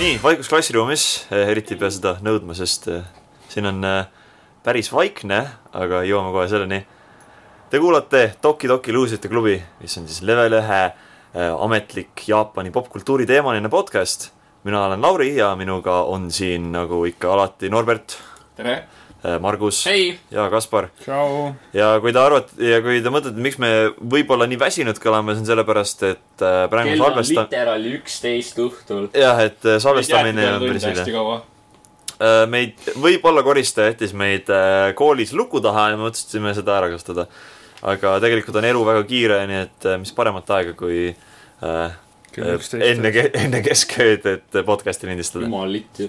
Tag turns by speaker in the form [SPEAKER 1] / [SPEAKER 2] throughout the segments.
[SPEAKER 1] nii vaikus klassiruumis , eriti ei pea seda nõudma , sest eh, siin on eh, päris vaikne , aga jõuame kohe selleni . Te kuulate Toki Toki luusrite klubi , mis on siis level ühe eh, ametlik Jaapani popkultuuri teemaline podcast . mina olen Lauri ja minuga on siin nagu ikka alati Norbert ,
[SPEAKER 2] tere .
[SPEAKER 1] Margus
[SPEAKER 2] hei .
[SPEAKER 1] ja Kaspar .
[SPEAKER 3] tšau .
[SPEAKER 1] ja kui te arvate ja kui te mõtlete , miks me võib-olla nii väsinud kõlame , see on sellepärast , et eh, praegu
[SPEAKER 4] kell on
[SPEAKER 1] salvesta- ,
[SPEAKER 4] literaali üksteist õhtul .
[SPEAKER 1] jah , et eh, salvestamine on päris hilja
[SPEAKER 2] hästi kaua .
[SPEAKER 1] Äh, meid , võib-olla koristaja jättis meid äh, koolis luku taha ja me otsustasime seda ära kasutada . aga tegelikult on elu väga kiire , nii et äh, mis paremat aega , kui äh,
[SPEAKER 3] Kell üksteist.
[SPEAKER 1] enne , enne keskööd , et podcast'i lindistada .
[SPEAKER 4] jumal litt ju .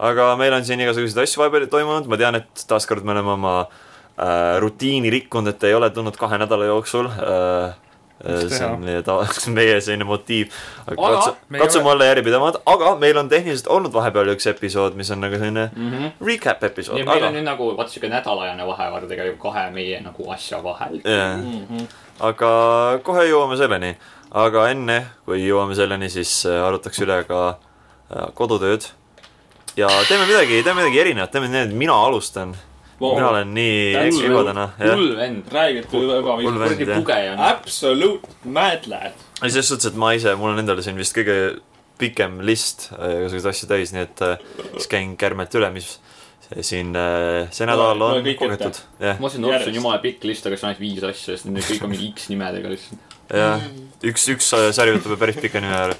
[SPEAKER 1] aga meil on siin igasuguseid asju vahepeal toimunud , ma tean , et taaskord me oleme oma äh, rutiini rikkunud , et ei ole tulnud kahe nädala jooksul äh, .
[SPEAKER 3] Mis
[SPEAKER 1] see
[SPEAKER 3] teha?
[SPEAKER 1] on meie tava , meie selline motiiv .
[SPEAKER 4] Aga
[SPEAKER 3] me ei
[SPEAKER 1] katsume olla järjepidevamad , aga meil on tehniliselt olnud vahepeal üks episood , mis on nagu selline recap
[SPEAKER 4] ja
[SPEAKER 1] episood ,
[SPEAKER 4] meil on
[SPEAKER 1] aga ,
[SPEAKER 4] nüüd nagu vaat siuke nädalajane vahe vaata tegelikult kahe meie nagu asja vahel .
[SPEAKER 1] jah ,
[SPEAKER 2] Mhm.
[SPEAKER 1] aga kohe jõuame selleni . aga enne , kui jõuame selleni , siis äh, arutaks üle ka äh, kodutööd . ja teeme midagi , teeme midagi erinevat , teeme nii , et mina alustan .
[SPEAKER 2] Vau.
[SPEAKER 1] mina olen nii
[SPEAKER 4] Tänu-
[SPEAKER 1] eksiva täna , noh, jah .
[SPEAKER 4] hull vend ,
[SPEAKER 2] räägid juba
[SPEAKER 1] hull
[SPEAKER 2] viis .
[SPEAKER 1] vend.
[SPEAKER 4] kuradi pugeja .
[SPEAKER 2] Absolute mad lad .
[SPEAKER 1] selles suhtes , et ma ise , mul on endal siin vist kõige pikem list äh, igasuguseid asju täis , nii et äh, siis käin kärmelt üle , mis see siin äh, see nädal on
[SPEAKER 2] Loe- loe kõik ette.
[SPEAKER 1] kogetud . jah ,
[SPEAKER 4] ma ütlesin , et see
[SPEAKER 2] Järjest.
[SPEAKER 4] on jumala pikk list , aga see on ainult viis asja , sest need kõik on mingi X nimedega lihtsalt .
[SPEAKER 1] jah , üks , üks äh, sari võtab ju päris pika nime ära .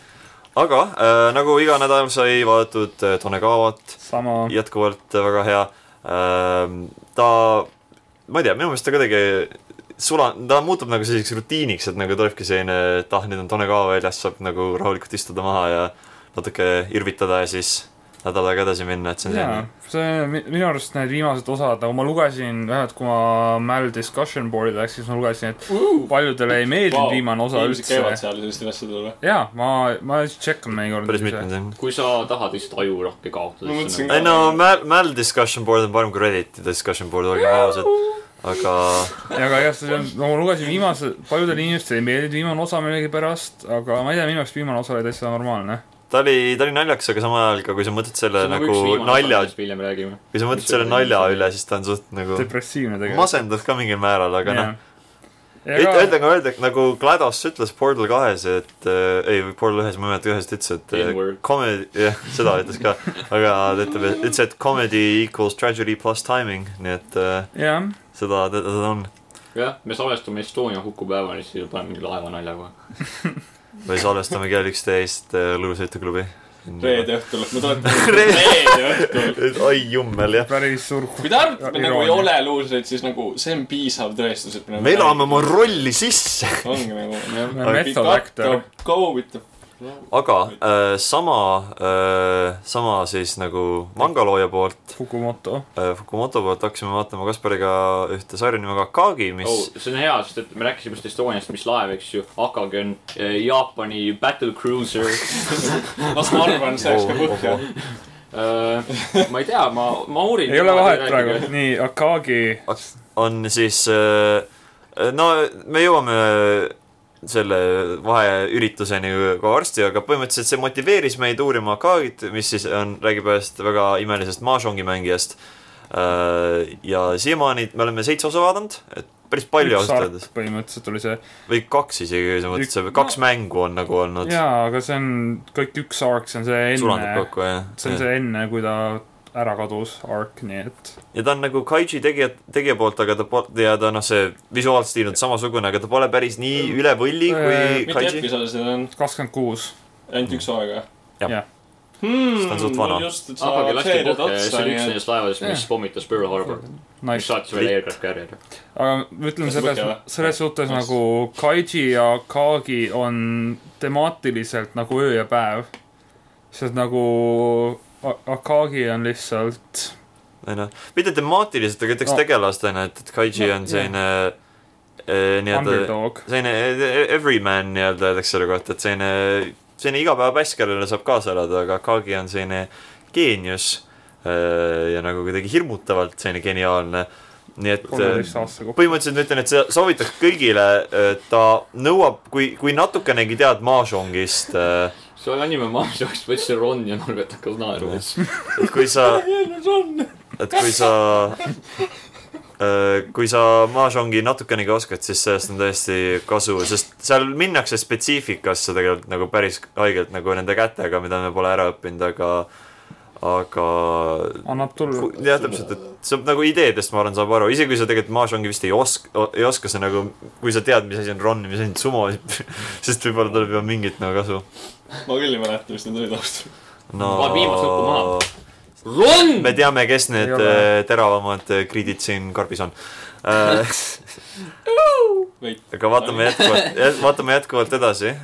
[SPEAKER 1] aga äh, nagu iga nädal sai vaadatud äh, Tonekavat
[SPEAKER 3] sama .
[SPEAKER 1] jätkuvalt äh, väga hea . ta , ma ei tea , minu meelest ta kuidagi sula- , ta muutub nagu selliseks rutiiniks , et nagu tulebki selline , et ah , nüüd on Tone Kao väljas , saab nagu rahulikult istuda maha ja natuke irvitada ja siis nädal aega edasi minna , et see on
[SPEAKER 3] jaa
[SPEAKER 1] selline ,,
[SPEAKER 3] see mi- minu arust need viimased osad , nagu ma lugesin , vähemalt kui ma Mäel discussion board'i läks , siis ma lugesin , et paljudele ei meeldinud wow, viimane osa
[SPEAKER 2] käivad
[SPEAKER 3] üldse .
[SPEAKER 2] seal selliste asjadega või ?
[SPEAKER 3] jaa , ma , ma just tšekkan mõnikord .
[SPEAKER 1] päris mitmed on .
[SPEAKER 4] kui sa tahad lihtsalt ajurakke kaotada .
[SPEAKER 2] Ma mõtlesin
[SPEAKER 1] ei no , Mäl , Mäl discussion board on parem kui Redditi discussion board , olgem ausad . aga
[SPEAKER 3] ja aga jah , see on , no ma lugesin viimase , paljudele inimestele ei meeldinud viimane osa millegipärast , aga ma ei tea , minu arust viimane osa oli täitsa normaalne .
[SPEAKER 1] ta oli , ta oli naljakas , aga samal ajal ka , kui sa mõtled selle nagu nalja ,
[SPEAKER 4] hiljem räägime .
[SPEAKER 1] kui sa mõtled selle nalja üle , siis ta on suht nagu
[SPEAKER 3] depressiivne tegelikult .
[SPEAKER 1] masendav ka mingil määral , aga noh , öelda , aga öelda , nagu GLaDOS ütles Portal kahes , et äh, ei , Portal ühes , ma ei mäleta , ühes ta ütles , et äh,
[SPEAKER 4] N-word.
[SPEAKER 1] comedy , jah , seda ütles ka , aga ta ütleb , et ütles , et comedy equals tragedy plus timing , nii et äh,
[SPEAKER 3] jah ,
[SPEAKER 1] seda , seda on .
[SPEAKER 4] jah , me salvestame Estonia hukupäevani , siis paneme mingi laevanalja kohe .
[SPEAKER 1] või salvestame kell üksteist äh, Luusõituklubi .
[SPEAKER 2] reede õhtul , ma tuletan .
[SPEAKER 1] Reede-
[SPEAKER 2] reede õhtul .
[SPEAKER 1] ai jummel , jah .
[SPEAKER 3] päris suur
[SPEAKER 2] kui te arvate , et me nagu ei
[SPEAKER 3] Iroonia.
[SPEAKER 2] ole luusrid , siis nagu see on piisav tõestus , et me .
[SPEAKER 1] me elame . oma rolli sisse .
[SPEAKER 2] ongi nagu .
[SPEAKER 3] method actor .
[SPEAKER 2] Go with the .
[SPEAKER 1] aga äh, sama äh, , sama siis nagu mangalooja poolt
[SPEAKER 3] Fukumoto .
[SPEAKER 1] äh, , Fukumoto poolt hakkasime vaatama Kaspariga ühte sarja nimega Akagi , mis
[SPEAKER 4] oh, . see on hea , sest et me rääkisime just Estoniast , mis laev , eks ju , Akagi on eh, Jaapani battlecruiser .
[SPEAKER 2] las ma arvan , see läks ka
[SPEAKER 1] Oh, oh,
[SPEAKER 2] põhja
[SPEAKER 1] oh. .
[SPEAKER 4] Eh, ma ei tea , ma , ma uurin .
[SPEAKER 3] ei ole vahet praegu , nii , Akagi
[SPEAKER 1] on siis äh, no me jõuame äh, selle vaheürituseni ka varsti , aga põhimõtteliselt see motiveeris meid uurima Akagit , mis siis on , räägib ühest väga imelisest mahjongi mängijast . ja siiamaani me oleme seitse osa vaadanud , et päris palju
[SPEAKER 3] üks
[SPEAKER 1] ausalt
[SPEAKER 3] sark
[SPEAKER 1] öeldes
[SPEAKER 3] põhimõtteliselt oli see .
[SPEAKER 1] või kaks isegi , kui sa mõtled , see kaks mängu on nagu olnud
[SPEAKER 3] jaa , aga see on kõik üks arc , see on see
[SPEAKER 1] sulandub
[SPEAKER 3] enne ,
[SPEAKER 1] kokku jah .
[SPEAKER 3] see on see enne , kui ta ära kadus , arc , nii et
[SPEAKER 1] ja ta on nagu kaiji tegija , tegija poolt , aga ta po- ja ta noh , see visuaalstiil on samasugune , aga ta pole päris nii üle võlli
[SPEAKER 3] Äh,
[SPEAKER 1] kui
[SPEAKER 2] mitte
[SPEAKER 1] kaiji .
[SPEAKER 2] episood , see on
[SPEAKER 3] kakskümmend kuus .
[SPEAKER 2] ainult üks hooaega .
[SPEAKER 1] Jah.
[SPEAKER 3] jah ,
[SPEAKER 2] Hmm,
[SPEAKER 1] Sest ta on suht vana.
[SPEAKER 2] mul just , et sa
[SPEAKER 4] Akagi lasti
[SPEAKER 2] seeriad
[SPEAKER 4] kokku ja
[SPEAKER 2] otsa
[SPEAKER 4] see oli üks
[SPEAKER 2] ja
[SPEAKER 4] nendest laevadest , mis
[SPEAKER 3] Jah.
[SPEAKER 4] pommitas Pearl Harbor , mis
[SPEAKER 3] nice .
[SPEAKER 4] saatis veel Aircraft Carrier .
[SPEAKER 3] aga ütleme
[SPEAKER 2] Kas sa
[SPEAKER 3] selles
[SPEAKER 2] põhja või? ,
[SPEAKER 3] selles suhtes
[SPEAKER 2] Nice.
[SPEAKER 3] nagu Kaiji ja Kaagi on temaatiliselt nagu öö ja päev . sest nagu A- Akagi on lihtsalt ,
[SPEAKER 1] ei noh , mitte temaatiliselt , aga ütleks
[SPEAKER 3] No.
[SPEAKER 1] tegelastena , et , et kaiji
[SPEAKER 3] No,
[SPEAKER 1] on
[SPEAKER 3] jah.
[SPEAKER 1] selline eh, nii-öelda
[SPEAKER 3] underdog .
[SPEAKER 1] selline eh, everyman nii-öelda öeldakse selle kohta , et selline , selline igapäevapäss , kellele saab kaasa elada , aga Akagi on selline geenius eh, ja nagu kuidagi hirmutavalt selline geniaalne , nii et eh,
[SPEAKER 3] kolmeteist aasta kokku .
[SPEAKER 1] põhimõtteliselt ma ütlen , et see soovitaks kõigile , ta nõuab , kui , kui natukenegi tead mahjongist ,
[SPEAKER 4] see oli anime maailmas , kus ma ütlesin Ron ja Norbert hakkas naerma .
[SPEAKER 1] et kui sa , et kui sa , kui sa mahjongi natukenegi oskad , siis sellest on tõesti kasu , sest seal minnakse spetsiifikasse tegelikult nagu päris haigelt nagu nende kätega , mida me pole ära õppinud , aga , aga
[SPEAKER 3] annab tulla .
[SPEAKER 1] jah , täpselt , et see on nagu ideedest , ma arvan , saab aru , isegi kui sa tegelikult mahjongi vist ei oska , ei oska sa nagu , kui sa tead , mis asi on ron ja mis asi on sumo , sest võib-olla tuleb juba mingit nagu kasu .
[SPEAKER 2] ma küll ei mäleta , mis need olid ausalt .
[SPEAKER 1] no
[SPEAKER 4] Pane viimase õpu maha. Ron
[SPEAKER 1] me . teame , kes need
[SPEAKER 3] Ei ole.
[SPEAKER 1] äh, teravamad äh, kriidid siin karbis on . aga
[SPEAKER 2] Wait.
[SPEAKER 1] vaatame jätkuvalt , vaatame jätkuvalt edasi .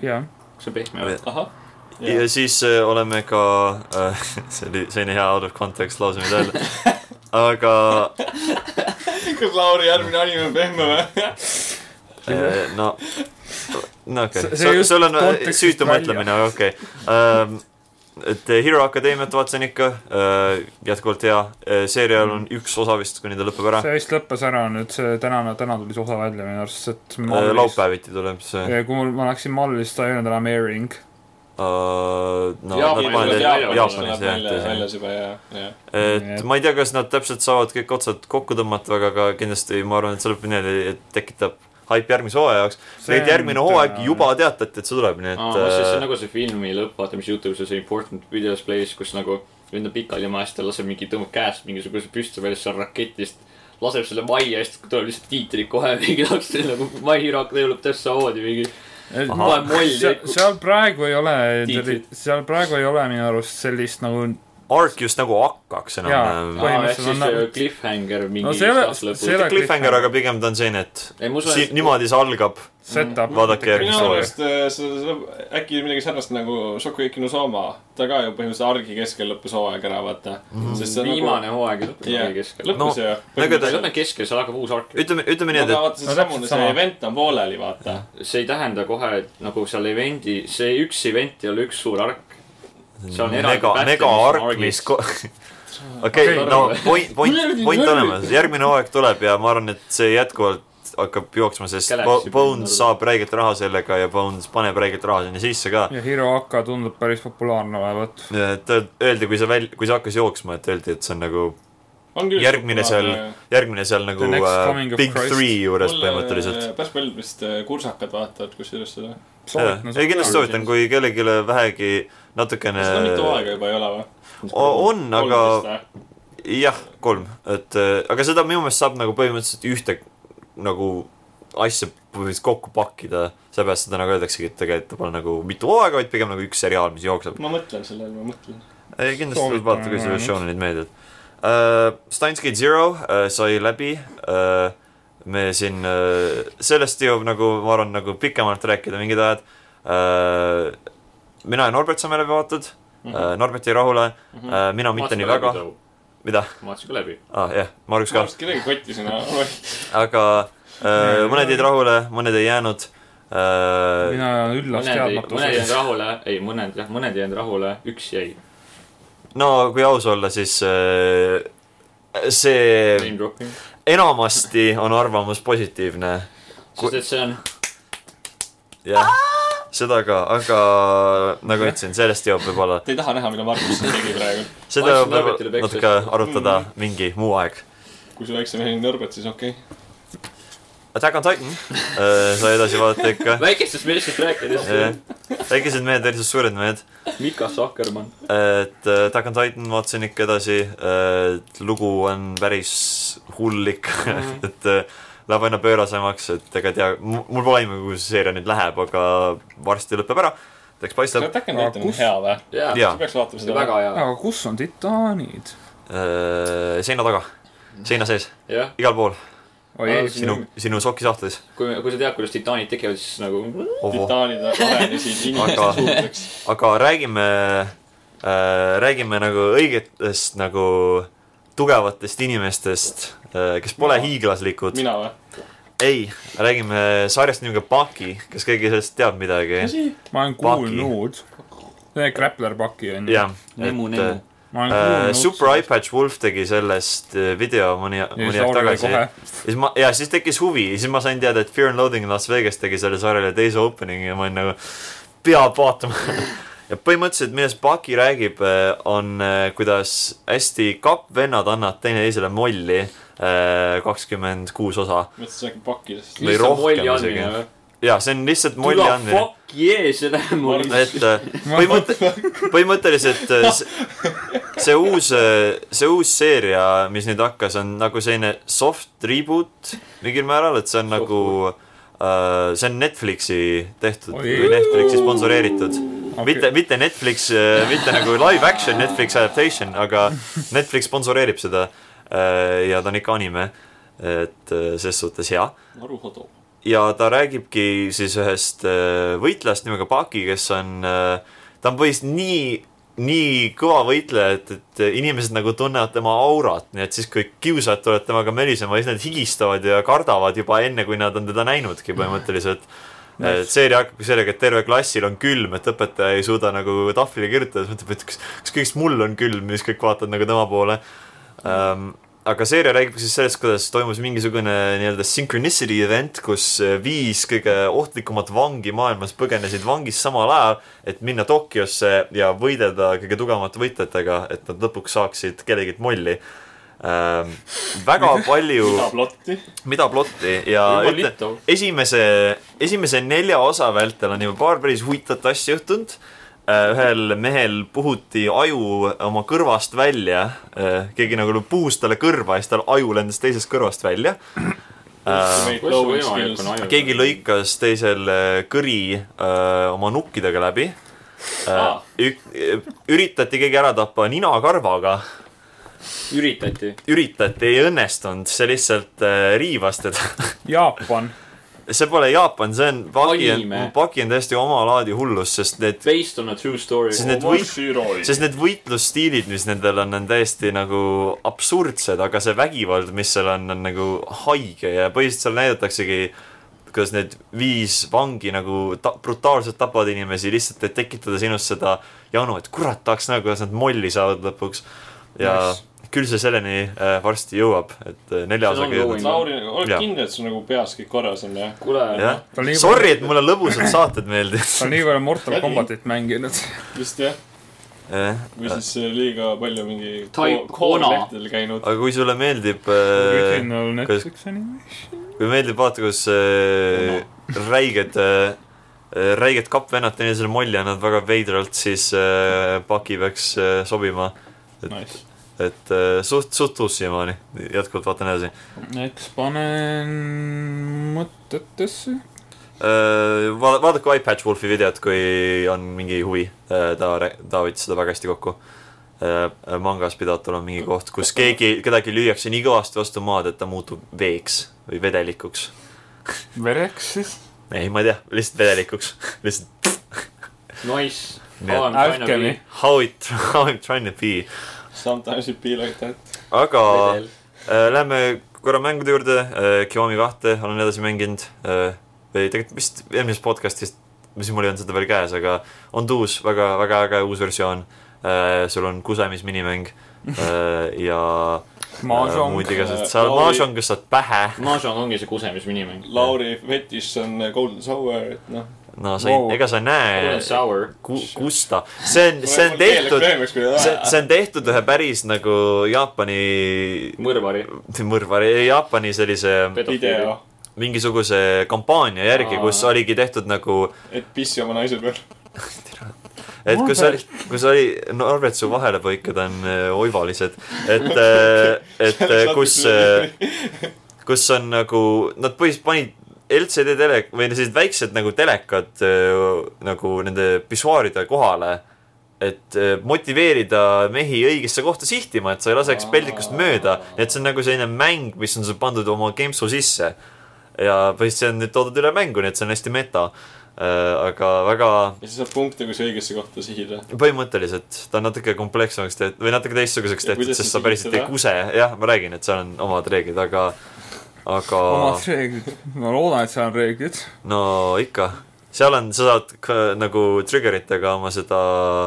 [SPEAKER 3] jah ,
[SPEAKER 4] see on pehme .
[SPEAKER 2] ahah .
[SPEAKER 1] ja siis äh, oleme ka , see oli selline hea out of context lause , mida öelda . aga
[SPEAKER 2] kas Lauri järgmine anime on pehme või ?
[SPEAKER 1] äh, no , no okei
[SPEAKER 3] See- see
[SPEAKER 1] okay. ,
[SPEAKER 3] just
[SPEAKER 1] sul on äh,
[SPEAKER 3] kontekstist
[SPEAKER 1] süütu
[SPEAKER 3] välja.
[SPEAKER 1] mõtlemine , aga okei okay. . et äh, Hero Akadeemiat vaatasin ikka , jätkuvalt hea , seerial on üks osa vist , kuni ta lõpeb ära .
[SPEAKER 3] Mm. see vist lõppes ära nüüd , see tänane , täna tuli see osa välja minu arust , et Mallis-
[SPEAKER 1] Äh, laupäeviti tuleb see .
[SPEAKER 3] kui mul , ma läksin Mallis , ta ei öelnud enam airing .
[SPEAKER 1] Uh, no
[SPEAKER 4] Jaapanis
[SPEAKER 1] nad panevad
[SPEAKER 4] tuleb
[SPEAKER 1] jälle-
[SPEAKER 4] välja,
[SPEAKER 1] Jaapanis jah , tõsi .
[SPEAKER 2] väljas juba ja , ja .
[SPEAKER 1] et ma ei tea , kas nad täpselt saavad kõik otsad kokku tõmmata , aga , aga kindlasti ma arvan , et see lõpuni tekitab haip järgmise hooaja jaoks . tegelikult järgmine hooaeg juba teatati , et äh, see tuleb , nii
[SPEAKER 4] aa , see see on
[SPEAKER 1] et .
[SPEAKER 4] nagu see filmi lõpp , vaata , mis Youtube'is on see Important Videos Plays , kus nagu lendab pikali maast ja laseb mingi , tõmbab käest mingisuguse püsti välja seal raketist . laseb selle majja ja siis tuleb lihtsalt tiitrid kohe mingi tahaks nagu My Hero Academia lõpeb täpselt samamoodi mingi .
[SPEAKER 1] Ahah.
[SPEAKER 4] tuleb molli .
[SPEAKER 3] seal praegu ei ole
[SPEAKER 4] Tiitlit. ,
[SPEAKER 3] seal praegu ei ole minu arust sellist nagu ,
[SPEAKER 1] Ark just nagu hakkaks
[SPEAKER 3] Jaa.
[SPEAKER 1] enam-vähem .
[SPEAKER 4] aa , ehk
[SPEAKER 3] põhimõtteliselt
[SPEAKER 4] siis
[SPEAKER 3] on nagu-
[SPEAKER 4] see cliffhanger
[SPEAKER 3] No
[SPEAKER 4] mingi
[SPEAKER 3] see ei ole-
[SPEAKER 4] aasta
[SPEAKER 3] see ei
[SPEAKER 4] lõpus .
[SPEAKER 3] ole-
[SPEAKER 1] Cliffhanger , aga pigem ta on selline , et
[SPEAKER 4] ei , ma
[SPEAKER 1] siin
[SPEAKER 4] usun ,
[SPEAKER 1] niimoodi see algab .
[SPEAKER 3] setup .
[SPEAKER 1] Vaadake järgmist
[SPEAKER 2] minu
[SPEAKER 1] hooaega.
[SPEAKER 2] arust äh, see , see , äkki midagi sarnast nagu Shokuiki no Soma . ta ka ju põhimõtteliselt argi keskel lõppes hooaeg ära , vaata .
[SPEAKER 4] et viimane
[SPEAKER 1] nagu-
[SPEAKER 4] hooaeg lõpeb
[SPEAKER 2] jah
[SPEAKER 4] yeah. , keskel .
[SPEAKER 1] Mhm. No,
[SPEAKER 2] nagu lõppes ju .
[SPEAKER 1] ega ta-
[SPEAKER 4] see lõpeb keskel , seal hakkab uus ark .
[SPEAKER 1] ütleme , ütleme nii ,
[SPEAKER 2] aga
[SPEAKER 1] et ,
[SPEAKER 2] vaata ,
[SPEAKER 3] No
[SPEAKER 2] see
[SPEAKER 3] täpselt
[SPEAKER 2] samune ,
[SPEAKER 3] sama.
[SPEAKER 2] see event on pooleli , vaata .
[SPEAKER 4] see ei tähenda kohe , et nagu seal event'i , see üks event ei ole üks suur ark . see on
[SPEAKER 1] et
[SPEAKER 4] eraldi
[SPEAKER 1] mega ,
[SPEAKER 4] battle,
[SPEAKER 1] mega
[SPEAKER 4] mis on
[SPEAKER 1] Ark , mis
[SPEAKER 4] argis. .
[SPEAKER 1] okei ,
[SPEAKER 4] Okei.
[SPEAKER 1] no point , point
[SPEAKER 2] Mul ei , olnud
[SPEAKER 1] point
[SPEAKER 2] nörvi.
[SPEAKER 1] olemas , järgmine hooaeg tuleb ja ma arvan , et see jätkuvalt hakkab jooksma , sest
[SPEAKER 4] Galaxy
[SPEAKER 1] Bo- Bones
[SPEAKER 4] Pinnacle.
[SPEAKER 1] saab räiget raha sellega ja Bones paneb räiget raha sinna sisse ka .
[SPEAKER 3] ja Hiro Aka tundub päris populaarne olevat .
[SPEAKER 1] et öel- öeldi , kui see väl- , kui see hakkas jooksma , et öeldi , et see on nagu
[SPEAKER 2] on küll .
[SPEAKER 1] järgmine seal , järgmine seal nagu
[SPEAKER 3] The next
[SPEAKER 1] äh,
[SPEAKER 3] coming of
[SPEAKER 1] Big
[SPEAKER 3] Christ.
[SPEAKER 1] Three juures põhimõtteliselt .
[SPEAKER 2] päris paljud vist äh, kursakad vaatavad kusjuures seda .
[SPEAKER 1] ei , kindlasti soovitan , kui kellelegi vähegi natukene
[SPEAKER 2] seda mitu aega juba ei ole või ?
[SPEAKER 1] O- on , Äh, aga jah , kolm , et äh, aga seda minu meelest saab nagu põhimõtteliselt ühte nagu asja põhimõtteliselt kokku pakkida , seepärast seda nagu öeldaksegi , et tegelikult ta pole nagu mitu hooaega , vaid pigem nagu üks seriaal , mis jookseb .
[SPEAKER 2] ma mõtlen sellele , ma mõtlen .
[SPEAKER 1] ei , kindlasti tuleb
[SPEAKER 3] Soovitame
[SPEAKER 1] vaadata , kui sulle
[SPEAKER 3] vähemalt.
[SPEAKER 1] Shonenid meeldivad uh, . Steins Gate Zero uh, sai läbi uh, . me siin uh, , sellest jõuab nagu , ma arvan , nagu pikemalt rääkida mingid ajad uh, . mina ja Norbert saame läbi vaadatud uh, . Norbert jäi rahule uh, , mina mitte nii väga . mida ?
[SPEAKER 4] ma vaatasin ka läbi .
[SPEAKER 1] aa ah, jah , Margus
[SPEAKER 2] minu
[SPEAKER 1] ka .
[SPEAKER 2] arust kedagi kotti sinna .
[SPEAKER 1] aga äh, mõned jäid rahule , mõned ei jäänud äh, .
[SPEAKER 3] mina olen üllas
[SPEAKER 4] mõned ei , mõned jäid
[SPEAKER 3] teadmatuses .
[SPEAKER 4] rahule , ei mõned jah , mõned jäid rahule , üks jäi .
[SPEAKER 1] no kui aus olla , siis äh, see
[SPEAKER 4] Name dropping .
[SPEAKER 1] enamasti on arvamus positiivne . Kui-
[SPEAKER 4] sest et see on ,
[SPEAKER 1] jah , seda ka , aga nagu ütlesin , sellest jõuab võib-olla ,
[SPEAKER 2] Te ei taha näha , mida Margus siin tegi praegu .
[SPEAKER 1] seda
[SPEAKER 4] Ma
[SPEAKER 1] jõuab
[SPEAKER 4] ütlesin
[SPEAKER 1] võib-olla
[SPEAKER 4] Norbertile
[SPEAKER 1] natuke arutada mingi muu aeg .
[SPEAKER 2] kui see väiksem mehe nõrgad , siis okei okay. .
[SPEAKER 1] Attack on Titan äh, sai edasi vaadata ikka .
[SPEAKER 4] väikestest meestest rääkides ,
[SPEAKER 1] väikesed mehed versus suured mehed .
[SPEAKER 4] Mika Sahkermann .
[SPEAKER 1] et äh, Attack on Titan vaatasin ikka edasi , et lugu on päris hull ikka , et äh, läheb aina pöörasemaks , et ega ei tea , mul pole aimu , kuhu see seeria nüüd läheb , aga varsti lõpeb ära , et eks
[SPEAKER 2] see
[SPEAKER 1] paistab .
[SPEAKER 2] Attack on
[SPEAKER 3] Aga
[SPEAKER 2] Titan on
[SPEAKER 3] kus-
[SPEAKER 2] hea või ?
[SPEAKER 4] jaa , see
[SPEAKER 1] Jaa.
[SPEAKER 2] sa peaks vaatama
[SPEAKER 4] on
[SPEAKER 2] seda .
[SPEAKER 4] väga hea ,
[SPEAKER 3] aga kus on titaanid ?
[SPEAKER 1] Äh, seina taga , seina sees ,
[SPEAKER 4] jah .
[SPEAKER 1] igal pool ,
[SPEAKER 3] oi
[SPEAKER 4] Aa,
[SPEAKER 3] ei ,
[SPEAKER 4] siin-
[SPEAKER 1] sinu , sinu sokisahtlis .
[SPEAKER 4] kui , kui sa tead , kuidas titaanid tekivad , siis nagu
[SPEAKER 2] titaanid arenesid
[SPEAKER 1] Aga-
[SPEAKER 2] inimesed suureks .
[SPEAKER 1] aga räägime äh, , räägime nagu õigetest nagu tugevatest inimestest , kes pole
[SPEAKER 2] Mina.
[SPEAKER 1] hiiglaslikud .
[SPEAKER 2] mina või ?
[SPEAKER 1] ei , räägime sarjast nimega Baki , kas keegi sellest teab midagi ?
[SPEAKER 3] ma olen
[SPEAKER 1] Paki.
[SPEAKER 3] kuulnud . see Grappler Paki on ju .
[SPEAKER 1] jah ,
[SPEAKER 4] Nemu,
[SPEAKER 1] et
[SPEAKER 4] nemu. Nagu
[SPEAKER 1] äh,
[SPEAKER 3] ma olen kuulnud .
[SPEAKER 1] Super iPad Wolf tegi sellest äh, video mõni ,
[SPEAKER 3] ja
[SPEAKER 1] mõni
[SPEAKER 3] siis
[SPEAKER 1] aeg
[SPEAKER 3] Lauri
[SPEAKER 1] tagasi .
[SPEAKER 3] kohe .
[SPEAKER 1] siis ma , ja siis tekkis huvi , siis ma sain teada , et Fear and Loathing Las Vegas tegi selle sarjale teise opening'i ja ma olin nagu peab vaatama . ja põhimõtteliselt , millest Baki räägib , on eh, kuidas hästi kappvennad annavad teineteisele molli äh, kakskümmend kuus osa .
[SPEAKER 2] mõtlesin , et see on äkki pakkidest .
[SPEAKER 1] Või rohkem isegi. ja see on lihtsalt molli
[SPEAKER 4] tule
[SPEAKER 1] andmine .
[SPEAKER 4] fuck yeah , see läheb mul
[SPEAKER 2] Ma-
[SPEAKER 1] et eh, põhimõtte- , põhimõtteliselt eh, s- see uus , see uus seeria , mis nüüd hakkas , on nagu selline soft reboot mingil määral , et see on nagu , see on Netflixi tehtud
[SPEAKER 3] Oi.
[SPEAKER 1] või Netflixi sponsoreeritud . mitte , mitte Netflix , mitte nagu live action Netflix adaptation , aga Netflix sponsoreerib seda eh, ja ta on ikka anime , et eh, ses suhtes hea
[SPEAKER 2] Naruhodo .
[SPEAKER 1] ja ta räägibki siis ühest äh, võitlejast nimega Paki , kes on , ta on põhiliselt nii , nii kõva võitleja , et , et inimesed nagu tunnevad tema aurat , nii et siis kui kiusajad tulevad temaga mölisema , siis nad higistavad ja kardavad juba enne , kui nad on teda näinudki põhimõtteliselt . et seeria hakkabki sellega , et terve klassil on külm , et õpetaja ei suuda nagu tahvlile kirjutada , siis mõtleb , et kas , kas kõigist mul on külm ja siis kõik vaatavad nagu tema poole ähm, . aga seeria räägib siis sellest , kuidas toimus mingisugune nii-öelda synchronicity event , kus äh, viis kõige ohtlikumat vangi maailmas põgenesid vangist samal ajal , et minna Tokyosse ja võidelda kõige tugevamate võitlejatega , et nad lõpuks saaksid kellelgi molli ähm, . väga palju ,
[SPEAKER 2] mida plotti ?
[SPEAKER 1] mida plotti ja ütle ,
[SPEAKER 4] nagu
[SPEAKER 1] esimese , esimese nelja osa vältel on juba paar päris huvitavat asja juhtunud . ühel mehel puhuti aju oma kõrvast välja , keegi nagu puhus talle kõrva ja siis tal aju lendas teisest kõrvast välja . keegi lõikas teisel äh, kõri äh, oma nukkidega läbi .
[SPEAKER 4] Aa.
[SPEAKER 1] üritati keegi ära tappa ninakarvaga ,
[SPEAKER 4] üritati .
[SPEAKER 1] üritati , ei õnnestunud , see lihtsalt äh, riivas teda
[SPEAKER 3] Jaapan .
[SPEAKER 1] see pole Jaapan , see on Paki on
[SPEAKER 4] Anime. ,
[SPEAKER 1] Paki on täiesti oma laadi hullus , sest need ,
[SPEAKER 4] Based on a true story .
[SPEAKER 1] Siis need võit- sest need võitlusstiilid , mis nendel on , on täiesti nagu absurdsed , aga see vägivald , mis seal on , on nagu haige ja põhiliselt seal näidataksegi , kuidas need viis vangi nagu ta brutaalselt tapavad inimesi lihtsalt , et tekitada sinust seda janu , et kurat , tahaks näha , kuidas nad molli saavad lõpuks . ja
[SPEAKER 3] Nice.
[SPEAKER 1] küll see selleni äh, varsti jõuab , et äh, nelja
[SPEAKER 4] See on nagu
[SPEAKER 1] osaga jõudnud .
[SPEAKER 2] Lauri , oled
[SPEAKER 1] Jah.
[SPEAKER 2] kindel , et sul nagu peas kõik korras on , jah ?
[SPEAKER 4] kuule ,
[SPEAKER 1] jah
[SPEAKER 3] Ta on , nii-
[SPEAKER 1] sorry , et mulle lõbusad saated
[SPEAKER 3] ta on
[SPEAKER 1] meeldivad .
[SPEAKER 3] nii palju Mortal
[SPEAKER 2] Läbi.
[SPEAKER 3] Combatit mänginud .
[SPEAKER 2] vist jah , või siis äh, liiga palju mingi
[SPEAKER 4] Type
[SPEAKER 2] ko- koolilehtedel
[SPEAKER 4] Kona.
[SPEAKER 2] käinud .
[SPEAKER 1] aga kui sulle meeldib äh, ,
[SPEAKER 3] original Netflix anime .
[SPEAKER 1] kui meeldib vaata , kus äh, räiged äh, , räiged kappvennad teineteisele molli annavad väga veidralt , siis äh, paki peaks äh, sobima .
[SPEAKER 3] Nice .
[SPEAKER 1] et äh, suht , suht uus siiamaani , jätkuvalt vaatan edasi
[SPEAKER 3] eks panen mõtetesse .
[SPEAKER 1] äh, . Vaada- , vaadake iPad Wolfi videot , kui on mingi huvi äh, . ta , ta võttis seda väga hästi kokku äh, . mangas pidatul on mingi koht , kus keegi , kedagi lüüakse nii kõvasti vastu maad , et ta muutub veeks või vedelikuks
[SPEAKER 3] vereks siis .
[SPEAKER 1] ei , ma ei tea , lihtsalt vedelikuks , lihtsalt
[SPEAKER 4] noh, nice .
[SPEAKER 1] Nii et-
[SPEAKER 3] Alchemy .
[SPEAKER 1] how it , how I m trying to be .
[SPEAKER 2] Sometimes it be like that .
[SPEAKER 1] aga äh, lähme korra mängude juurde äh, , Kiomi kahte olen edasi mänginud äh, . või tegelikult vist eelmisest podcast'ist , mis mul ei olnud seda veel käes , aga on tuus väga , väga äge uus versioon äh, . sul on kusemis minimäng äh, ja äh,
[SPEAKER 3] Mahjong
[SPEAKER 1] muud . igasugused , sa oled
[SPEAKER 2] Lauri-
[SPEAKER 1] mahjong , kus saad pähe .
[SPEAKER 4] Mahjong ongi see kusemisminimäng .
[SPEAKER 2] Lauri fetiš on äh, Golden Shower , et noh .
[SPEAKER 1] no sa ei
[SPEAKER 3] Wow. ,
[SPEAKER 1] ega sa näe
[SPEAKER 4] Golden Sour .
[SPEAKER 1] ku, , kus ta , see on , see on tehtud see ,
[SPEAKER 2] "Ah,
[SPEAKER 1] see on tehtud ühe päris nagu Jaapani ,
[SPEAKER 4] mõrvari .
[SPEAKER 1] mõrvari , Jaapani sellise
[SPEAKER 2] video ,
[SPEAKER 1] mingisuguse kampaania järgi ,
[SPEAKER 4] Aa.
[SPEAKER 1] kus oligi tehtud nagu ,
[SPEAKER 2] et pissi oma naise peal .
[SPEAKER 1] et kus oli , kus oli Norvetsu vahelepõiked on äh, oivalised , et , et äh, kus , kus on nagu , nad põhiliselt panid LCD telek- või sellised väiksed nagu telekad öö, nagu nende pisuaaride kohale . et öö, motiveerida mehi õigesse kohta sihtima , et sa ei laseks
[SPEAKER 2] Aa.
[SPEAKER 1] peldikust mööda , et see on nagu selline mäng , mis on sul pandud oma gamesu sisse . ja põhiliselt see on nüüd toodud üle mängu , nii et see on hästi meta . aga väga
[SPEAKER 2] ja siis saab punkte , kui sa õigesse kohta sihid .
[SPEAKER 1] põhimõtteliselt ta on natuke komplekssemaks tehtud või natuke teistsuguseks
[SPEAKER 2] Ja
[SPEAKER 1] tehtud ,
[SPEAKER 2] kuidas
[SPEAKER 1] sest
[SPEAKER 2] sa
[SPEAKER 1] sa päriselt ei
[SPEAKER 2] tegid
[SPEAKER 1] kuse , jah , ma räägin , et seal on omad reeglid , aga , aga
[SPEAKER 3] omad reeglid . ma loodan , et seal on reeglid .
[SPEAKER 1] no ikka , seal on , sa saad k- nagu trigger itega oma seda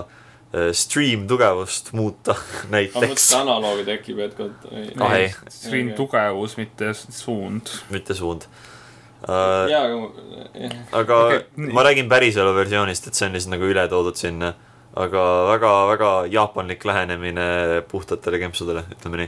[SPEAKER 1] äh, stream tugevust muuta
[SPEAKER 2] ma mõtlen ,
[SPEAKER 1] näiteks
[SPEAKER 2] et , analoogi tekib , et kui .
[SPEAKER 1] Ah, ei.
[SPEAKER 3] Stream tugevus , mitte s- suund .
[SPEAKER 1] mitte suund . aga
[SPEAKER 2] jaa , aga ,
[SPEAKER 3] Okei, nii.
[SPEAKER 1] ma räägin päriselu versioonist , et see on lihtsalt nagu üle toodud sinna . aga väga-väga jaapanlik lähenemine puhtatele kempsudele , ütleme nii .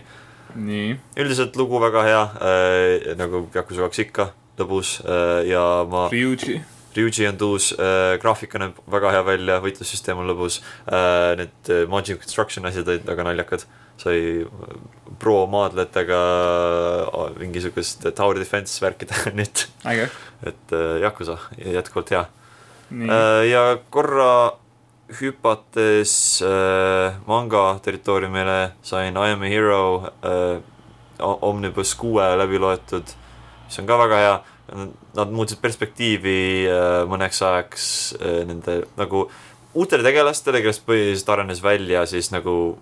[SPEAKER 3] nii ,
[SPEAKER 1] üldiselt lugu väga hea äh, , nagu Yakuza kaks ikka , lõbus äh, ja ma ,
[SPEAKER 3] Ryuji .
[SPEAKER 1] Ryuji on tuus äh, , graafika näeb väga hea välja , võitlussüsteem on lõbus äh, , need äh, Magic Construction asjad olid väga naljakad , sai äh, pro maadletega äh, mingi siukest tower defense värki teha nüüd ,
[SPEAKER 3] äge ,
[SPEAKER 1] et äh, Yakuza jätkuvalt hea
[SPEAKER 3] nii ,
[SPEAKER 1] Äh, ja korra hüpates äh, manga territooriumile sain I am a hero äh, O- Omnibus kuue läbi loetud , mis on ka väga hea . Nad muutsid perspektiivi äh, mõneks ajaks äh, nende nagu uutele tegelastele , kellest põhiliselt arenes välja siis nagu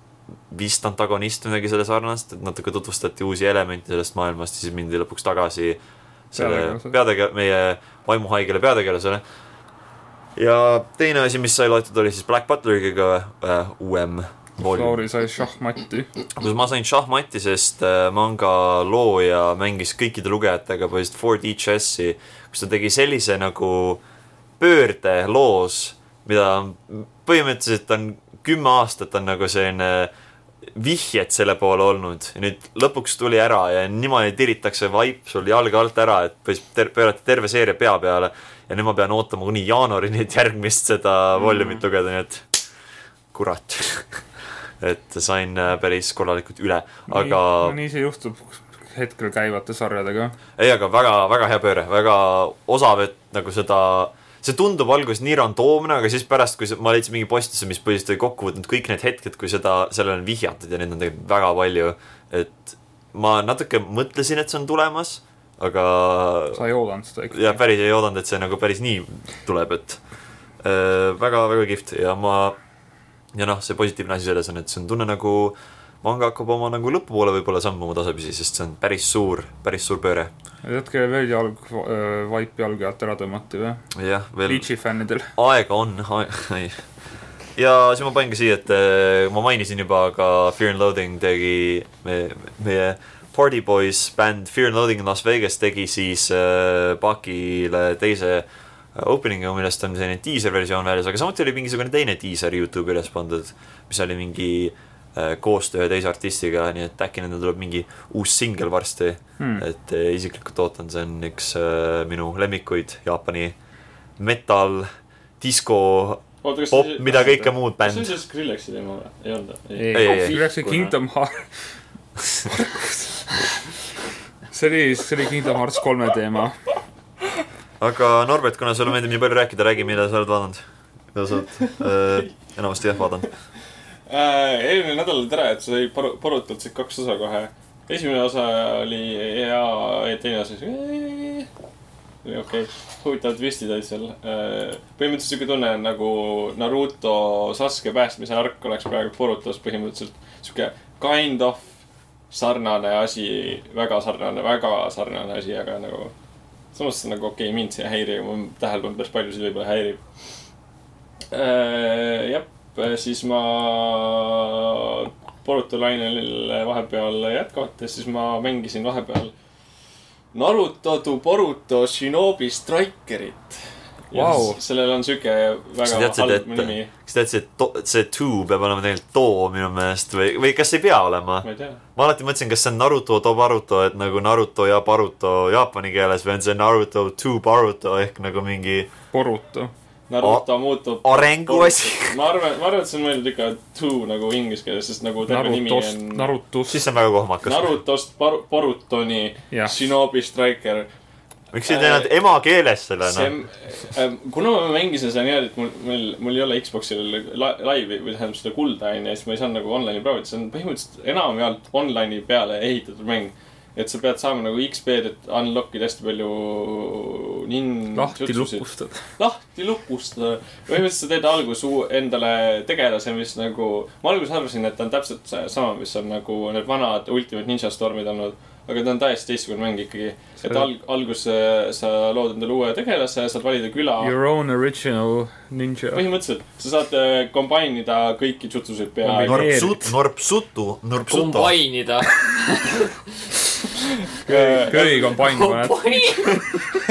[SPEAKER 1] vist antagonist või midagi selle sarnast , et natuke tutvustati uusi elemente sellest maailmast , siis mindi lõpuks tagasi selle
[SPEAKER 3] Peategelasele.
[SPEAKER 1] peatege- , meie vaimuhaigele peategelasele . ja teine asi , mis sai loetud , oli siis Black Butleriga äh, uuem volüüm ,
[SPEAKER 3] Lauri sai šahmatti .
[SPEAKER 1] kus ma sain šahmati , sest äh, manga looja mängis kõikide lugejatega põhiliselt 4D chess'i , kus ta tegi sellise nagu pöörde loos , mida on- põhimõtteliselt on kümme aastat on nagu selline vihjed selle poole olnud ja nüüd lõpuks tuli ära ja niimoodi tiritakse vaip sul jalge alt ära , et põhimõtteliselt ter- pöörati terve seeria pea peale ja nüüd ma pean ootama kuni jaanuarini , et järgmist seda
[SPEAKER 3] Mm.
[SPEAKER 1] volüümit lugeda , nii et kurat . et sain äh, päris korralikult üle , aga
[SPEAKER 3] no nii see juhtub hetkel käivate sarjadega .
[SPEAKER 1] ei , aga väga-väga hea pööre , väga osav , et nagu seda , see tundub alguses nii randoomne , aga siis pärast , kui see, ma leidsin mingi postituse , mis põhiliselt oli kokku võtnud kõik need hetked , kui seda , sellele on vihjatud ja neid on tegelikult väga palju . et ma natuke mõtlesin , et see on tulemas , aga
[SPEAKER 3] sa ei oodanud seda ikka ?
[SPEAKER 1] ja päris ei oodanud , et see nagu päris nii tuleb , et väga-väga kihvt ja ma ja noh , see positiivne asi selles on , et see on tunne nagu manga hakkab oma nagu lõpupoole võib-olla sammuma tasapisi , sest see on päris suur , päris suur pööre .
[SPEAKER 3] jätke veel jalg , äh, vaip jalge alt ära tõmmati või ?
[SPEAKER 1] jah , veel
[SPEAKER 3] Liitši fännidel .
[SPEAKER 1] aega on , ai . ja siis ma paningi siia , et eh, ma mainisin juba , aga Fear and Loathing tegi me, , meie Party Boys bänd Fear and Loathing in Las Vegas tegi siis äh, Pakile teise eh, opening'u , millest on selline diiserversioon väljas , aga samuti oli mingisugune teine diiser Youtube'i üles pandud , mis oli mingi äh, koostöö ühe teise artistiga , nii et äkki nendel tuleb mingi uus singel varsti
[SPEAKER 3] Hmm.
[SPEAKER 1] et eh, isiklikult ootan , see on üks äh, minu lemmikuid Jaapani metal , disko ,
[SPEAKER 2] oota , kas
[SPEAKER 1] pop , mida kõike muud
[SPEAKER 2] kas see oli
[SPEAKER 1] bänd .
[SPEAKER 2] siis Grilleksi teema või ? ei olnud või ?
[SPEAKER 1] ei, ei.
[SPEAKER 3] see läks ju Kingdom Hearts . see oli , see oli Kingdom Hearts kolme teema .
[SPEAKER 1] aga Norbert , kuna sulle meeldib nii palju rääkida , räägi , mida sa oled vaadanud . mida sa oled äh, enamasti jah vaadanud .
[SPEAKER 2] äh, . eelmine nädal oli tore , et sai paru- , parutud siit kaks osa kohe . esimene osa oli hea ja teine osa siis . oli okei okay. , huvitavad twistid olid seal äh, . põhimõtteliselt siuke tunne on nagu Naruto Sasuke päästmise ark oleks praegu purutas põhimõtteliselt . siuke kind of sarnane asi , väga sarnane , väga sarnane asi , aga nagu . samas nagu okei okay, , mind see ei häiri , mu tähelepanu päris palju see võib-olla häirib äh, . jah , siis ma Boruto lainel vahepeal jätkates , siis ma mängisin vahepeal Naruto to Boruto Shinobi Strikerit .
[SPEAKER 3] Vau.
[SPEAKER 2] sellel on siuke
[SPEAKER 1] kas sa
[SPEAKER 2] väga
[SPEAKER 1] teadsid ,
[SPEAKER 2] halb
[SPEAKER 1] et
[SPEAKER 2] nimi ,
[SPEAKER 1] kas sa teadsid , et to- see two peab olema tegelikult too minu meelest või , või kas ei pea olema ?
[SPEAKER 2] ma ei tea .
[SPEAKER 1] ma alati mõtlesin , kas see on Naruto to Baruto , et nagu Naruto ja Baruto jaapani keeles või on see Naruto to Baruto ehk nagu mingi
[SPEAKER 3] Boruto .
[SPEAKER 2] Naruto muutub .
[SPEAKER 1] arenguasi .
[SPEAKER 2] ma arvan , ma arvan , et see on mõeldud ikka to nagu inglise keeles , sest nagu terve nimi
[SPEAKER 3] Narutost ,
[SPEAKER 2] on
[SPEAKER 1] siis
[SPEAKER 3] Narutost .
[SPEAKER 1] see on väga kohmakas .
[SPEAKER 2] Narutost Bar- Borutoni
[SPEAKER 3] Jah.
[SPEAKER 2] Shinobi Striker
[SPEAKER 1] miks ei teinud emakeeles selle
[SPEAKER 2] äh, see
[SPEAKER 1] noh ?
[SPEAKER 2] ähm, , kuna ma mängisin seda niimoodi , et mul , mul , mul ei ole Xboxil la- laivi või tähendab seda kulda onju , siis ma ei saanud nagu online'i proovida , see on põhimõtteliselt enamjaolt online'i peale ehitatud mäng . et sa pead saama nagu XP-d , et unlock ida hästi palju nin- .
[SPEAKER 3] lahti . lukustad .
[SPEAKER 2] lahti lukustada , põhimõtteliselt sa teed alguses uu- endale tegelase , mis nagu , ma alguses arvasin , et ta on täpselt see sama , mis on nagu need vanad Ultimate Ninja Stormid olnud . aga ta on täiesti teistsugune mäng ikkagi , et alg- , alguses äh, sa lood endale uue tegelase , saad valida küla .
[SPEAKER 3] Your own original ninja .
[SPEAKER 2] põhimõtteliselt sa saad äh, combine ida kõiki jutsusid peaaegu .
[SPEAKER 1] Norpsut- , Norpsutu , Norpsuto .
[SPEAKER 4] kombainida .
[SPEAKER 3] köögikombain , kui näed .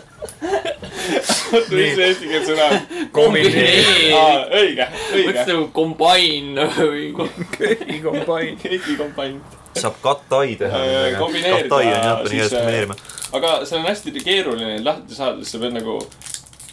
[SPEAKER 2] oota , mis see eestikeelne sõna on ? aa , õige , õige .
[SPEAKER 4] mõtlesin nagu kombain või
[SPEAKER 3] köögikombain .
[SPEAKER 2] Heiki kompanj .
[SPEAKER 1] saab katai teha
[SPEAKER 2] Äh, . kombineerida
[SPEAKER 1] katai on jaapani
[SPEAKER 2] siis,
[SPEAKER 1] keeles
[SPEAKER 2] äh,
[SPEAKER 1] kombineerima .
[SPEAKER 2] aga seal on hästi keeruline neid lahti saada , sest sa pead nagu ,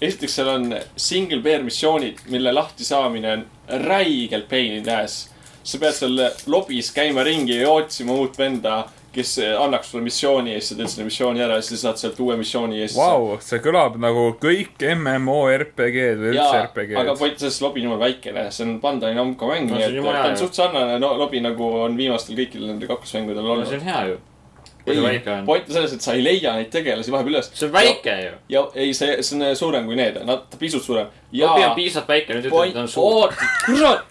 [SPEAKER 2] esiteks seal on single pair missioonid , mille lahtisaamine on räigelt pain in the ass . sa pead seal lobis käima ringi ja otsima uut venda , kes annaks sulle missiooni ja siis sa teed selle missiooni ära ja siis sa saad sealt uue missiooni ja siis sa-
[SPEAKER 3] Vau , see kõlab nagu kõik MMORPG-d või üldse
[SPEAKER 2] jaa , aga
[SPEAKER 3] RPG-d .
[SPEAKER 2] point selles lobi on jumala väikene , see on Bandai Namco mäng ,
[SPEAKER 4] No
[SPEAKER 2] nii
[SPEAKER 4] see on
[SPEAKER 2] et ta
[SPEAKER 4] jumala hea,
[SPEAKER 2] on
[SPEAKER 4] jah.
[SPEAKER 2] suht sarnane no, lobi , nagu on viimastel kõikidel nendel kaklusmängudel
[SPEAKER 4] no see
[SPEAKER 2] olnud .
[SPEAKER 4] on hea ju . kui
[SPEAKER 2] ei
[SPEAKER 4] see väike , on .
[SPEAKER 2] point on selles , et sa ei leia neid tegelasi vahepeal üles .
[SPEAKER 4] see on väike ju .
[SPEAKER 2] ja ei , see , see on äh, suurem kui need , nad pisut suurem .
[SPEAKER 4] lobi
[SPEAKER 2] ja
[SPEAKER 4] on piisavalt väike , nüüd ütled , et
[SPEAKER 2] point
[SPEAKER 4] ta on , suur .
[SPEAKER 2] oot , kurat ,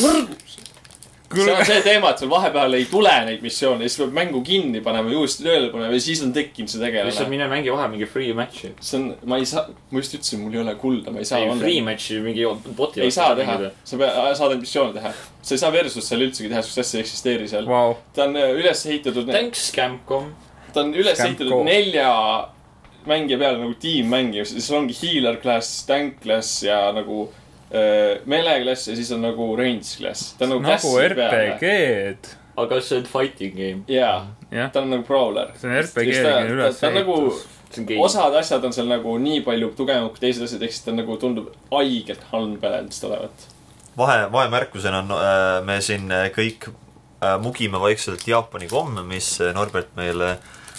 [SPEAKER 2] kurat . see on see teema , et seal vahepeal ei tule neid missioone , siis peab mängu kinni panema , uuesti tööle panema ja siis on tekkinud see
[SPEAKER 4] lihtsalt
[SPEAKER 2] tegelane .
[SPEAKER 4] mine mängi vahel mingi free match'i .
[SPEAKER 2] see on , ma ei saa , ma just ütlesin , mul ei ole kulda , ma ei saa .
[SPEAKER 4] ei , free match'i mingi bot'i .
[SPEAKER 2] ei saa teha , sa pead , saad ainult missioone teha . sa ei saa versus seal üldsegi teha , sest asja ei eksisteeri seal .
[SPEAKER 3] Vau ,
[SPEAKER 2] ta on äh, üles ehitatud ,
[SPEAKER 4] Thanks , Scamcom .
[SPEAKER 2] ta on üles
[SPEAKER 3] Scamp
[SPEAKER 2] ehitatud
[SPEAKER 3] Go.
[SPEAKER 2] nelja mängija peale nagu tiimmängija , siis ongi healer class , tank class ja nagu äh, melee class ja siis on nagu range class . ta on nagu,
[SPEAKER 3] nagu
[SPEAKER 2] klassi peale .
[SPEAKER 3] RPG-d .
[SPEAKER 4] aga see on fighting game .
[SPEAKER 2] jaa ,
[SPEAKER 3] jah ,
[SPEAKER 2] ta on nagu brawler .
[SPEAKER 3] see on RPG-d üles
[SPEAKER 2] ta on nagu
[SPEAKER 3] ehitatud .
[SPEAKER 4] see on game .
[SPEAKER 2] osad asjad on seal nagu nii palju tugevamad kui teised asjad , ehk siis ta on nagu tundub haigelt unbalanced olevat .
[SPEAKER 1] vahe , vahemärkusena on äh, me siin äh, kõik äh, mugime vaikselt Jaapani komme , mis äh, Norbert meile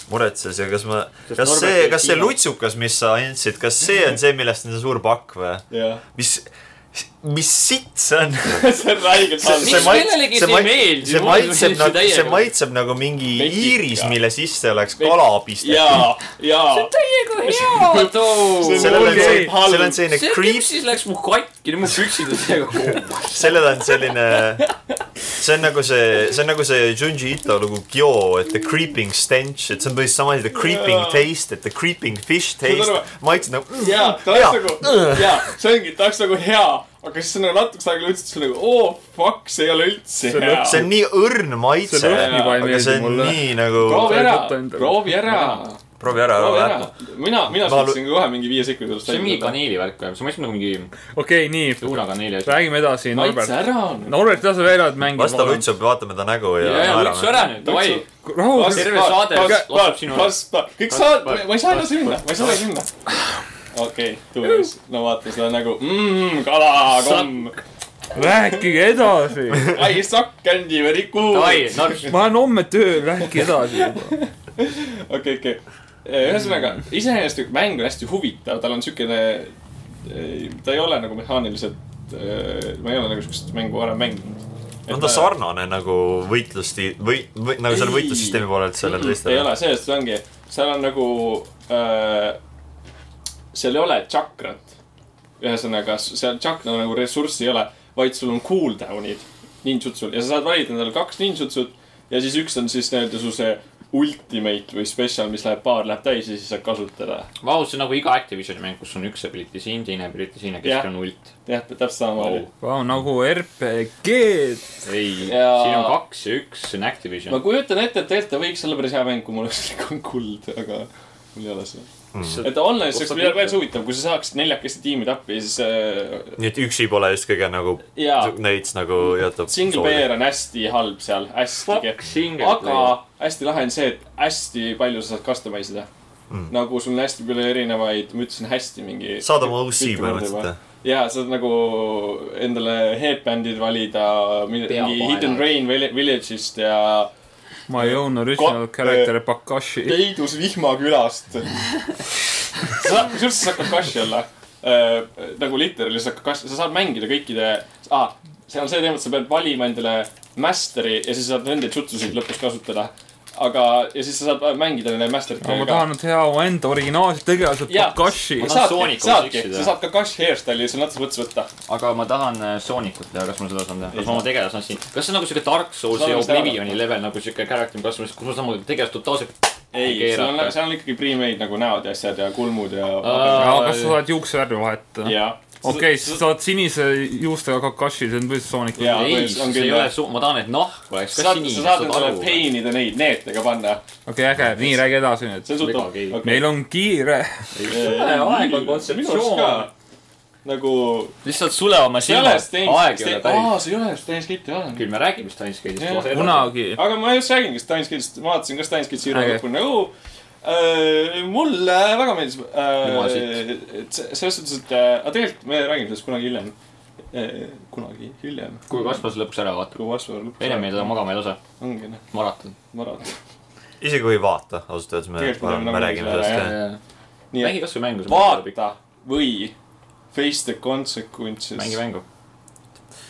[SPEAKER 1] muretses ja kas ma ,
[SPEAKER 4] Sest
[SPEAKER 1] kas
[SPEAKER 4] Norbert
[SPEAKER 1] see
[SPEAKER 4] ei ,
[SPEAKER 1] kas see
[SPEAKER 4] tiima.
[SPEAKER 1] lutsukas , mis sa andsid , kas see on see , millest on see suur pakk või ?
[SPEAKER 2] jah ,
[SPEAKER 1] mis , mis sitt see on ?
[SPEAKER 2] see on haigelt
[SPEAKER 1] see,
[SPEAKER 2] halb
[SPEAKER 1] see
[SPEAKER 4] Mis
[SPEAKER 1] maits-
[SPEAKER 4] kellelegi
[SPEAKER 1] see
[SPEAKER 4] see
[SPEAKER 1] maits-
[SPEAKER 4] meeldib,
[SPEAKER 1] see
[SPEAKER 4] mulle
[SPEAKER 1] maitseb
[SPEAKER 4] meeldib see
[SPEAKER 1] nagu , see
[SPEAKER 4] täiega.
[SPEAKER 1] maitseb nagu mingi
[SPEAKER 2] Vetika.
[SPEAKER 1] iiris , mille sisse oleks
[SPEAKER 2] Vet-
[SPEAKER 1] kala pistetud .
[SPEAKER 2] jaa , jaa .
[SPEAKER 4] täiega hea too .
[SPEAKER 2] See
[SPEAKER 1] sellel on
[SPEAKER 2] Okei.
[SPEAKER 1] see , sellel on
[SPEAKER 4] see
[SPEAKER 1] selline creep ,
[SPEAKER 4] küpsis läks mu katki , mu püksid on seega koos .
[SPEAKER 1] sellel on selline , see on nagu see , see on nagu see Junji Ito lugu Gyo , et the creeping stench , et see on tõesti sama asi , the creeping
[SPEAKER 2] Jaa.
[SPEAKER 1] taste , et the creeping fish taste
[SPEAKER 2] aru? .
[SPEAKER 1] maitsed nagu mm,
[SPEAKER 2] jaa , ta
[SPEAKER 1] hea.
[SPEAKER 2] oleks nagu , jaa , see ongi , ta oleks nagu hea , aga siis sa nagu natukese aega ütlesid sulle nagu oo oh, fuck , see ei ole üldse
[SPEAKER 3] See on
[SPEAKER 2] hea .
[SPEAKER 1] see on nii õrn maitse ,
[SPEAKER 3] See lõhn juba ei
[SPEAKER 1] aga see
[SPEAKER 3] meeldi
[SPEAKER 1] on
[SPEAKER 3] mulle.
[SPEAKER 1] nii nagu ,
[SPEAKER 2] proovi
[SPEAKER 3] ei
[SPEAKER 2] ära
[SPEAKER 3] võta endale. ,
[SPEAKER 2] proovi ära ,
[SPEAKER 1] proovi ära ,
[SPEAKER 2] proovi
[SPEAKER 1] ära
[SPEAKER 2] ära
[SPEAKER 1] lähme ..
[SPEAKER 2] mina , mina
[SPEAKER 1] Ma lu-
[SPEAKER 2] suutsin kohe mingi viie sekundi pärast
[SPEAKER 4] see on mingi . kaneelivärk või ? see maitseb nagu mingi
[SPEAKER 3] okei , nii ,
[SPEAKER 4] luunakaneeli asi .
[SPEAKER 3] räägime edasi ,
[SPEAKER 2] maitse
[SPEAKER 3] Norbert .
[SPEAKER 2] ära .
[SPEAKER 3] Norbert , lase veel ühed mängid .
[SPEAKER 1] vasta lutsub , vaatame ta nägu ja,
[SPEAKER 4] ja , ja võtsu
[SPEAKER 1] naerame .
[SPEAKER 4] ära nüüd , davai .
[SPEAKER 3] rahu ,
[SPEAKER 4] Terve saade laseb sinu-
[SPEAKER 2] kõik saad ,
[SPEAKER 4] Kas-
[SPEAKER 2] ma ei saa edasi minna , ma ei saa edasi minna . okei , tuules , no vaata seda nägu , mmm , kala , komm ,
[SPEAKER 3] rääkige edasi .
[SPEAKER 2] I suck candy very cool .
[SPEAKER 4] davai , narks .
[SPEAKER 3] ma olen homme tööl , rääkige edasi juba .
[SPEAKER 2] okei , okei . ühesõnaga , iseenesest nagu mäng on hästi huvitav , tal on siukene , ta ei ole nagu mehaaniliselt , ma ei ole nagu siukest mängu varem mänginud .
[SPEAKER 1] on ta ? sarnane nagu võitlusti , või , või nagu selle
[SPEAKER 2] Ei.
[SPEAKER 1] võitlussüsteemi poolelt sellele
[SPEAKER 2] ei
[SPEAKER 1] teistele ?
[SPEAKER 2] ole , selles suhtes ongi , seal on nagu , seal ei ole tšakrat . ühesõnaga , seal tšakra nagu ressurssi ei ole , vaid sul on cooldown'id ninjutsul ja sa saad valida endale kaks ninjutsut ja siis üks on siis nii-öelda su see ultimate või special , mis läheb , paar läheb täis ja siis saad kasutada
[SPEAKER 4] ma ausalt , see on nagu iga Activisioni mäng , kus on üks ability siin , teine ability siin ja
[SPEAKER 2] Jah.
[SPEAKER 4] keskel on ult .
[SPEAKER 2] jah , täpselt sama oli .
[SPEAKER 3] Vau , nagu RPG-d .
[SPEAKER 4] ei ,
[SPEAKER 2] Jaa.
[SPEAKER 4] siin on kaks ja üks , see on Activision
[SPEAKER 2] ma . kujutan ette , et tegelikult ta võiks olla päris hea mäng , kui mul oleks ikka kuld , aga mul ei ole seda . et online see oleks
[SPEAKER 4] Ostab
[SPEAKER 2] midagi
[SPEAKER 4] ikka.
[SPEAKER 2] päris huvitav , kui sa saaksid neljakesti tiimi tappi ja siis äh,
[SPEAKER 1] nii et üksi pole just kõige nagu
[SPEAKER 2] Jaa.
[SPEAKER 1] neits nagu jätab .
[SPEAKER 2] single player on hästi halb seal , hästi
[SPEAKER 4] Fuck
[SPEAKER 2] kehv .
[SPEAKER 4] single
[SPEAKER 2] aga
[SPEAKER 4] player.
[SPEAKER 2] hästi lahe on see , et hästi palju sa saad customize ida mm. . nagu sul on hästi palju erinevaid , ma ütlesin hästi mingi .
[SPEAKER 1] saad oma OC põhimõtteliselt .
[SPEAKER 2] jaa , saad nagu endale headband'id valida , mingi
[SPEAKER 4] Peavaela.
[SPEAKER 2] Hidden Rain Vill- Village'ist ja
[SPEAKER 3] ma ei jõudnud original
[SPEAKER 2] Ko-
[SPEAKER 3] character Bakashi .
[SPEAKER 2] peidus vihmakülast . sa , kusjuures sa saad kakashi olla . nagu literaalselt saad kakashi , sa saad mängida kõikide ah, , seal on see teema , et sa pead valima endale master'i ja siis saad nende jutsusid lõpus kasutada . aga , ja siis sa saad mängida nende
[SPEAKER 3] aga
[SPEAKER 2] master'itega
[SPEAKER 3] ma tahan nüüd teha omaenda originaalse tegelase
[SPEAKER 2] Jaa.
[SPEAKER 3] Bakashi .
[SPEAKER 4] Ma-
[SPEAKER 2] saadki ,
[SPEAKER 4] Sooniku
[SPEAKER 2] saadki ,
[SPEAKER 4] siksida.
[SPEAKER 2] sa saad kakashi hairstyle'i ja sa natuke mõttes võtta .
[SPEAKER 4] aga ma tahan äh, Soonikut teha , kas ma seda saan teha ,
[SPEAKER 2] Ei
[SPEAKER 4] kas ma oma tegelase saan siin , kas see on nagu siuke Dark Soulsi ja
[SPEAKER 2] Saame seda ära.
[SPEAKER 4] Oblivioni level nagu siuke character kasvamis , kus ma saan oma tegelast totaalselt .
[SPEAKER 2] ei , seal on , seal on ikkagi pre-made nagu näod ja asjad ja kulmud ja
[SPEAKER 4] Aa.
[SPEAKER 3] aga kas sa saad juuksevärvi vahetada ?
[SPEAKER 2] ja
[SPEAKER 3] okei , siis sa oled sinise juustega Kakashi , see on põhiliselt Soonic .
[SPEAKER 2] Jaa,
[SPEAKER 4] ei ,
[SPEAKER 2] tõesti, on
[SPEAKER 4] see ei
[SPEAKER 2] küll, jah.
[SPEAKER 4] ole suur , ma tahan , et nahk oleks
[SPEAKER 2] sa
[SPEAKER 4] ka
[SPEAKER 2] saad ,
[SPEAKER 4] sinine .
[SPEAKER 2] sa saad endale . peinida neid neetega panna .
[SPEAKER 3] okei , äge , nii , räägi edasi nüüd
[SPEAKER 2] see . on suht
[SPEAKER 4] Mega okei.
[SPEAKER 3] meil on kiire .
[SPEAKER 4] aeg on kontseptsioon .
[SPEAKER 2] nagu ,
[SPEAKER 4] lihtsalt sule oma
[SPEAKER 2] see ei ole
[SPEAKER 4] silmad , aeg ei ole
[SPEAKER 2] Steins ,
[SPEAKER 4] päris .
[SPEAKER 2] aa , see ei ole Steins Gate'i vahel .
[SPEAKER 4] küll me räägime Steins Gate'ist
[SPEAKER 2] Jah.
[SPEAKER 4] koos edasi .
[SPEAKER 3] kunagi .
[SPEAKER 2] aga ma just räägingi Steins Gate'ist , ma vaatasin ka Steins Gate'i üle
[SPEAKER 3] Äge.
[SPEAKER 2] lõpuni nagu . Äh, mulle väga meeldis
[SPEAKER 4] Jumal
[SPEAKER 2] äh, . et se- selles suhtes , et äh, , aga tegelikult me räägime sellest kunagi hiljem . kunagi hiljem .
[SPEAKER 4] kui Kaspar see lõpuks ära vaatab .
[SPEAKER 2] kui Vassar lõpuks .
[SPEAKER 4] enne meil on magama ei lase ,
[SPEAKER 2] ongi noh ,
[SPEAKER 4] maraton .
[SPEAKER 2] maraton .
[SPEAKER 1] isegi kui ei vaata , ausalt öeldes me ,
[SPEAKER 2] Tegelikult me
[SPEAKER 1] me, me
[SPEAKER 2] nagu
[SPEAKER 1] räägime
[SPEAKER 2] selle-
[SPEAKER 1] sellest
[SPEAKER 2] jah.
[SPEAKER 1] jah .
[SPEAKER 2] nii et
[SPEAKER 4] Äh, mängi kasvõi mängu .
[SPEAKER 2] vaata või face the consequences .
[SPEAKER 4] mängi mängu .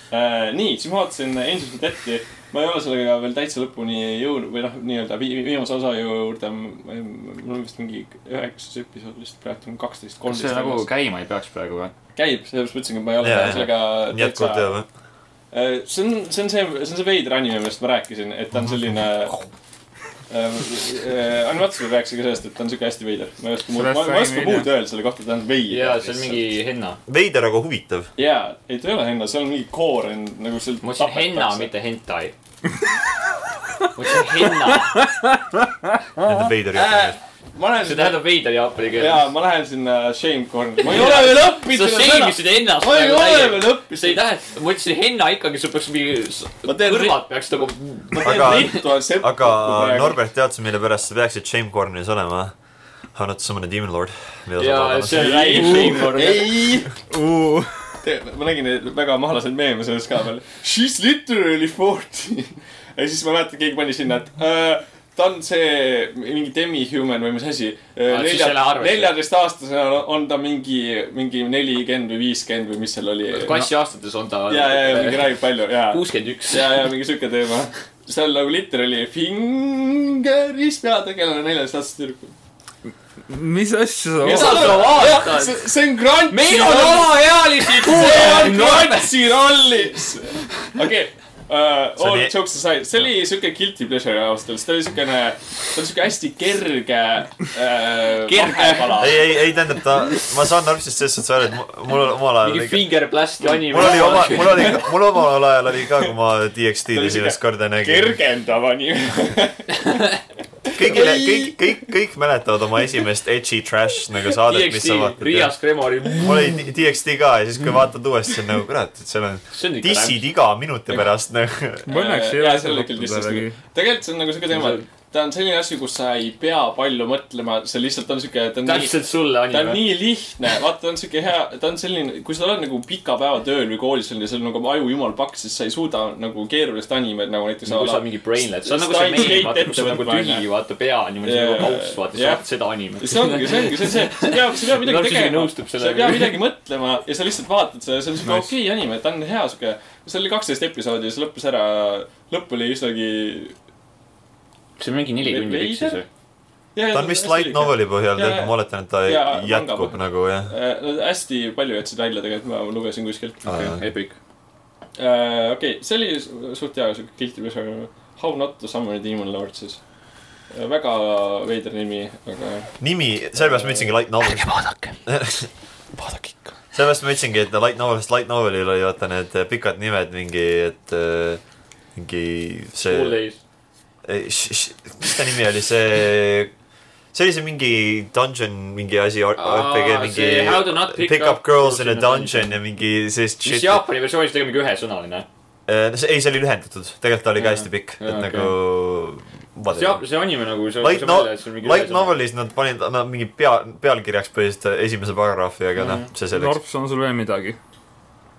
[SPEAKER 2] Äh, nii , siis ma vaatasin Angels of Death'i , ma ei ole sellega veel täitsa lõpuni jõudnud või noh , nii-öelda vi- vi- viimase osa juurde . mul on vist mingi üheksas episood vist praegu on kaksteist ,
[SPEAKER 4] kas see nagu
[SPEAKER 2] kolmteist .
[SPEAKER 4] käima ei peaks praegu või ?
[SPEAKER 2] käib , sellepärast ma ütlesingi , et ma ei ole
[SPEAKER 1] Jaa,
[SPEAKER 2] veel
[SPEAKER 1] jaa.
[SPEAKER 2] sellega
[SPEAKER 1] jätkuvalt
[SPEAKER 2] täitsa .
[SPEAKER 1] teame .
[SPEAKER 2] see on , see on see , see on see veider anime , millest ma rääkisin , et ta on selline . Äh, animatsioonis rääkisin ka sellest , et ta on siuke hästi veider . ma ei oska muud , ma ma ei oska muud öelda selle kohta , ta on veider .
[SPEAKER 4] jaa , see on mingi henna .
[SPEAKER 1] veider , aga huvitav .
[SPEAKER 2] jaa , ei ta ei ole henna , seal on mingi kooren nagu seal .
[SPEAKER 4] ma ütlesin henna , mitte hentai . ma ütlesin henna ,
[SPEAKER 1] Need on
[SPEAKER 4] Äh,
[SPEAKER 1] veider juhtumid .
[SPEAKER 2] ma lähen
[SPEAKER 4] see tähendab veider jaapani keeles .
[SPEAKER 2] jaa , ma lähen sinna shame corner'i , ma ei ole veel
[SPEAKER 4] sa
[SPEAKER 2] õppinud seda
[SPEAKER 4] seimisid ennast .
[SPEAKER 2] ma ei ole veel õppinud
[SPEAKER 4] see ei
[SPEAKER 2] seda .
[SPEAKER 4] tähenda , ma ütlesin henna ikkagi , sul peaks mingi ,
[SPEAKER 2] Ma teen
[SPEAKER 4] kõrvad peaks nagu .
[SPEAKER 2] ma teen
[SPEAKER 1] Aga-
[SPEAKER 2] rituaal seppuku
[SPEAKER 1] aga
[SPEAKER 2] praegu .
[SPEAKER 1] Norbert , tead sa , mille pärast sa peaksid Shame Corneris olema ? I am not summon a demon lord .
[SPEAKER 4] ja see on
[SPEAKER 2] Ei,
[SPEAKER 4] läinud seimkord .
[SPEAKER 2] ei , ma nägin neid väga mahlaseid meeme selles ka veel . She's literally forty . ja siis ma mäletan , keegi pani sinna , et äh, ta on see mingi demi-human või mis asi .
[SPEAKER 4] Aa, Ah, et siis ei lähe arvesse.
[SPEAKER 2] neljateistaastasena on ta mingi , mingi nelikümmend või viiskümmend või mis seal oli .
[SPEAKER 4] klassi aastates on ta .
[SPEAKER 2] ja , ja , ja mingi räägib palju , jaa .
[SPEAKER 4] kuuskümmend üks .
[SPEAKER 2] ja , ja mingi siuke teema . seal nagu literally fingeris peategelane neljateistaastase tüdruku .
[SPEAKER 3] mis asja sa
[SPEAKER 4] Mis sa
[SPEAKER 3] oled ?
[SPEAKER 4] too vaatad?
[SPEAKER 2] see see on Grantsi .
[SPEAKER 4] meil on alaealisi
[SPEAKER 2] see on
[SPEAKER 4] kuulajad .
[SPEAKER 2] Grantsi rollis . okei . Uh, all
[SPEAKER 1] oli-
[SPEAKER 2] oli... jokes aside , see oli siuke guilty pleasure ausalt öeldes , ta oli siukene , ta oli siuke hästi kerge uh, .
[SPEAKER 4] kerge pala .
[SPEAKER 1] ei , ei , ei tähendab ta , ma saan Norbist selles suhtes aru , et mu- mul omal ajal
[SPEAKER 4] mingi
[SPEAKER 1] oli ka-
[SPEAKER 4] finger blast ja anime .
[SPEAKER 1] mul oli oma , mul oli , mul omal ajal oli ka , kui ma DXD-d esimest korda nägin .
[SPEAKER 2] kergendav anime .
[SPEAKER 1] kõigile ,
[SPEAKER 2] Oi.
[SPEAKER 1] kõik , kõik , kõik mäletavad oma esimest edgy trash nagu saadet , mis sa
[SPEAKER 4] DXD ,
[SPEAKER 1] vaatad .
[SPEAKER 4] Riias Kremori .
[SPEAKER 1] mul oli D- DXD ka ja siis , kui vaatad uuesti , siis on nagu kurat , et seal on
[SPEAKER 4] see on ikka
[SPEAKER 1] dissid iga minuti pärast nagu .
[SPEAKER 3] ma õnneks ei
[SPEAKER 2] Jaa,
[SPEAKER 3] ole
[SPEAKER 2] see oli
[SPEAKER 3] seda
[SPEAKER 2] küll
[SPEAKER 3] võtnud
[SPEAKER 2] lihtsalt
[SPEAKER 3] jällegi .
[SPEAKER 2] tegelikult see on nagu siuke teema , ta on selline asi , kus sa ei pea palju mõtlema , see lihtsalt on siuke , ta on nii
[SPEAKER 4] täpselt sulle
[SPEAKER 2] ta on
[SPEAKER 4] anime .
[SPEAKER 2] nii lihtne , vaata , ta on siuke hea , ta on selline , kui sa oled nagu pika päeva tööl või koolis selline , sul on nagu aju jumal paks , siis sa ei suuda nagu keerulist animeid nagu näiteks .
[SPEAKER 4] nagu sa mingi brainlet , see on nagu see meil , vaata , kus on nagu tühi , vaata pea on niimoodi
[SPEAKER 2] Jaa,
[SPEAKER 4] nagu kauss , vaata , sa
[SPEAKER 2] jah.
[SPEAKER 4] vaatad seda anime .
[SPEAKER 2] see ongi , see ongi , see on see , sa pead , sa pead midagi
[SPEAKER 4] Lapsi isegi
[SPEAKER 2] tegema ,
[SPEAKER 4] nõustub
[SPEAKER 2] sa ei
[SPEAKER 4] sellega.
[SPEAKER 1] nagu.
[SPEAKER 2] pea midagi mõtlema ja sa lihtsalt vaatad seda , see on siuke okei anime , ta on hea siuke . see oli kaksteist episoodi ja see lõppes ära , lõpp oli üsnagi .
[SPEAKER 4] see on mingi neli tundi pikk siis või ?
[SPEAKER 1] ta on vist light . noveli põhjal
[SPEAKER 2] Jaa,
[SPEAKER 1] tehtud , ma oletan , et ta
[SPEAKER 2] jaa,
[SPEAKER 1] jätkub
[SPEAKER 2] manga
[SPEAKER 1] nagu jah .
[SPEAKER 2] Äh, hästi palju jätsid välja tegelikult , ma lugesin kuskilt .
[SPEAKER 4] Ah, Epic .
[SPEAKER 2] Äh, okei okay. , see oli su- suht hea siuke guilty pleasure . How not to summon a demon lord siis . väga veider nimi , aga jah .
[SPEAKER 1] nimi , sellepärast ma ütlesingi light novel .
[SPEAKER 4] vaadake .
[SPEAKER 1] vaadake ikka . sellepärast ma ütlesingi , et light novelist light novelil oli vaata need pikad nimed mingi , et äh, mingi
[SPEAKER 4] Full
[SPEAKER 1] see ,
[SPEAKER 4] days .
[SPEAKER 1] mis ta nimi oli , see , see oli see mingi dungeon mingi asi , RPG
[SPEAKER 4] see How to
[SPEAKER 1] mingi .
[SPEAKER 4] not
[SPEAKER 1] Pick up girls in a dungeon ja mingi sellist
[SPEAKER 4] mis
[SPEAKER 1] shit .
[SPEAKER 4] Jaapani versioonis tegelikult mingi ühesõnaline .
[SPEAKER 1] see , ei , see oli lühendatud , tegelikult ta oli ka
[SPEAKER 4] Jaa.
[SPEAKER 1] hästi pikk ,
[SPEAKER 4] Jaa,
[SPEAKER 1] et
[SPEAKER 4] okei.
[SPEAKER 1] nagu .
[SPEAKER 4] see Jaap- , see anime nagu .
[SPEAKER 1] Light no- , Light . Novelis nad panid , nad mingi pea , pealkirjaks põhiliselt esimese paragrahvi , aga noh ,
[SPEAKER 4] Mm.
[SPEAKER 1] see selleks .
[SPEAKER 3] Norps , on sul veel midagi ?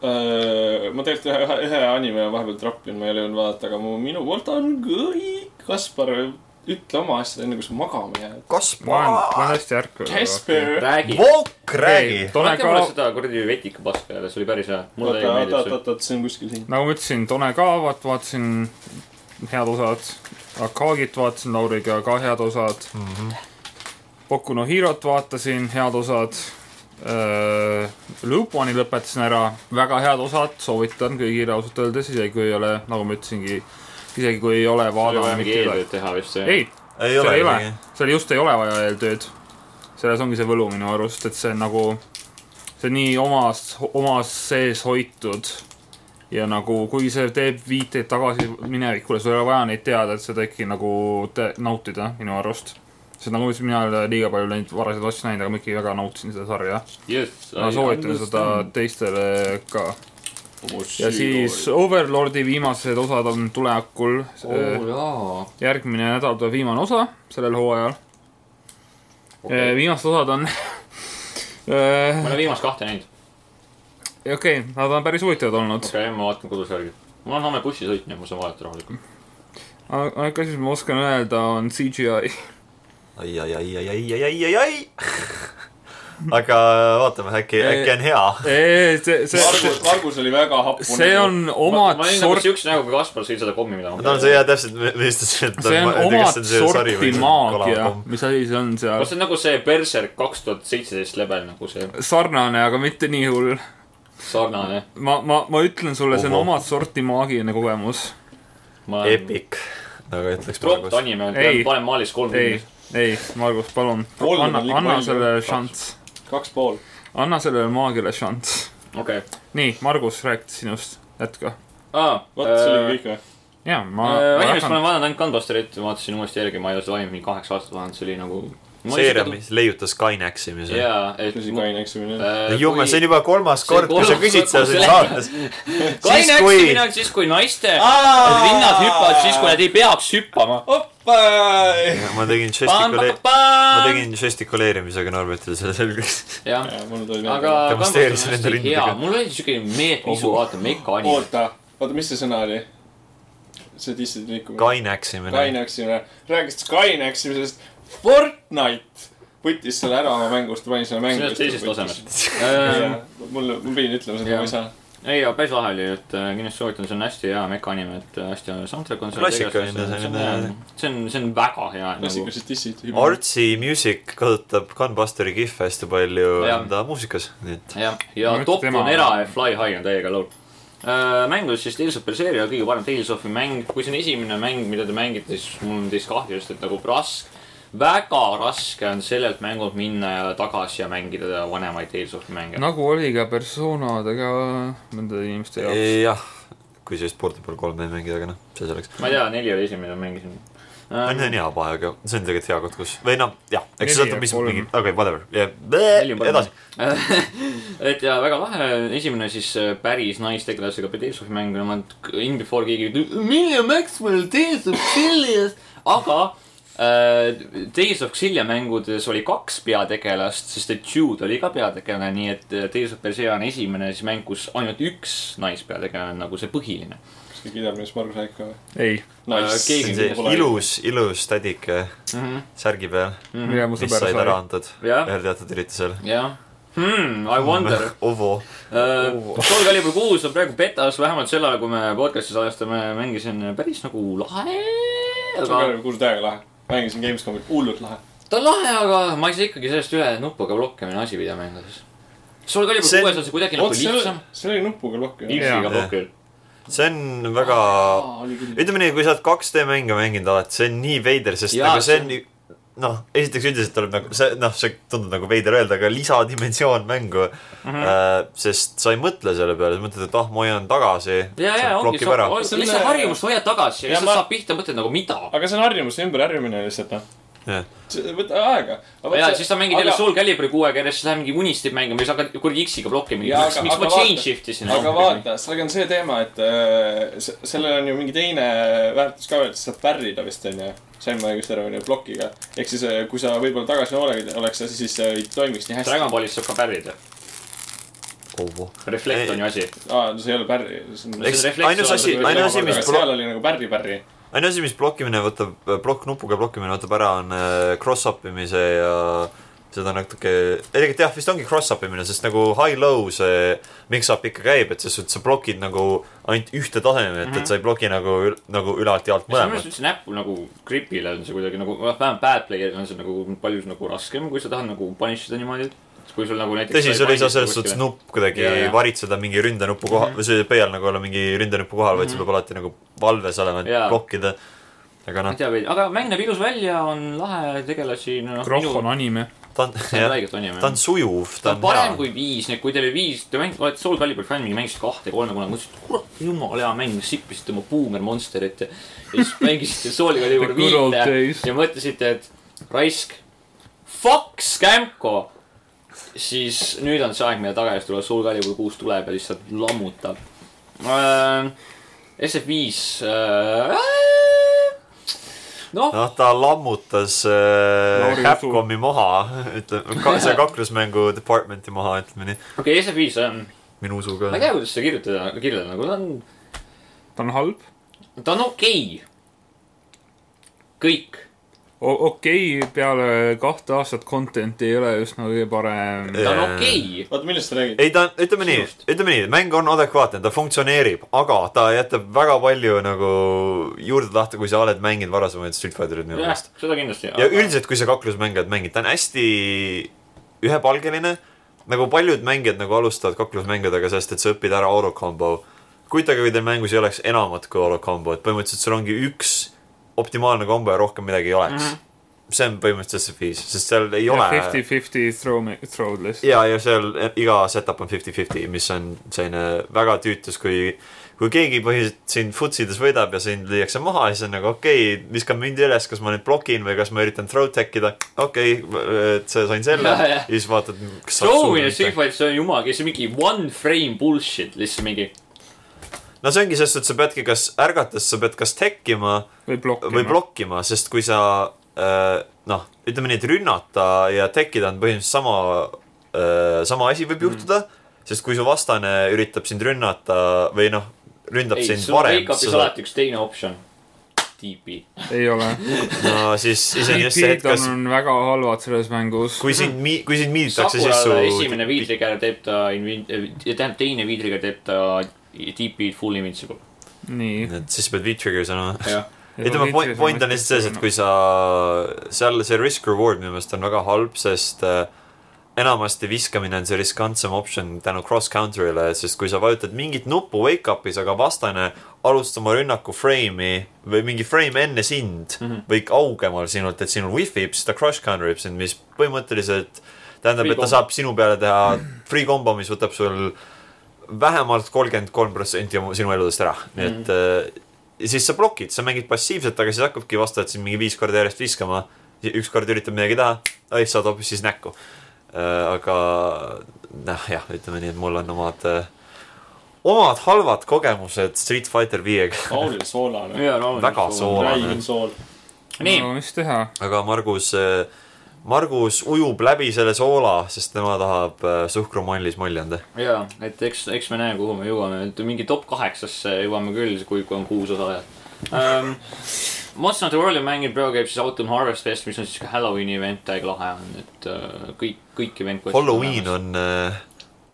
[SPEAKER 2] äh, ma tegelikult ühe , ühe anime vahepeal trappin , ma ei ole jõudnud vaadata , aga mu , minu poolt on kõik . Kaspar , ütle oma asjad enne , kui sa magama jääd .
[SPEAKER 3] ma olen , ma
[SPEAKER 1] Kaspar
[SPEAKER 3] olen , hästi ärkav .
[SPEAKER 2] Kasper .
[SPEAKER 4] räägi .
[SPEAKER 1] Vook , räägi .
[SPEAKER 3] Tone
[SPEAKER 4] pange mulle
[SPEAKER 3] Kaav ,
[SPEAKER 4] seda kuradi vetika paska jälle , see oli päris hea . mulle
[SPEAKER 2] oota ,
[SPEAKER 4] täiega
[SPEAKER 2] oota ,
[SPEAKER 4] meeldis
[SPEAKER 2] oota ,
[SPEAKER 4] see .
[SPEAKER 2] oota , see on kuskil siin .
[SPEAKER 3] nagu ma ütlesin , Tone Kaavat vaatasin , head osad . Akagit vaatasin Lauriga , ka head osad . Boku no Hirot vaatasin , head osad . Luponi lõpetasin ära , väga head osad , soovitan kõigile ausalt öeldes , isegi kui ei ole , nagu ma ütlesingi , isegi kui ei ole
[SPEAKER 4] oli
[SPEAKER 3] vaadanud
[SPEAKER 4] vaja mingi . eeltööd teha vist see .
[SPEAKER 3] ei ,
[SPEAKER 1] ei
[SPEAKER 3] seal
[SPEAKER 1] ole
[SPEAKER 3] ei ole
[SPEAKER 1] isegi .,
[SPEAKER 3] seal just ei ole vaja eeltööd . selles ongi see võlu minu arust , et see on nagu , see nii omas , omas sees hoitud . ja nagu , kui see teeb viiteid tagasi minevikule , sul ei ole vaja neid teada , et seda ikkagi nagu te, nautida minu arust . sest nagu ma ütlesin , mina ei ole liiga palju neid varaseid asju näinud , aga ma ikkagi väga nautisin seda sarja .
[SPEAKER 4] Yes,
[SPEAKER 3] ma
[SPEAKER 4] I
[SPEAKER 3] soovitan seda
[SPEAKER 4] understand.
[SPEAKER 3] teistele ka .
[SPEAKER 4] Oh,
[SPEAKER 3] ja siis Overlordi viimased osad on tulekul . äh,
[SPEAKER 4] oh jaa ,
[SPEAKER 3] järgmine nädal tuleb viimane osa sellel hooajal okay. . Äh, viimased osad on .
[SPEAKER 4] ma olen viimast kahte näinud .
[SPEAKER 3] okei okay, , nad on päris huvitavad olnud okay. .
[SPEAKER 4] okei okay, , ma vaatan kodus järgi . mul on homme bussisõit , nii et ma saan vaadata rahulikult .
[SPEAKER 3] ainuke asi , mis ma oskan öelda , on CGI .
[SPEAKER 1] ai , ai , ai , ai , ai , ai , ai , ai , ai . aga vaatame , äkki , äkki on hea .
[SPEAKER 3] see , see , see ,
[SPEAKER 2] Margus , Margus oli väga hapu .
[SPEAKER 3] see on
[SPEAKER 4] ma
[SPEAKER 3] omad
[SPEAKER 4] ma olin nagu
[SPEAKER 3] sorti ,
[SPEAKER 4] siukse näoga , kui Kaspar sõi seda pommi , mida ma
[SPEAKER 1] no see jah , täpselt , millest ta siin
[SPEAKER 3] see on omad sorti maagia , mis asi see on
[SPEAKER 4] no
[SPEAKER 3] seal .
[SPEAKER 4] see on nagu see Berserk kaks tuhat seitseteist level nagu see
[SPEAKER 3] sarnane , aga mitte nii hull .
[SPEAKER 4] sarnane .
[SPEAKER 3] ma , ma , ma ütlen sulle , see on
[SPEAKER 1] Ohoh.
[SPEAKER 3] omad sorti maagiline kogemus .
[SPEAKER 4] ma olen
[SPEAKER 1] Epic , nagu ütleks
[SPEAKER 4] tropp
[SPEAKER 1] praegu .
[SPEAKER 4] anime ,
[SPEAKER 3] Ei.
[SPEAKER 4] panen maalis kolm
[SPEAKER 3] ei
[SPEAKER 4] tundi .,
[SPEAKER 3] ei , Margus , palun ,
[SPEAKER 2] Kolm on
[SPEAKER 3] anna ,
[SPEAKER 2] liiga
[SPEAKER 3] anna
[SPEAKER 2] palju.
[SPEAKER 3] sellele šanss ,
[SPEAKER 2] kaks pool .
[SPEAKER 3] anna sellele maagiale šanss .
[SPEAKER 4] okei .
[SPEAKER 3] nii , Margus , rääkida sinust , jätka .
[SPEAKER 4] aa ,
[SPEAKER 2] vot , see oli kõik või ?
[SPEAKER 3] Äh, ja ma , ma
[SPEAKER 4] Animest Äh, ma
[SPEAKER 3] jagan
[SPEAKER 4] olen , vaadanud ainult Gunbusterit , vaatasin uuesti järgi , ma ei ole seda aimu mingi kaheksa aastat vaadanud , see oli nagu .
[SPEAKER 1] seeria ,. mis leiutas Skynaxi , mis on .
[SPEAKER 4] jaa , et . äh,
[SPEAKER 2] tõsi , kaine
[SPEAKER 3] äh,
[SPEAKER 2] eksimine .
[SPEAKER 1] jumal , see on juba kolmas
[SPEAKER 4] see on
[SPEAKER 1] kord , kui sa
[SPEAKER 4] kolmas
[SPEAKER 1] küsid
[SPEAKER 4] kord,
[SPEAKER 1] seda
[SPEAKER 4] kui
[SPEAKER 1] siin
[SPEAKER 4] sa-
[SPEAKER 1] saates .
[SPEAKER 4] Kaine
[SPEAKER 1] siis, kui-
[SPEAKER 4] eksimine on siis , kui naiste rinnad hüppavad , siis kui nad ei peaks hüppama .
[SPEAKER 1] ma tegin žestikule- , ma tegin žestikuleerimisega Norbertile selle selgeks .
[SPEAKER 4] jah ,
[SPEAKER 2] mul tuli
[SPEAKER 4] aga .
[SPEAKER 1] Demonstreerisin enda
[SPEAKER 4] hea
[SPEAKER 1] rindadega. ,
[SPEAKER 4] mul oli siuke meetme isu , vaata , meka anime .
[SPEAKER 2] oota , oota , mis see sõna oli ? see dissid liikumine .
[SPEAKER 1] Skynaximine .
[SPEAKER 2] kaine eksimine . rääkisid kaine eksimisest . Fortnite võttis selle ära oma mängust , pani selle mängu .
[SPEAKER 4] sellest teisest tasemest .
[SPEAKER 2] mul , mul pidi ütlema seda ,
[SPEAKER 4] Jah.
[SPEAKER 2] ma ei saa .
[SPEAKER 4] ei , aga päris lahe oli , et äh, kindlasti soovitan , see on hästi hea meka anime , et äh, hästi hea soundtrack on .
[SPEAKER 1] Klassikaline selline-
[SPEAKER 4] see on , see on väga hea . nagu-
[SPEAKER 2] klassikalised dissid .
[SPEAKER 1] Artsi Music kasutab Gunbusteri kihve hästi palju
[SPEAKER 4] Jah.
[SPEAKER 1] enda muusikas , nii et
[SPEAKER 4] jah ,
[SPEAKER 3] Ma
[SPEAKER 4] ja
[SPEAKER 3] mõtlen,
[SPEAKER 4] top
[SPEAKER 3] tema-
[SPEAKER 4] on era ja Fly High on täiega laul . mängudes siis Tales of Berseria kõige parem Tales of'i mäng , kui see on esimene mäng , mida te mängite , siis mul on teist kahju , sest et nagu raske , väga raske on sellelt mängult minna ja tagasi ja mängida vanemaid Tales of'i mänge .
[SPEAKER 3] nagu oli ka persoonadega nende inimeste jaoks .
[SPEAKER 1] jah , kui sellist Portable kolme ei mängida , aga noh , see selleks .
[SPEAKER 4] ma ei tea , neli oli esimene , mida ma mängisin .
[SPEAKER 1] on , on hea paha , aga see on tegelikult hea koht , kus või noh , jah , eks see
[SPEAKER 3] Neli
[SPEAKER 1] sõltub ,
[SPEAKER 3] ja
[SPEAKER 1] mis
[SPEAKER 3] kolm.
[SPEAKER 1] mingi , okei , whatever
[SPEAKER 4] Neli
[SPEAKER 1] yeah. ,
[SPEAKER 4] on parem.
[SPEAKER 1] edasi .
[SPEAKER 4] et ja väga lahe , esimene siis äh, päris naistegelasega Tales of'i mäng , ma in before keegi ütleb , William Maxwell , Tales of Xillias , aga äh, Tales of Xillia mängudes oli kaks peategelast , sest et Jude oli ka peategelane , nii et äh, Tales of Persea on esimene siis mäng , kus ainult üks naispeategelane on nagu see põhiline .
[SPEAKER 2] kas keegi teab , mis Margus Aik on ?
[SPEAKER 3] ei ,
[SPEAKER 1] see on see ilus , ilus tädike särgi peal ,
[SPEAKER 3] mine mu
[SPEAKER 1] Mhm. mis
[SPEAKER 3] sõber
[SPEAKER 1] said ära
[SPEAKER 3] sai .
[SPEAKER 1] antud
[SPEAKER 4] Jah.
[SPEAKER 1] ühel teatud üritusel .
[SPEAKER 4] jah , I wonder .
[SPEAKER 1] Ovo ,
[SPEAKER 2] Oh.
[SPEAKER 4] Uh, Soul Calibur kuus on praegu betas , vähemalt sel ajal , kui me podcast'i salvestame , mängisin päris nagu lahe .
[SPEAKER 2] see
[SPEAKER 4] aga
[SPEAKER 2] on ka kuulnud täiega lahe . mängisin Gamescomi , hullult lahe .
[SPEAKER 4] ta on lahe , aga ma ei saa ikkagi sellest üle , et nupuga blokkimine asi videomängudes . Soul Calibur
[SPEAKER 1] See-
[SPEAKER 4] kuues on see kuidagi nagu
[SPEAKER 2] oot , see oli
[SPEAKER 4] lihtsam .,
[SPEAKER 2] see oli nupuga plokk ju .
[SPEAKER 3] Jaa.
[SPEAKER 4] Ilfiga blokkil .
[SPEAKER 1] see on väga ,
[SPEAKER 2] oli küll .
[SPEAKER 1] ütleme nii , kui sa oled 2D mänge mänginud alati , see on nii veider , sest
[SPEAKER 4] Jaa,
[SPEAKER 1] nagu see on
[SPEAKER 4] see-
[SPEAKER 1] noh , esiteks üldiselt tuleb nagu see , noh , see tundub nagu veider öelda , aga lisadimensioon mängu mm .
[SPEAKER 4] Mhm.
[SPEAKER 1] -hmm. sest sa ei mõtle selle peale , sa mõtled , et ah , ma hoian tagasi .
[SPEAKER 4] ja , ja ongi ,
[SPEAKER 1] blokib
[SPEAKER 4] sa
[SPEAKER 1] ära .
[SPEAKER 4] on-
[SPEAKER 2] See on
[SPEAKER 4] lihtsalt
[SPEAKER 2] üle-
[SPEAKER 4] harjumust hoiad tagasi ja
[SPEAKER 2] Ja
[SPEAKER 4] lihtsalt
[SPEAKER 2] ma-
[SPEAKER 4] saab pihta , mõtled nagu mida .
[SPEAKER 2] aga see on harjumuste ümberharjumine lihtsalt noh . võta aega .
[SPEAKER 4] ja siis sa mängid jälle Soul Caliburi kuuega järjest , siis lähed mingi unistit mängima ja siis hakkad kuradi X-iga blokkima .
[SPEAKER 2] Jaa,
[SPEAKER 4] miks
[SPEAKER 2] aga-
[SPEAKER 4] miks ma
[SPEAKER 2] aga
[SPEAKER 4] change
[SPEAKER 2] vaata-
[SPEAKER 4] shift'i sinna ?
[SPEAKER 2] aga vaata , sellega on see teema , et äh, se- sellel on ju mingi teine väärtus ka veel , sa saad pärrida vist onju . sain ma õigesti aru , onju , plokiga . ehk siis , kui sa võib-olla tagasi noolega oleks , siis see ei toimiks nii hästi .
[SPEAKER 4] Dragon Ballist saab ka pärida .
[SPEAKER 1] Ovo .
[SPEAKER 4] Reflect
[SPEAKER 1] Ei.
[SPEAKER 4] on ju asi .
[SPEAKER 2] aa , no see ei ole pärri .
[SPEAKER 4] Eks-
[SPEAKER 2] aga
[SPEAKER 1] eks
[SPEAKER 4] refleks
[SPEAKER 1] ainus
[SPEAKER 4] on-
[SPEAKER 1] asi ,
[SPEAKER 4] on-
[SPEAKER 1] ainus asi , mis
[SPEAKER 4] aga
[SPEAKER 1] blok-
[SPEAKER 2] seal , oli nagu pärri-pärri .
[SPEAKER 1] ainus asi , mis blokkimine võtab , blokk nupuga blokkimine võtab ära , on äh, cross-up imise ja seda natuke , tegelikult jah , vist ongi cross-up imine , sest nagu high-low see mix-up ikka käib , et selles suhtes sa blokid nagu ainult ühte tasemet
[SPEAKER 4] Mhm.
[SPEAKER 1] mm , -hmm. et sa ei bloki nagu , nagu ülalt ja alt
[SPEAKER 4] minu meelest
[SPEAKER 1] mõlemat .
[SPEAKER 4] üldse näppu nagu gripile on see kuidagi nagu , noh , vähemalt bad player'il on see nagu palju nagu raskem , kui sa tahad nagu punish ida niimoodi . kui sul nagu näiteks .
[SPEAKER 1] tõsi , sul ei saa selles suhtes nupp kuidagi
[SPEAKER 4] Jaa, Mhm. jaa.
[SPEAKER 1] varitseda mingi ründenupu koha mm , -hmm. või see ei pea nagu olla mingi ründenupu kohal , vaid sul peab alati nagu valves olema , et
[SPEAKER 4] Mhm. Jaa.
[SPEAKER 1] blokkida . aga
[SPEAKER 4] ma ei
[SPEAKER 1] noh ,
[SPEAKER 4] tea , aga mäng näeb ilus välja , on lahe tegelasi , noh .
[SPEAKER 3] Krohh on anime .
[SPEAKER 1] ta on ,
[SPEAKER 4] see on
[SPEAKER 1] jah ,
[SPEAKER 4] väikelt anime .
[SPEAKER 1] ta on sujuv ,
[SPEAKER 4] ta
[SPEAKER 1] ta
[SPEAKER 4] on parem
[SPEAKER 1] hea .
[SPEAKER 4] kui viis , nii et kui teil oli viis , te mäng- , olete Soul Calibur fänn , mingi mängisite kahte , kolme kunagi , mõtlesite , kurat , jumala hea mäng , sippisite oma Boomer Monsterit ja ja siis mängisite Soul Calibur
[SPEAKER 3] The good old
[SPEAKER 4] viite
[SPEAKER 3] days.
[SPEAKER 4] ja mõtlesite , et raisk , fuck Scamco . siis nüüd on see aeg , mille tagajärjest tuleb Soul Calibur kuus tuleb ja lihtsalt lammutab . Äh, SF5 äh, . noh ,
[SPEAKER 1] noh , ta lammutas äh,
[SPEAKER 3] Lauri
[SPEAKER 1] Capcomi maha , ütleme , see kaklusmängu department'i maha , ütleme nii ,
[SPEAKER 4] okei okay, , SF5 on ,
[SPEAKER 1] minu
[SPEAKER 4] ma
[SPEAKER 1] usuga
[SPEAKER 4] ei . tea , kuidas seda kirjutada , kirjeldada , nagu ta on
[SPEAKER 3] ta on halb .
[SPEAKER 4] ta on okei okay. . kõik .
[SPEAKER 3] okei okay, , peale kahte aastat content'i ei ole just nagu kõige parem .
[SPEAKER 4] ta on
[SPEAKER 1] Jaa.
[SPEAKER 4] okei okay. .
[SPEAKER 2] oota , millest sa räägid ?
[SPEAKER 1] ei , ta on , ütleme nii
[SPEAKER 4] Sinust. ,
[SPEAKER 1] ütleme nii , mäng on adekvaatne , ta funktsioneerib , aga ta jätab väga palju nagu juurde tahta , kui sa oled mänginud varasemaid Street Fighterid minu
[SPEAKER 4] jah
[SPEAKER 1] meelest .,
[SPEAKER 4] seda kindlasti .
[SPEAKER 1] ja üldiselt , kui sa kaklusmängijat mängid , ta on hästi ühepalgeline . nagu paljud mängijad nagu alustavad kaklusmängudega sellest , et sa õpid ära autokombo . kuidagi , kui teil mängus ei oleks enamat kui autokombo , et põhimõtteliselt sul ongi üks optimaalne kombo ja rohkem midagi ei oleks mm . -hmm. see on põhimõtteliselt see viis , sest seal ei ole .
[SPEAKER 3] Fifty-fifty throw , throwless .
[SPEAKER 1] ja , ja seal e, iga setup on fifty-fifty , mis on selline väga tüütus , kui , kui keegi põhiliselt sind futsides võidab ja sind lüüakse maha , siis on nagu okei okay, , viskan mündi üles , kas ma nüüd blokin või kas ma üritan throw tech ida . okei okay, , et sa sain selle
[SPEAKER 4] Jaa,
[SPEAKER 1] ja,
[SPEAKER 4] jah.
[SPEAKER 1] ja siis vaatad , kas saad
[SPEAKER 4] Soovin ja
[SPEAKER 1] suunata .
[SPEAKER 4] Streetfight , see on jumal , kes on mingi one frame bullshit , lihtsalt mingi .
[SPEAKER 1] no see ongi sest , et sa peadki kas ärgates , sa pead kas tech ima või
[SPEAKER 3] või
[SPEAKER 4] noh.
[SPEAKER 3] blokkima .
[SPEAKER 1] blokkima , sest kui sa äh, noh , ütleme nii , et rünnata ja tekkida on põhimõtteliselt sama äh, , sama asi võib juhtuda mm. , sest kui su vastane üritab sind rünnata või noh , ründab
[SPEAKER 4] ei ,
[SPEAKER 1] sind
[SPEAKER 4] sul
[SPEAKER 1] varem ,
[SPEAKER 4] wake-up'is alati üks teine optsioon . tiipi .
[SPEAKER 3] ei ole .
[SPEAKER 1] no siis iseenesest see
[SPEAKER 3] tiipid
[SPEAKER 1] hetk , kas ,
[SPEAKER 3] on väga halvad selles mängus .
[SPEAKER 1] kui sind , kui sind miiditakse , siis su
[SPEAKER 4] Sakurale esimene viidriger teeb ta , eh, tähendab teine viidriger teeb ta tiipi full invincible .
[SPEAKER 3] nii .
[SPEAKER 1] Et siis sa pead V-trigger sõna .
[SPEAKER 4] jah .
[SPEAKER 1] ütleme , point , point on lihtsalt selles , et kui sa , seal see risk reward minu meelest on väga halb , sest äh, enamasti viskamine on see riskantsem optsioon tänu cross counter'ile , sest kui sa vajutad mingit nuppu wake up'is , aga vastane alustab oma rünnaku frame'i või mingi frame enne sind mm
[SPEAKER 4] Mhm.
[SPEAKER 1] -hmm. või kaugemal sinult , et sinul wifi ib , siis ta cross counter ib sind , mis põhimõtteliselt tähendab ,
[SPEAKER 4] Free
[SPEAKER 1] et ta
[SPEAKER 4] combo.
[SPEAKER 1] saab sinu peale teha free combo , mis võtab sul vähemalt kolmkümmend kolm protsenti sinu eludest ära , nii et äh, ja siis sa blokid , sa mängid passiivselt , aga siis hakkabki vastavalt siin mingi viis korda järjest viskama . üks kord üritab midagi teha , ai saad hoopis siis näkku . aga noh , jah , ütleme nii , et mul on omad , omad halvad kogemused Street Fighter viiega .
[SPEAKER 2] Lauril soolane .
[SPEAKER 4] jaa , loomulikult .
[SPEAKER 1] Väga sool- Soolane.
[SPEAKER 2] räigem sool .
[SPEAKER 4] nii ,
[SPEAKER 3] no mis teha .
[SPEAKER 1] aga Margus , Margus ujub läbi selle soola , sest tema tahab äh, suhkrumallis molli anda .
[SPEAKER 4] jaa , et eks , eks me näe , kuhu me jõuame , et mingi top kaheksasse jõuame küll , kui , kui on kuus osalejat um, . Monster Hunter World'i mängib , praegu käib siis Autumn Harvest Fest , mis on siis ka Halloweeni event , täiega lahe on , et uh, kõik , kõik event .
[SPEAKER 1] Halloween . on äh,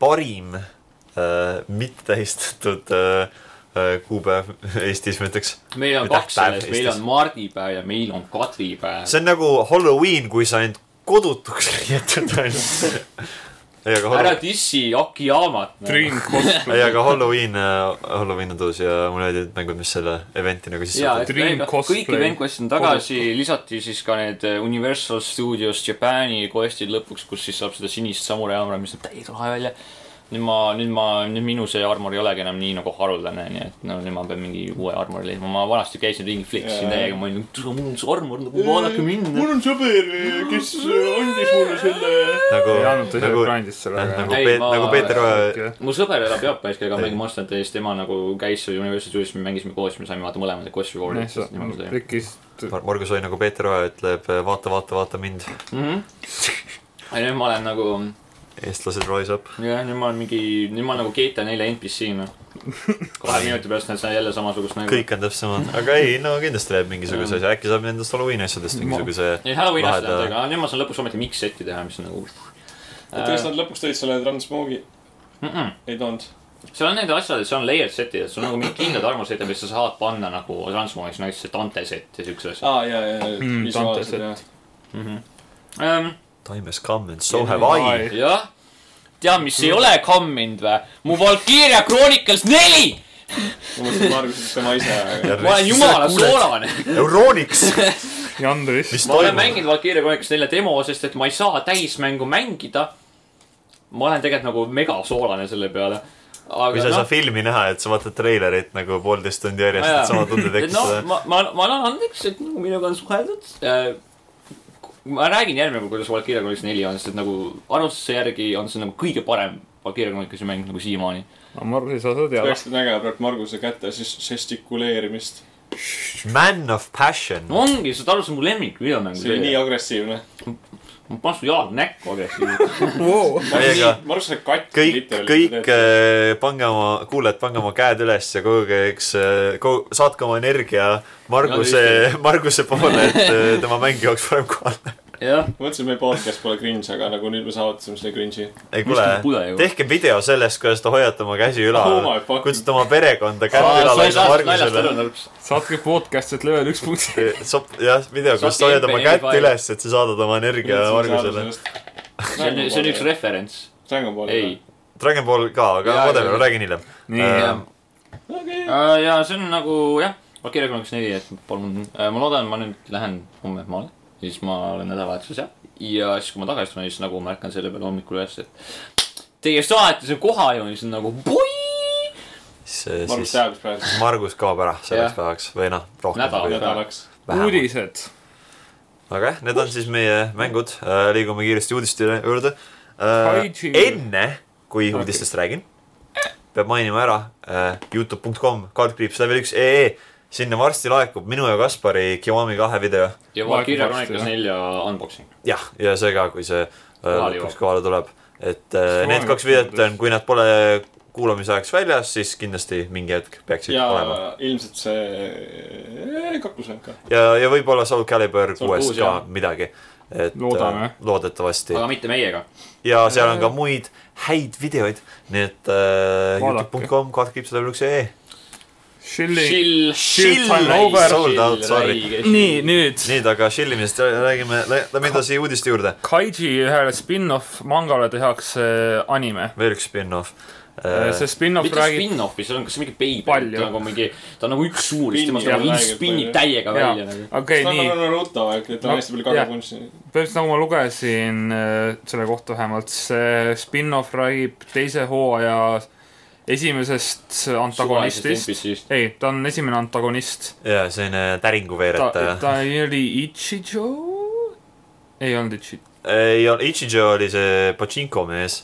[SPEAKER 1] parim äh, mitte tähistatud äh, äh, kuupäev Eestis ma ütleks
[SPEAKER 4] meil on
[SPEAKER 1] või
[SPEAKER 4] kaks
[SPEAKER 1] tähtpäev
[SPEAKER 4] sellest , meil
[SPEAKER 1] Eestis.
[SPEAKER 4] on mardipäev ja meil on kadripäev .
[SPEAKER 1] see on nagu Halloween , kui sa end kodutuks jätad ainult . ei , aga
[SPEAKER 4] ära
[SPEAKER 1] Halloween ,
[SPEAKER 4] dissi noh. Akiyamat .
[SPEAKER 3] Dream cosplay
[SPEAKER 1] ei , aga Halloween , Halloween on tõus ja mul olid need mängud , mis selle event'i nagu sisse
[SPEAKER 4] jaa ,
[SPEAKER 1] võtavad .
[SPEAKER 4] et
[SPEAKER 3] Dream
[SPEAKER 4] kõik
[SPEAKER 3] cosplay.
[SPEAKER 4] kõik event quest'id on tagasi , lisati siis ka need eh, Universal Studios Jaapani quest'id lõpuks , kus siis saab seda sinist samurai haamra , mis näeb täiega lahe välja . nüüd ma , nüüd ma , nüüd minu see armor ei olegi enam nii nagu haruldane , nii et no nüüd ma pean mingi uue armori leidma , ma vanasti käisin ringi fliksisin
[SPEAKER 2] Jaa.
[SPEAKER 4] täiega , ma olin , mul on see armor nagu , vaadake mind .
[SPEAKER 2] mul on sõber , kes eh, andis mulle selle .
[SPEAKER 1] nagu
[SPEAKER 3] ei andnud , ta ise
[SPEAKER 1] nagu ,
[SPEAKER 3] grindis selle
[SPEAKER 1] jah , nagu
[SPEAKER 3] ära .
[SPEAKER 4] Ei,
[SPEAKER 1] Peet- ,
[SPEAKER 4] ma-
[SPEAKER 1] nagu Peeter Oja ,
[SPEAKER 4] mu sõber elab Jaapanis , kellega mängib Monster Hunteris , tema nagu käis seal Universal Studios , me mängisime koos , me saime vaata mõlemad quest'i
[SPEAKER 3] jah ,
[SPEAKER 4] koolidest
[SPEAKER 3] sa ,
[SPEAKER 4] niimoodi sai .
[SPEAKER 3] tekkis .
[SPEAKER 1] Margus Oi nagu Peeter Oja ütleb , vaata , vaata , vaata mind ,
[SPEAKER 4] mhmh . Mhm. ja nüüd ma olen nagu
[SPEAKER 1] eestlased rise up .
[SPEAKER 4] jah , nüüd ma olen mingi , nüüd ma olen nagu GTA nelja NPC noh . kahe minuti pärast näed sa jälle samasugust nägu .
[SPEAKER 1] kõik on täpselt samad , aga ei , no kindlasti läheb mingisuguse asja , äkki saab nendest Halloween asjadest mingisuguse .
[SPEAKER 4] ei , Halloween asjad on
[SPEAKER 1] Laheda-
[SPEAKER 4] täiega , nüüd ma saan lõpuks ometi mix-seti teha , mis on nagu Äh,
[SPEAKER 2] oota , kas nad lõpuks tõid selle Transmogi ?
[SPEAKER 4] mm . -mm.
[SPEAKER 2] ei toonud .
[SPEAKER 4] seal on need asjad , et seal on layer set'id , et sul on nagu mingid kindlad armusetid , mis sa saad panna nagu Transformers , näiteks see Dante set ja siukse asja
[SPEAKER 2] aa , jaa , jaa ,
[SPEAKER 3] Mm,
[SPEAKER 2] jaa , visuaalselt
[SPEAKER 3] Dante
[SPEAKER 2] jah .
[SPEAKER 4] um, .
[SPEAKER 1] Time has come and so have I .
[SPEAKER 4] jah , tead , mis ei ole kamminud vä ? mu Valkyria Chronicles neli ,
[SPEAKER 2] ma mõtlesin , et Margus ütles tema ise , aga
[SPEAKER 4] ma olen jumala . soolane .
[SPEAKER 1] Euroniks ,
[SPEAKER 3] ja Andres .
[SPEAKER 1] mis
[SPEAKER 4] ma olen
[SPEAKER 1] toimub ?
[SPEAKER 4] mänginud Valkyria Chronicles nelja demo , sest et ma ei saa täismängu mängida . ma olen tegelikult nagu megasoolane selle peale .
[SPEAKER 1] kui
[SPEAKER 4] aga
[SPEAKER 1] sa ei saa
[SPEAKER 4] noh ,
[SPEAKER 1] filmi näha , et sa vaatad treilerit nagu poolteist tundi järjest ,
[SPEAKER 4] Jaa.
[SPEAKER 1] et sama tunde
[SPEAKER 4] noh ,
[SPEAKER 1] tekitada .
[SPEAKER 4] ma , ma , ma annan andeks , et nagu minuga on suheldud . ma räägin järgmine kord , kuidas Valkyria Chronicles neli on , sest et nagu arvutuse järgi on see nagu kõige parem Valkyria Chronicles'i mäng nagu siiamaani .
[SPEAKER 3] no ma arvan , ei saa seda
[SPEAKER 2] sa
[SPEAKER 3] teada .
[SPEAKER 2] peaksid nägema praegu Marguse käte siis žestikuleerimist .
[SPEAKER 1] Man of passion
[SPEAKER 4] no . ongi , saad aru , see on mu lemmik
[SPEAKER 2] see oli nii
[SPEAKER 4] videomäng .
[SPEAKER 2] agressiivne .
[SPEAKER 4] ma panen su jalad näkku agressiivselt .
[SPEAKER 1] Täiega.
[SPEAKER 2] Margus sai katki .
[SPEAKER 1] kõik , kõik äh, pange oma , kuulajad , pange oma käed üles ja koguge üks , saatke oma energia Marguse , Marguse poole , et äh, tema mäng jõuaks parem kohale .
[SPEAKER 4] jah ,
[SPEAKER 2] ma mõtlesin , et meie podcast pole cringe , aga nagu nüüd me saavutasime selle cringe'i .
[SPEAKER 1] ei
[SPEAKER 4] Mis
[SPEAKER 1] kuule
[SPEAKER 4] nüüd pole ju? ,
[SPEAKER 1] tehke video sellest , kuidas te hoiate oma käsi ülal
[SPEAKER 2] Oh my fucking-
[SPEAKER 1] kutsute oma perekonda kätt
[SPEAKER 4] Ah, sa
[SPEAKER 1] ülal
[SPEAKER 4] ei saa
[SPEAKER 1] hoidma
[SPEAKER 4] naljast ära
[SPEAKER 1] Margusele .
[SPEAKER 4] nõrks .
[SPEAKER 3] saatke podcast'it level üks punkt .
[SPEAKER 1] Sop- , jah , video , kus sa
[SPEAKER 4] Saatke
[SPEAKER 1] hoiad oma
[SPEAKER 4] MP4
[SPEAKER 1] kätt
[SPEAKER 4] faili.
[SPEAKER 1] üles , et sa saadad oma energia Margusele .
[SPEAKER 4] see on , see on üks . referents .
[SPEAKER 2] Dragon Ball .
[SPEAKER 4] ei .
[SPEAKER 1] Dragon Ball ka , aga
[SPEAKER 4] Jaa,
[SPEAKER 1] whatever ,
[SPEAKER 4] jaa.
[SPEAKER 1] ma räägin hiljem .
[SPEAKER 3] nii
[SPEAKER 1] Äh, ,
[SPEAKER 2] okei .
[SPEAKER 4] Äh, ja see on nagu jah , Valkyria kolmeks neli , et palun , ma loodan , ma nüüd lähen homme maale , siis ma olen nädalavahetuses jah . ja siis , kui ma tagasi tulen , siis nagu ma ärkan selle peale hommikul üles , et teie saates on kohal ja siis on nagu boi .
[SPEAKER 1] siis ,
[SPEAKER 2] Margus
[SPEAKER 1] siis
[SPEAKER 2] teab praegu .
[SPEAKER 1] Margus kaob ära selleks
[SPEAKER 4] Jah.
[SPEAKER 1] päevaks või noh , rohkem
[SPEAKER 4] Nädal,
[SPEAKER 1] kui
[SPEAKER 4] nädal.
[SPEAKER 2] nädalaks .
[SPEAKER 1] vähem .
[SPEAKER 3] uudised .
[SPEAKER 1] aga jah , need on siis meie mängud , liigume kiiresti uudiste üle- juurde .
[SPEAKER 3] Kaiji.
[SPEAKER 1] enne , kui uudistest räägin , peab mainima ära äh, Youtube.com , kaardkriips level üks ee , sinna varsti laekub minu ja Kaspari Kiwami kahe video .
[SPEAKER 4] ja
[SPEAKER 3] Ma
[SPEAKER 4] Valkyria
[SPEAKER 3] hakkan
[SPEAKER 4] kolmeks
[SPEAKER 3] varsti,
[SPEAKER 4] nelja unboxing .
[SPEAKER 1] jah , ja see ka , kui see äh,
[SPEAKER 4] Kohale
[SPEAKER 1] lõpuks
[SPEAKER 4] jõuab.
[SPEAKER 1] kohale tuleb , et äh,
[SPEAKER 3] Kiwami
[SPEAKER 1] need kaks videot on , kui nad pole kuulamise ajaks väljas , siis kindlasti mingi hetk peaksid
[SPEAKER 2] ja
[SPEAKER 1] olema .
[SPEAKER 2] ilmselt eh, see kaklusmäng ka .
[SPEAKER 1] ja , ja võib-olla Soul Calibur
[SPEAKER 4] Soul
[SPEAKER 1] kuuest
[SPEAKER 4] kuus,
[SPEAKER 1] ka
[SPEAKER 4] jah.
[SPEAKER 1] midagi . et
[SPEAKER 3] Loodame.
[SPEAKER 1] äh, loodetavasti .
[SPEAKER 4] aga mitte meiega .
[SPEAKER 1] ja
[SPEAKER 3] Äh.
[SPEAKER 1] seal on ka muid häid videoid , nii et äh,
[SPEAKER 3] Vaadake.
[SPEAKER 1] Youtube.com , katkib seda E. üks ee .
[SPEAKER 3] Shilling .
[SPEAKER 4] chill .
[SPEAKER 1] Chill
[SPEAKER 3] over.
[SPEAKER 1] Sold out, sorry.
[SPEAKER 3] nii ,. nüüd .
[SPEAKER 1] nii , aga shillimisest räägime , lähme edasi uudiste juurde .
[SPEAKER 3] Kaiji ühele spin-off mangale tehakse anime .
[SPEAKER 1] veel üks spin-off . Äh,
[SPEAKER 3] see spin-off
[SPEAKER 4] mitte
[SPEAKER 3] räägib ,
[SPEAKER 4] spin-off'i , see on kas mingi baby ,
[SPEAKER 3] noh, Palju.
[SPEAKER 4] nagu mingi , ta on nagu üks suur , siis
[SPEAKER 2] Spin-
[SPEAKER 4] temast
[SPEAKER 2] jah,
[SPEAKER 4] nagu
[SPEAKER 2] räägib
[SPEAKER 4] spinnib
[SPEAKER 2] palju.
[SPEAKER 4] täiega
[SPEAKER 3] jaa
[SPEAKER 4] välja nagu .,
[SPEAKER 3] okei ,
[SPEAKER 2] ta on
[SPEAKER 3] nii
[SPEAKER 2] nagu , Naruto , et ta
[SPEAKER 3] No,
[SPEAKER 2] on hästi palju
[SPEAKER 3] jah.
[SPEAKER 2] kakapunši .
[SPEAKER 3] põhimõtteliselt nagu ma lugesin äh, selle kohta vähemalt , see spin-off räägib teise hooaja esimesest antagonistist .
[SPEAKER 4] NPC-st .
[SPEAKER 3] ei , ta on esimene antagonist .
[SPEAKER 1] ja selline täringu
[SPEAKER 3] ta ,
[SPEAKER 1] veeretaja .
[SPEAKER 3] ta oli Ichijo ? ei olnud Ichijo .
[SPEAKER 1] ei , Ichijo oli see Pachinko mees .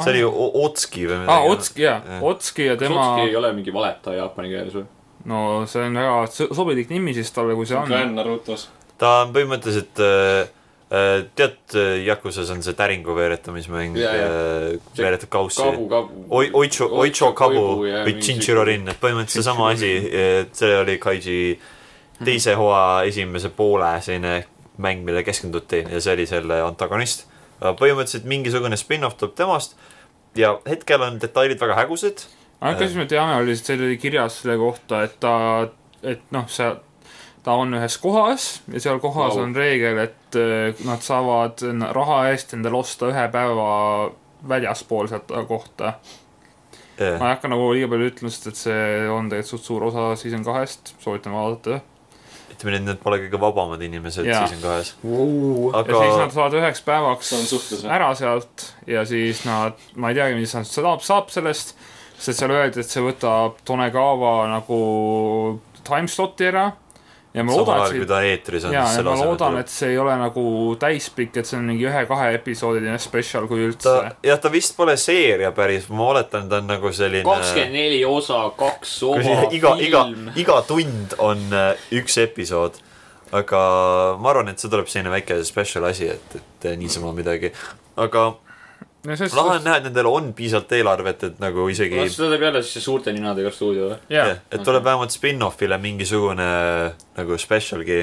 [SPEAKER 1] see oli ju O- Otski või
[SPEAKER 3] aa ,
[SPEAKER 1] midagi . nagu.
[SPEAKER 3] Otski jaa , Otski ja
[SPEAKER 4] tema .
[SPEAKER 3] tema ,
[SPEAKER 4] ei ole mingi valetaja jaapani keeles või ?
[SPEAKER 3] no see on väga so- sobilik nimi siis talle , kui see on .
[SPEAKER 2] Grand Narutos .
[SPEAKER 1] ta on põhimõtteliselt äh, äh, tead , Yakuusas on see täringu veeretamismäng ,
[SPEAKER 4] Jaa, jah. See
[SPEAKER 1] äh, veeretab kaussi
[SPEAKER 4] kabu , kabu .
[SPEAKER 1] Oi- , Oicho , Oicho Kabu
[SPEAKER 4] ja
[SPEAKER 1] või
[SPEAKER 4] mingi
[SPEAKER 1] Chinchirorin , et põhimõtteliselt seesama asi , et see oli Kaiji teise
[SPEAKER 3] Hmm.
[SPEAKER 1] hooaja esimese poole selline mäng , millele keskenduti ja see oli selle antagonist . põhimõtteliselt mingisugune spin-off tuleb temast ja hetkel on detailid väga hägused .
[SPEAKER 3] ainuke asi , mis me teame , oli , et seal oli kirjas selle kohta , et ta , et noh , see , ta on ühes kohas ja seal kohas
[SPEAKER 4] Vau.
[SPEAKER 3] on reegel , et äh, nad saavad n- raha eest endale osta ühe päeva väljaspool sealt kohta . ma ei hakka nagu liiga palju ütlema , sest et see on tegelikult suht suur osa season kahest , soovitan vaadata
[SPEAKER 1] ütleme nii , et need pole kõige vabamad inimesed
[SPEAKER 3] Jaa.
[SPEAKER 1] siis on kahes ,
[SPEAKER 4] Wow.
[SPEAKER 3] ja siis
[SPEAKER 1] aga
[SPEAKER 3] nad saavad üheks päevaks
[SPEAKER 2] See on suhtlus, jah?
[SPEAKER 3] ära sealt ja siis nad , ma ei teagi , mis nad saab , saab sellest , sest seal öeldi , et see võtab Tonekawa nagu time slot'i ära ja ma
[SPEAKER 1] samal
[SPEAKER 3] loodan ,
[SPEAKER 1] ajal kui
[SPEAKER 3] et
[SPEAKER 1] ta eetris on ,
[SPEAKER 3] ja ,
[SPEAKER 1] siis
[SPEAKER 3] ja
[SPEAKER 1] selle
[SPEAKER 3] ma
[SPEAKER 1] asemel
[SPEAKER 3] loodan ,
[SPEAKER 1] tuleb
[SPEAKER 3] et see ei ole nagu täispikk , et see on mingi ühe-kahe episoodiline spetsial , kui üldse
[SPEAKER 1] ta , jah , ta vist pole seeria päris , ma oletan , ta on nagu selline
[SPEAKER 4] kakskümmend neli osa , kaks oma
[SPEAKER 1] Kui iga , iga
[SPEAKER 4] film .,
[SPEAKER 1] iga tund on äh, üks episood . aga ma arvan , et see tuleb selline väike special asi , et , et äh, niisama midagi . aga
[SPEAKER 3] no, . Sest...
[SPEAKER 1] lahe on näha , et nendel on piisavalt eelarvet , et nagu isegi ,
[SPEAKER 4] kas seda teeb jälle siis see suurte ninadega stuudio või ?
[SPEAKER 3] jah ,
[SPEAKER 1] et tuleb vähemalt spin-off'ile mingisugune nagu specialgi ,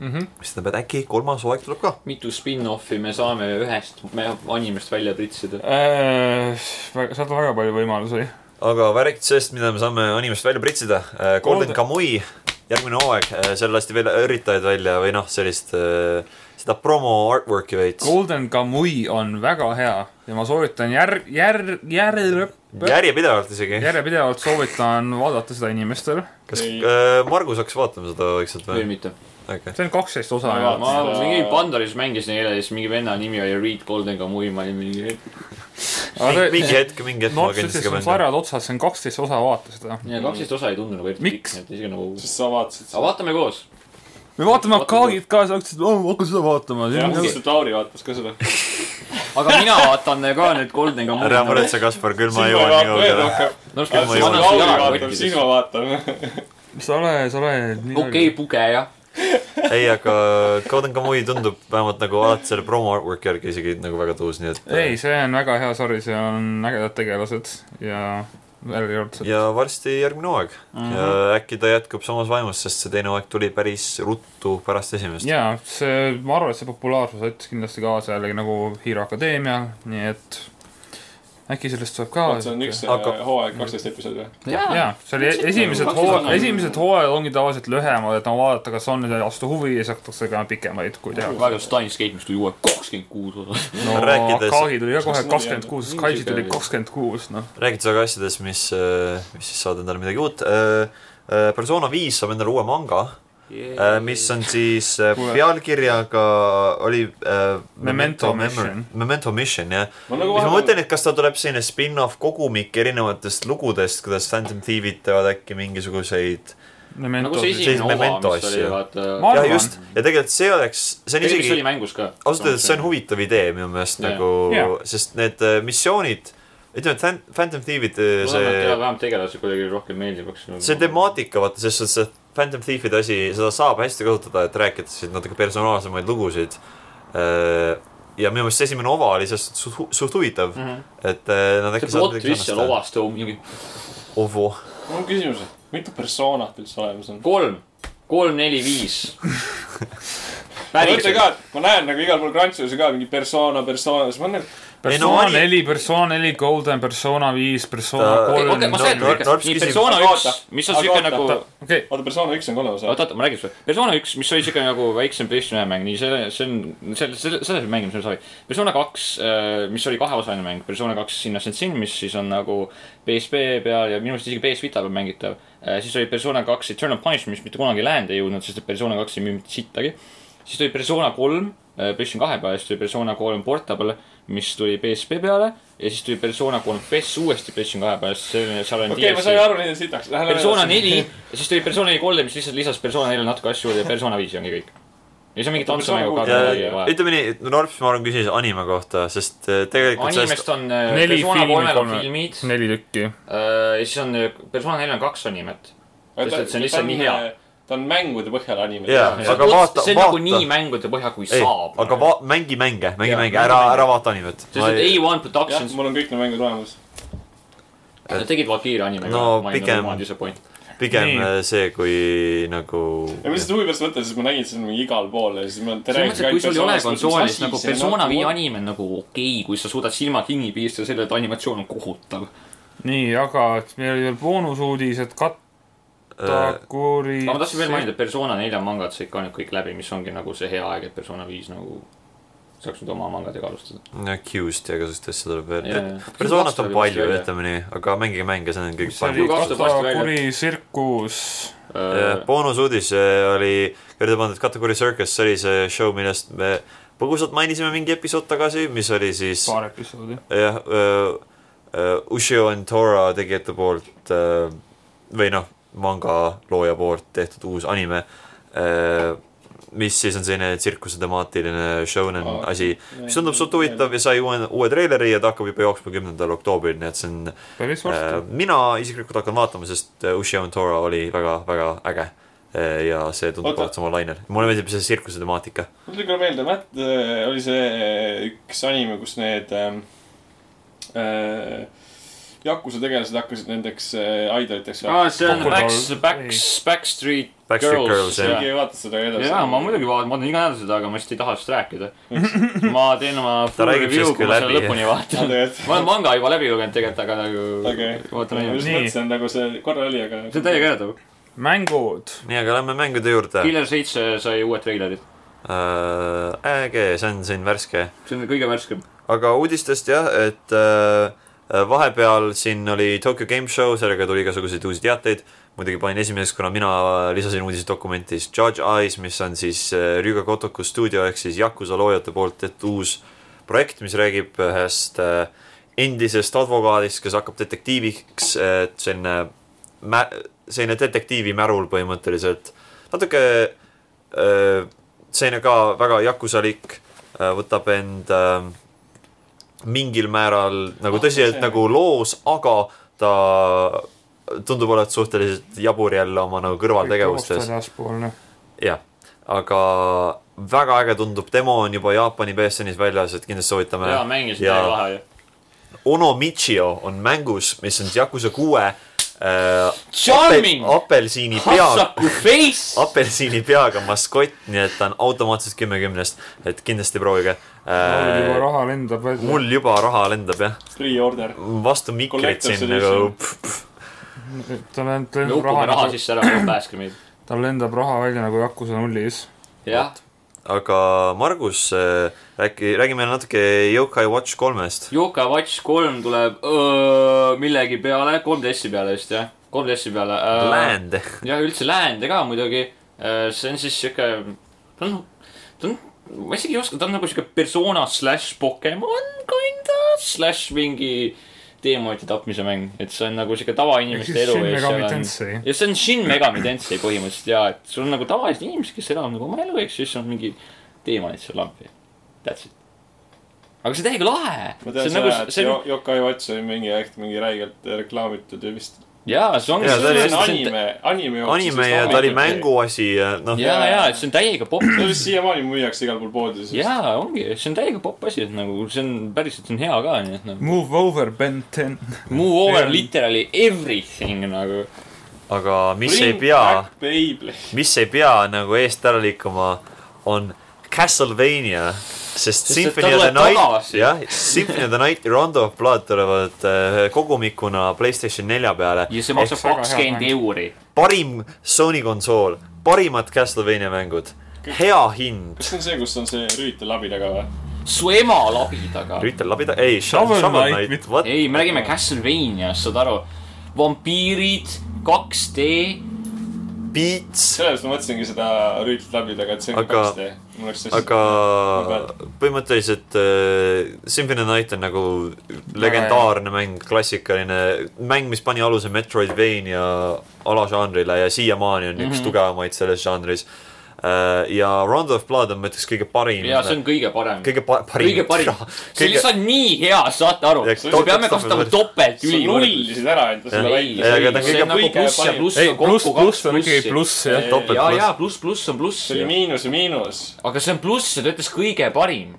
[SPEAKER 3] Mhm.
[SPEAKER 1] mis tähendab , et äkki kolmas hooaeg tuleb ka .
[SPEAKER 4] mitu spin-off'i me saame ühest me- animest välja pritsida ?
[SPEAKER 3] sealt on Äh, väga palju võimalusi .
[SPEAKER 1] aga värvitud sellest , mida me saame animest välja pritsida . Golden
[SPEAKER 3] Golden-
[SPEAKER 1] äh, Kamui , järgmine hooaeg , seal lasti veel õritajaid välja või noh , sellist äh, seda promo artwork'i veits .
[SPEAKER 3] Golden Kamui on väga hea ja ma soovitan järg , järg , järg ,
[SPEAKER 1] järjepidevalt isegi .
[SPEAKER 3] järjepidevalt soovitan vaadata seda inimestel .
[SPEAKER 1] kas
[SPEAKER 2] Ei.
[SPEAKER 1] äh, Margus hakkas vaatama seda vaikselt
[SPEAKER 4] või
[SPEAKER 1] või ?
[SPEAKER 4] mitte .
[SPEAKER 1] okei ,
[SPEAKER 3] see on kaksteist osa
[SPEAKER 2] Ma
[SPEAKER 3] ja
[SPEAKER 4] ma
[SPEAKER 2] Seda-
[SPEAKER 4] mingi Pandoris mängisin eile , siis mingi venna nimi oli Reed Golden Kamui , ma olin mingi ,
[SPEAKER 1] mingi hetk , mingi hetk
[SPEAKER 3] no
[SPEAKER 1] ma
[SPEAKER 3] otseses
[SPEAKER 1] kindlasti ka
[SPEAKER 3] mõttes
[SPEAKER 1] mängin .
[SPEAKER 3] sarjad otsas , see on kaksteist osa , vaata seda .
[SPEAKER 4] ja kaksteist osa ei tundu nagu eriti
[SPEAKER 3] Miks?
[SPEAKER 4] pikk , nii et isegi nagu ,
[SPEAKER 2] sest sa vaatasid
[SPEAKER 4] aga
[SPEAKER 2] seda .
[SPEAKER 4] vaatame koos .
[SPEAKER 3] me vaatame Akaagit ka , sa hakkasid , hakka seda vaatama .
[SPEAKER 2] jah , lihtsalt Lauri vaatas ka seda .
[SPEAKER 4] aga mina vaatan ka nüüd Golden Kamui .
[SPEAKER 1] ära muretse , Kaspar , küll ma
[SPEAKER 2] siis ma
[SPEAKER 1] jõuan nii
[SPEAKER 2] vaatan veel
[SPEAKER 1] kaugele .
[SPEAKER 2] rohkem .
[SPEAKER 4] no
[SPEAKER 1] Küll ma
[SPEAKER 2] siis
[SPEAKER 1] jõuan.
[SPEAKER 2] ma
[SPEAKER 1] Lauri
[SPEAKER 2] Lauri
[SPEAKER 1] jalaga
[SPEAKER 2] vaatan , siis ma
[SPEAKER 4] okei ,
[SPEAKER 2] vaatan .
[SPEAKER 3] sa ole , sa ole .
[SPEAKER 4] pugeja .
[SPEAKER 1] ei , aga Golden Kamui tundub vähemalt nagu alati selle promo artwork'i järgi isegi nagu väga tõus , nii et .
[SPEAKER 3] ei , see on väga hea sari , seal on ägedad tegelased ja järjekordsed .
[SPEAKER 1] ja varsti järgmine hooaeg mm
[SPEAKER 3] Mhm.
[SPEAKER 1] -hmm. ja äkki ta jätkub samas vaimus , sest see teine hooaeg tuli päris ruttu pärast esimest .
[SPEAKER 3] jaa , see , ma arvan , et see populaarsus aitas kindlasti kaasa jällegi nagu Hiiro Akadeemial , nii et äkki sellest saab ka .
[SPEAKER 2] see on üks
[SPEAKER 1] Hakkab-
[SPEAKER 2] äh, hooaeg , kaksteist episoodi või ?
[SPEAKER 4] jaa .
[SPEAKER 3] jaa , see oli esimesed
[SPEAKER 4] Kaks
[SPEAKER 3] hooajad ,
[SPEAKER 4] osa.
[SPEAKER 3] esimesed hooajad ongi tavaliselt lühemad , et on vaadata , kas on nende vastu huvi ja siis hakatakse ka pikemaid , kui teha .
[SPEAKER 4] praegu Steins Gate , mis tuli uue kakskümmend kuus osa .
[SPEAKER 3] no
[SPEAKER 1] Rääkides-
[SPEAKER 3] Akagi tuli ka kohe
[SPEAKER 2] Kas mul ei
[SPEAKER 3] kakskümmend kuus ,
[SPEAKER 4] olnud?
[SPEAKER 3] Kaisi tuli
[SPEAKER 4] Mingi sihuke-
[SPEAKER 3] kakskümmend kuus , noh .
[SPEAKER 1] räägid sa ka asjadest , mis , mis siis saad endale midagi uut . persona viis saab endale uue manga , Äh, mis on siis äh,
[SPEAKER 3] Kuule.
[SPEAKER 1] pealkirjaga oli äh,
[SPEAKER 3] Memento
[SPEAKER 1] Memo-
[SPEAKER 3] Mission.
[SPEAKER 1] Memento Mission , jah .
[SPEAKER 2] ma nagu
[SPEAKER 1] mis ma mõtlen , et kas ta tuleb selline spin-off kogumik erinevatest lugudest , kuidas Phantom Thievid teevad äkki mingisuguseid
[SPEAKER 4] nagu see
[SPEAKER 1] siis
[SPEAKER 4] esimene
[SPEAKER 1] Memento
[SPEAKER 4] osa , mis oli
[SPEAKER 1] asju.
[SPEAKER 4] vaata .
[SPEAKER 3] Ma
[SPEAKER 1] jah ,
[SPEAKER 3] arvan.
[SPEAKER 1] just , ja tegelikult see oleks , see on
[SPEAKER 4] tegelikult see
[SPEAKER 1] isegi
[SPEAKER 4] oli mängus ka .
[SPEAKER 1] ausalt öeldes see on huvitav idee minu meelest
[SPEAKER 4] Jah.
[SPEAKER 1] nagu
[SPEAKER 3] Jah. ,
[SPEAKER 1] sest need äh, missioonid , ütleme , et Phan- Phantom Thievid äh,
[SPEAKER 4] see .
[SPEAKER 1] see
[SPEAKER 4] vähemalt tegelasi kuidagi rohkem meeldivaks .
[SPEAKER 1] see . temaatika , vaata , selles suhtes , et Phantom Thiefide asi , seda saab hästi kasutada , et rääkida siin natuke personaalsemaid lugusid . ja minu meelest see esimene ova oli selles suhtes suht- suht huvitav , et eh, nad
[SPEAKER 4] Mhm. see
[SPEAKER 1] äkki
[SPEAKER 4] plot twist seal . ovast on mingi
[SPEAKER 1] ovo ,
[SPEAKER 2] mul on küsimus , et mitu persoonat üldse olemas on ?
[SPEAKER 4] kolm , kolm , neli , viis .
[SPEAKER 2] ma mõtlen ka , et ma näen nagu igal pool Crunchise ka mingi persona , persona , siis ma olen nagu ,
[SPEAKER 3] persona
[SPEAKER 1] oli-
[SPEAKER 3] neli , persona neli , Golden , persona viis , persona
[SPEAKER 1] Ta-
[SPEAKER 3] kolm .
[SPEAKER 4] okei , ma saan
[SPEAKER 1] No,
[SPEAKER 4] aru ,
[SPEAKER 1] Tarps
[SPEAKER 4] nii
[SPEAKER 1] küsib-
[SPEAKER 4] persona
[SPEAKER 2] Aga
[SPEAKER 4] üks
[SPEAKER 2] oota, ,
[SPEAKER 4] mis on
[SPEAKER 2] aga
[SPEAKER 4] siuke
[SPEAKER 2] oota,
[SPEAKER 4] nagu ,
[SPEAKER 2] oota.
[SPEAKER 4] oota ,
[SPEAKER 3] okei ,
[SPEAKER 2] oota , persona üks on kolmas osa .
[SPEAKER 4] oota , ma räägin sulle . persona üks , mis oli siuke nagu väiksem PlayStation ühe mäng , nii see , see on , selle , selle , selles mängimise on sari . persona kaks , mis oli kaheosaline mäng , persona kaks sinna Sensin , mis siis on nagu PSP peal ja minu arust isegi PS Vita peal mängitav . siis oli persona kaks Eternal Punishment , mis mitte kunagi läände ei jõudnud , sest et persona kaks ei müü mitte sittagi . siis tuli persona kolm , PlayStation kahe peale , siis tuli persona kolm Portable , mis tuli PSP peale ja siis tuli persona kolm FES uuesti PlayStation kahe peale , sest see , seal on
[SPEAKER 2] okei , ma sain aru nendest sitaks .
[SPEAKER 4] persona . neli ja siis tuli persona neli kolm , mis lihtsalt lisas persona neljale natuke asju juurde ja persona viis ongi kõik . ja siis on mingi tantsumäng ka
[SPEAKER 2] Aga
[SPEAKER 1] ja
[SPEAKER 4] vaja .
[SPEAKER 1] ütleme nii , Norps , ma arvan , küsis anime kohta , sest eh, tegelikult sellest
[SPEAKER 4] animest on äh,
[SPEAKER 3] Neli
[SPEAKER 4] persona
[SPEAKER 3] filmi
[SPEAKER 4] kolmel on
[SPEAKER 3] kolme-
[SPEAKER 4] filmid äh,
[SPEAKER 3] neli tükki .
[SPEAKER 4] ja siis on äh, persona neljal on kaks animet . Sest et see on lihtsalt nii hea. .
[SPEAKER 2] äh, ta on mängude põhjal anime .
[SPEAKER 1] Jaa, aga vaata-
[SPEAKER 4] see on nagu
[SPEAKER 1] vaata.
[SPEAKER 4] nii mängude põhja , kui
[SPEAKER 1] ei ,
[SPEAKER 4] saab .
[SPEAKER 1] aga va- , mängi mänge , mängi
[SPEAKER 4] Jaa,
[SPEAKER 1] mänge ,
[SPEAKER 4] mängi
[SPEAKER 1] ära ,
[SPEAKER 4] mänge.
[SPEAKER 1] ära vaata animet .
[SPEAKER 4] sest et A1
[SPEAKER 2] jah ,
[SPEAKER 4] Productions
[SPEAKER 2] mul on kõik need mängud olemas .
[SPEAKER 4] nad tegid Valkyria anime
[SPEAKER 1] No
[SPEAKER 4] ka .
[SPEAKER 1] pigem- pigem
[SPEAKER 3] Nii.
[SPEAKER 1] eh, see , kui nagu
[SPEAKER 2] ja ma lihtsalt huvi pärast mõtlen , sest ma nägin seda mingi igal pool ja siis ma .
[SPEAKER 4] selles mõttes , et kui sul ei ole konsoolis nagu persona viie anime on nagu okei okay, , kui sa suudad silmad kinni piirata selle , et animatsioon on kohutav .
[SPEAKER 3] nii , aga meil oli veel boonusuudis , et
[SPEAKER 1] äh,
[SPEAKER 3] Katakuri .
[SPEAKER 4] aga ma tahtsin veel mainida , et Persona nelja mangad said ka nüüd kõik läbi , mis ongi nagu see hea aeg , et Persona viis nagu saaks nüüd oma mangadega alustada .
[SPEAKER 1] accused ja igasugust asja tuleb
[SPEAKER 4] Jaa,
[SPEAKER 1] veel
[SPEAKER 4] jaa. .
[SPEAKER 1] persoonat on
[SPEAKER 4] Vastu-
[SPEAKER 1] palju ,
[SPEAKER 4] vastu-
[SPEAKER 1] ütleme nii , aga mängige mänge , see on kõige
[SPEAKER 3] see
[SPEAKER 1] parem
[SPEAKER 3] oli
[SPEAKER 4] Juba astub varsti välja.
[SPEAKER 3] Katakuri tsirkus .
[SPEAKER 1] Jah, boonusuudis äh, oli juurde pandud Kategooria Circus , see oli see show , millest me põgusalt mainisime mingi episood tagasi , mis oli siis
[SPEAKER 3] paar episoodi .
[SPEAKER 1] jah , Ushio and Tora tegijate poolt äh, või noh , manga looja poolt tehtud uus anime , mis siis on selline tsirkuse temaatiline shonen
[SPEAKER 2] Aa,
[SPEAKER 1] asi , mis tundub suht huvitav ja sai uue , uue treileri ja ta hakkab juba jooksma kümnendal oktoobril , nii et see on
[SPEAKER 3] päris varsti .
[SPEAKER 1] Äh, mina isiklikult hakkan vaatama , sest äh, Ushio and Tora oli väga-väga äge . ja see tundub
[SPEAKER 2] Oota.
[SPEAKER 1] olevat samal lainel . mulle meeldib see tsirkuse temaatika .
[SPEAKER 2] mul tuli küll meelde , Matt äh, oli see üks anime , kus need ähm, äh, Jakuse tegelased hakkasid nendeks äh, idoliteks .
[SPEAKER 4] aa , Ah, see on
[SPEAKER 3] Kokku-
[SPEAKER 4] Backs , Backs
[SPEAKER 3] ei. ,
[SPEAKER 4] Backstreet
[SPEAKER 1] Backstreet Girls,
[SPEAKER 4] Girls .
[SPEAKER 1] jah.
[SPEAKER 2] keegi ei vaata seda ka edasi .
[SPEAKER 4] jaa , ma muidugi vaatan , ma vaatan iga nädal seda , aga ma lihtsalt ei taha sellest rääkida . ma teen oma full
[SPEAKER 1] räägib
[SPEAKER 4] review ,
[SPEAKER 1] sellest
[SPEAKER 4] kui
[SPEAKER 1] küll
[SPEAKER 4] ma selle
[SPEAKER 1] läbi.
[SPEAKER 4] lõpuni vaatan . ma olen manga juba läbi lugenud tegelikult , aga nagu
[SPEAKER 2] Ah, okei ,
[SPEAKER 4] vaatan
[SPEAKER 2] ma
[SPEAKER 4] ainult .
[SPEAKER 2] just
[SPEAKER 3] Nii.
[SPEAKER 2] mõtlesin nagu see korra oli , aga .
[SPEAKER 4] see on täiega . üllatav .
[SPEAKER 3] mängud .
[SPEAKER 1] nii , aga lähme mängude juurde .
[SPEAKER 4] Killer seitse sai uued treilerid .
[SPEAKER 1] äge , see on siin värske .
[SPEAKER 4] see on kõige värskem .
[SPEAKER 1] aga uudistest jah , et äh, vahepeal siin oli Tokyo Game Show , sellega tuli igasuguseid uusi teateid . muidugi panin esimeseks , kuna mina lisasin uudisedokumenti siis Judge Eyes , mis on siis äh, Ryuga Kotoku stuudio ehk siis Yakuza loojate poolt tehtud uus projekt , mis räägib ühest äh, endisest advokaadist , kes hakkab detektiiviks , et selline mä- , selline detektiivi märul põhimõtteliselt . natuke äh, selline ka väga jakusalik , võtab end äh, mingil määral nagu
[SPEAKER 2] Ah,
[SPEAKER 1] tõsiselt
[SPEAKER 2] see-
[SPEAKER 1] nagu loos , aga ta tundub olevat suhteliselt jabur jälle oma nagu kõrvaltegevustes .
[SPEAKER 3] väljaspoolne .
[SPEAKER 1] jah , aga väga äge tundub , demo on juba Jaapani PSN-is väljas , et kindlasti soovitame .
[SPEAKER 4] jaa , mängisin
[SPEAKER 1] Jaa.
[SPEAKER 4] väga lahe ju .
[SPEAKER 1] Ono Michio on mängus , mis on Yakuza kuue äh,
[SPEAKER 4] Charming!
[SPEAKER 1] apel- apelsini pea ,
[SPEAKER 4] Hassaku face .
[SPEAKER 1] apelsini peaga maskott , nii et ta on automaatselt kümme kümnest , et kindlasti proovige
[SPEAKER 3] mul
[SPEAKER 1] äh, .
[SPEAKER 3] juba raha lendab välja .
[SPEAKER 1] mul juba raha lendab jah ,
[SPEAKER 2] Pre-order .
[SPEAKER 1] vastu mikrit
[SPEAKER 2] Collector's
[SPEAKER 1] siin
[SPEAKER 2] edition.
[SPEAKER 1] nagu .
[SPEAKER 3] tal lend-
[SPEAKER 4] me
[SPEAKER 3] lendab
[SPEAKER 4] upume raha nagu-
[SPEAKER 3] raha ,
[SPEAKER 4] sisse ära , pääske meid .
[SPEAKER 3] tal lendab raha välja nagu Yakuza nullis .
[SPEAKER 4] jah ,
[SPEAKER 1] aga Margus äh, , räägi , räägi meile natuke Yokai Watch kolmest .
[SPEAKER 4] Yoka Watch kolm tuleb öö, millegi peale , 3DS-i peale vist jah , 3DS-i peale .
[SPEAKER 1] Land ,
[SPEAKER 4] ja üldse läände ka muidugi . see on siis sihuke , ta on , ta on , ma isegi ei oska , ta on nagu sihuke persona slaš Pokemon kinda slaš mingi teemaati tapmise mäng , et see on nagu sihuke tavainimeste elu .
[SPEAKER 3] Shin Megami
[SPEAKER 4] ja
[SPEAKER 3] Tensei .
[SPEAKER 4] see on Shin Megami Tensei põhimõtteliselt ja , et sul on nagu tavalised inimesed , kes elavad nagu oma elu , eks ju , siis on mingi teemaat seal lampi . That's it . aga see on täiega lahe . see
[SPEAKER 2] ma
[SPEAKER 4] on
[SPEAKER 2] tean
[SPEAKER 4] nagu
[SPEAKER 2] seda ,, et
[SPEAKER 4] see on ,
[SPEAKER 2] Jo- Yokai Watch oli mingi aeg mingi räigelt reklaamitud ja vist .
[SPEAKER 4] jaa , see ongi
[SPEAKER 1] Jaa, ta oli
[SPEAKER 2] see on
[SPEAKER 1] hästi-
[SPEAKER 2] anime , anime .
[SPEAKER 1] anime ja ta oli . mänguasi ja noh ,
[SPEAKER 4] ja , ja , et see on täiega popp
[SPEAKER 2] no vist siiamaani müüakse igal pool poodides .
[SPEAKER 4] jaa , ongi , see on täiega popp asi , et nagu see on päriselt , see on hea ka , nii et nagu
[SPEAKER 3] Move over , Ben ten .
[SPEAKER 4] move over
[SPEAKER 3] Mm. on-
[SPEAKER 4] literally everything nagu .
[SPEAKER 1] aga mis ei pea
[SPEAKER 2] Beyblade .
[SPEAKER 1] mis ei pea nagu eest ära liikuma , on Castlevania , sest
[SPEAKER 4] Sest et ta
[SPEAKER 1] Symphony of the
[SPEAKER 4] tuleb
[SPEAKER 1] Night ,
[SPEAKER 4] tagasi.
[SPEAKER 1] jah , Symphony of the Night ja Rondo of Blood tulevad äh, kogumikuna Playstation nelja peale .
[SPEAKER 4] ja see maksab
[SPEAKER 3] Eks väga hea
[SPEAKER 4] kakskümmend
[SPEAKER 3] mäng.
[SPEAKER 4] euri .
[SPEAKER 1] parim Sony konsool , parimad Castlevania mängud , hea hind .
[SPEAKER 2] kas see on see , kus on see rüütel labi taga või ?
[SPEAKER 4] su ema labi taga .
[SPEAKER 1] üritan labida , ei ,
[SPEAKER 3] Shovel
[SPEAKER 1] Shovel
[SPEAKER 3] Knight
[SPEAKER 1] Knight ,
[SPEAKER 3] with-
[SPEAKER 1] vot ,
[SPEAKER 4] ei , me räägime Castlevaniast , saad aru . vampiirid , 2D ,
[SPEAKER 1] Beats ,
[SPEAKER 2] sellepärast ma mõtlesingi seda rüütel labi taga , et see on
[SPEAKER 1] Aga-
[SPEAKER 2] 2D . mul läks see .
[SPEAKER 1] aga põhimõtteliselt äh, Symphony of the Night on nagu legendaarne mäng , klassikaline mäng , mis pani aluse Metroidvania alažanrile ja siiamaani on mm -hmm. üks
[SPEAKER 4] Mhm.
[SPEAKER 1] tugevamaid selles žanris . ja Round of Blood on ma ütleks kõige parim ,
[SPEAKER 4] jaa , see on kõige parem .
[SPEAKER 1] kõige pa- parim .
[SPEAKER 4] kõige parim . see on lihtsalt nii hea , saate aru
[SPEAKER 1] Ja .
[SPEAKER 4] me
[SPEAKER 1] topelt-
[SPEAKER 4] peame kasutama
[SPEAKER 1] topelt-
[SPEAKER 4] topelt
[SPEAKER 2] sa
[SPEAKER 4] ülikõrgust .
[SPEAKER 2] nullisid ära enda selle
[SPEAKER 1] Jah.
[SPEAKER 2] välja .
[SPEAKER 1] Ei, aga ta on
[SPEAKER 4] see
[SPEAKER 1] kõige
[SPEAKER 4] on nagu
[SPEAKER 2] kõige
[SPEAKER 4] pluss ja
[SPEAKER 2] parim.
[SPEAKER 4] pluss
[SPEAKER 3] ei
[SPEAKER 4] on ,
[SPEAKER 3] pluss ,
[SPEAKER 4] kokku
[SPEAKER 3] pluss
[SPEAKER 4] kaks
[SPEAKER 3] on ikkagi
[SPEAKER 4] plussi .
[SPEAKER 3] pluss jah .
[SPEAKER 1] topelt
[SPEAKER 4] jaa ,
[SPEAKER 1] pluss.
[SPEAKER 4] jaa , pluss , pluss on pluss .
[SPEAKER 2] see oli miinus ja miinus .
[SPEAKER 4] aga see on pluss , see töötas kõige parim .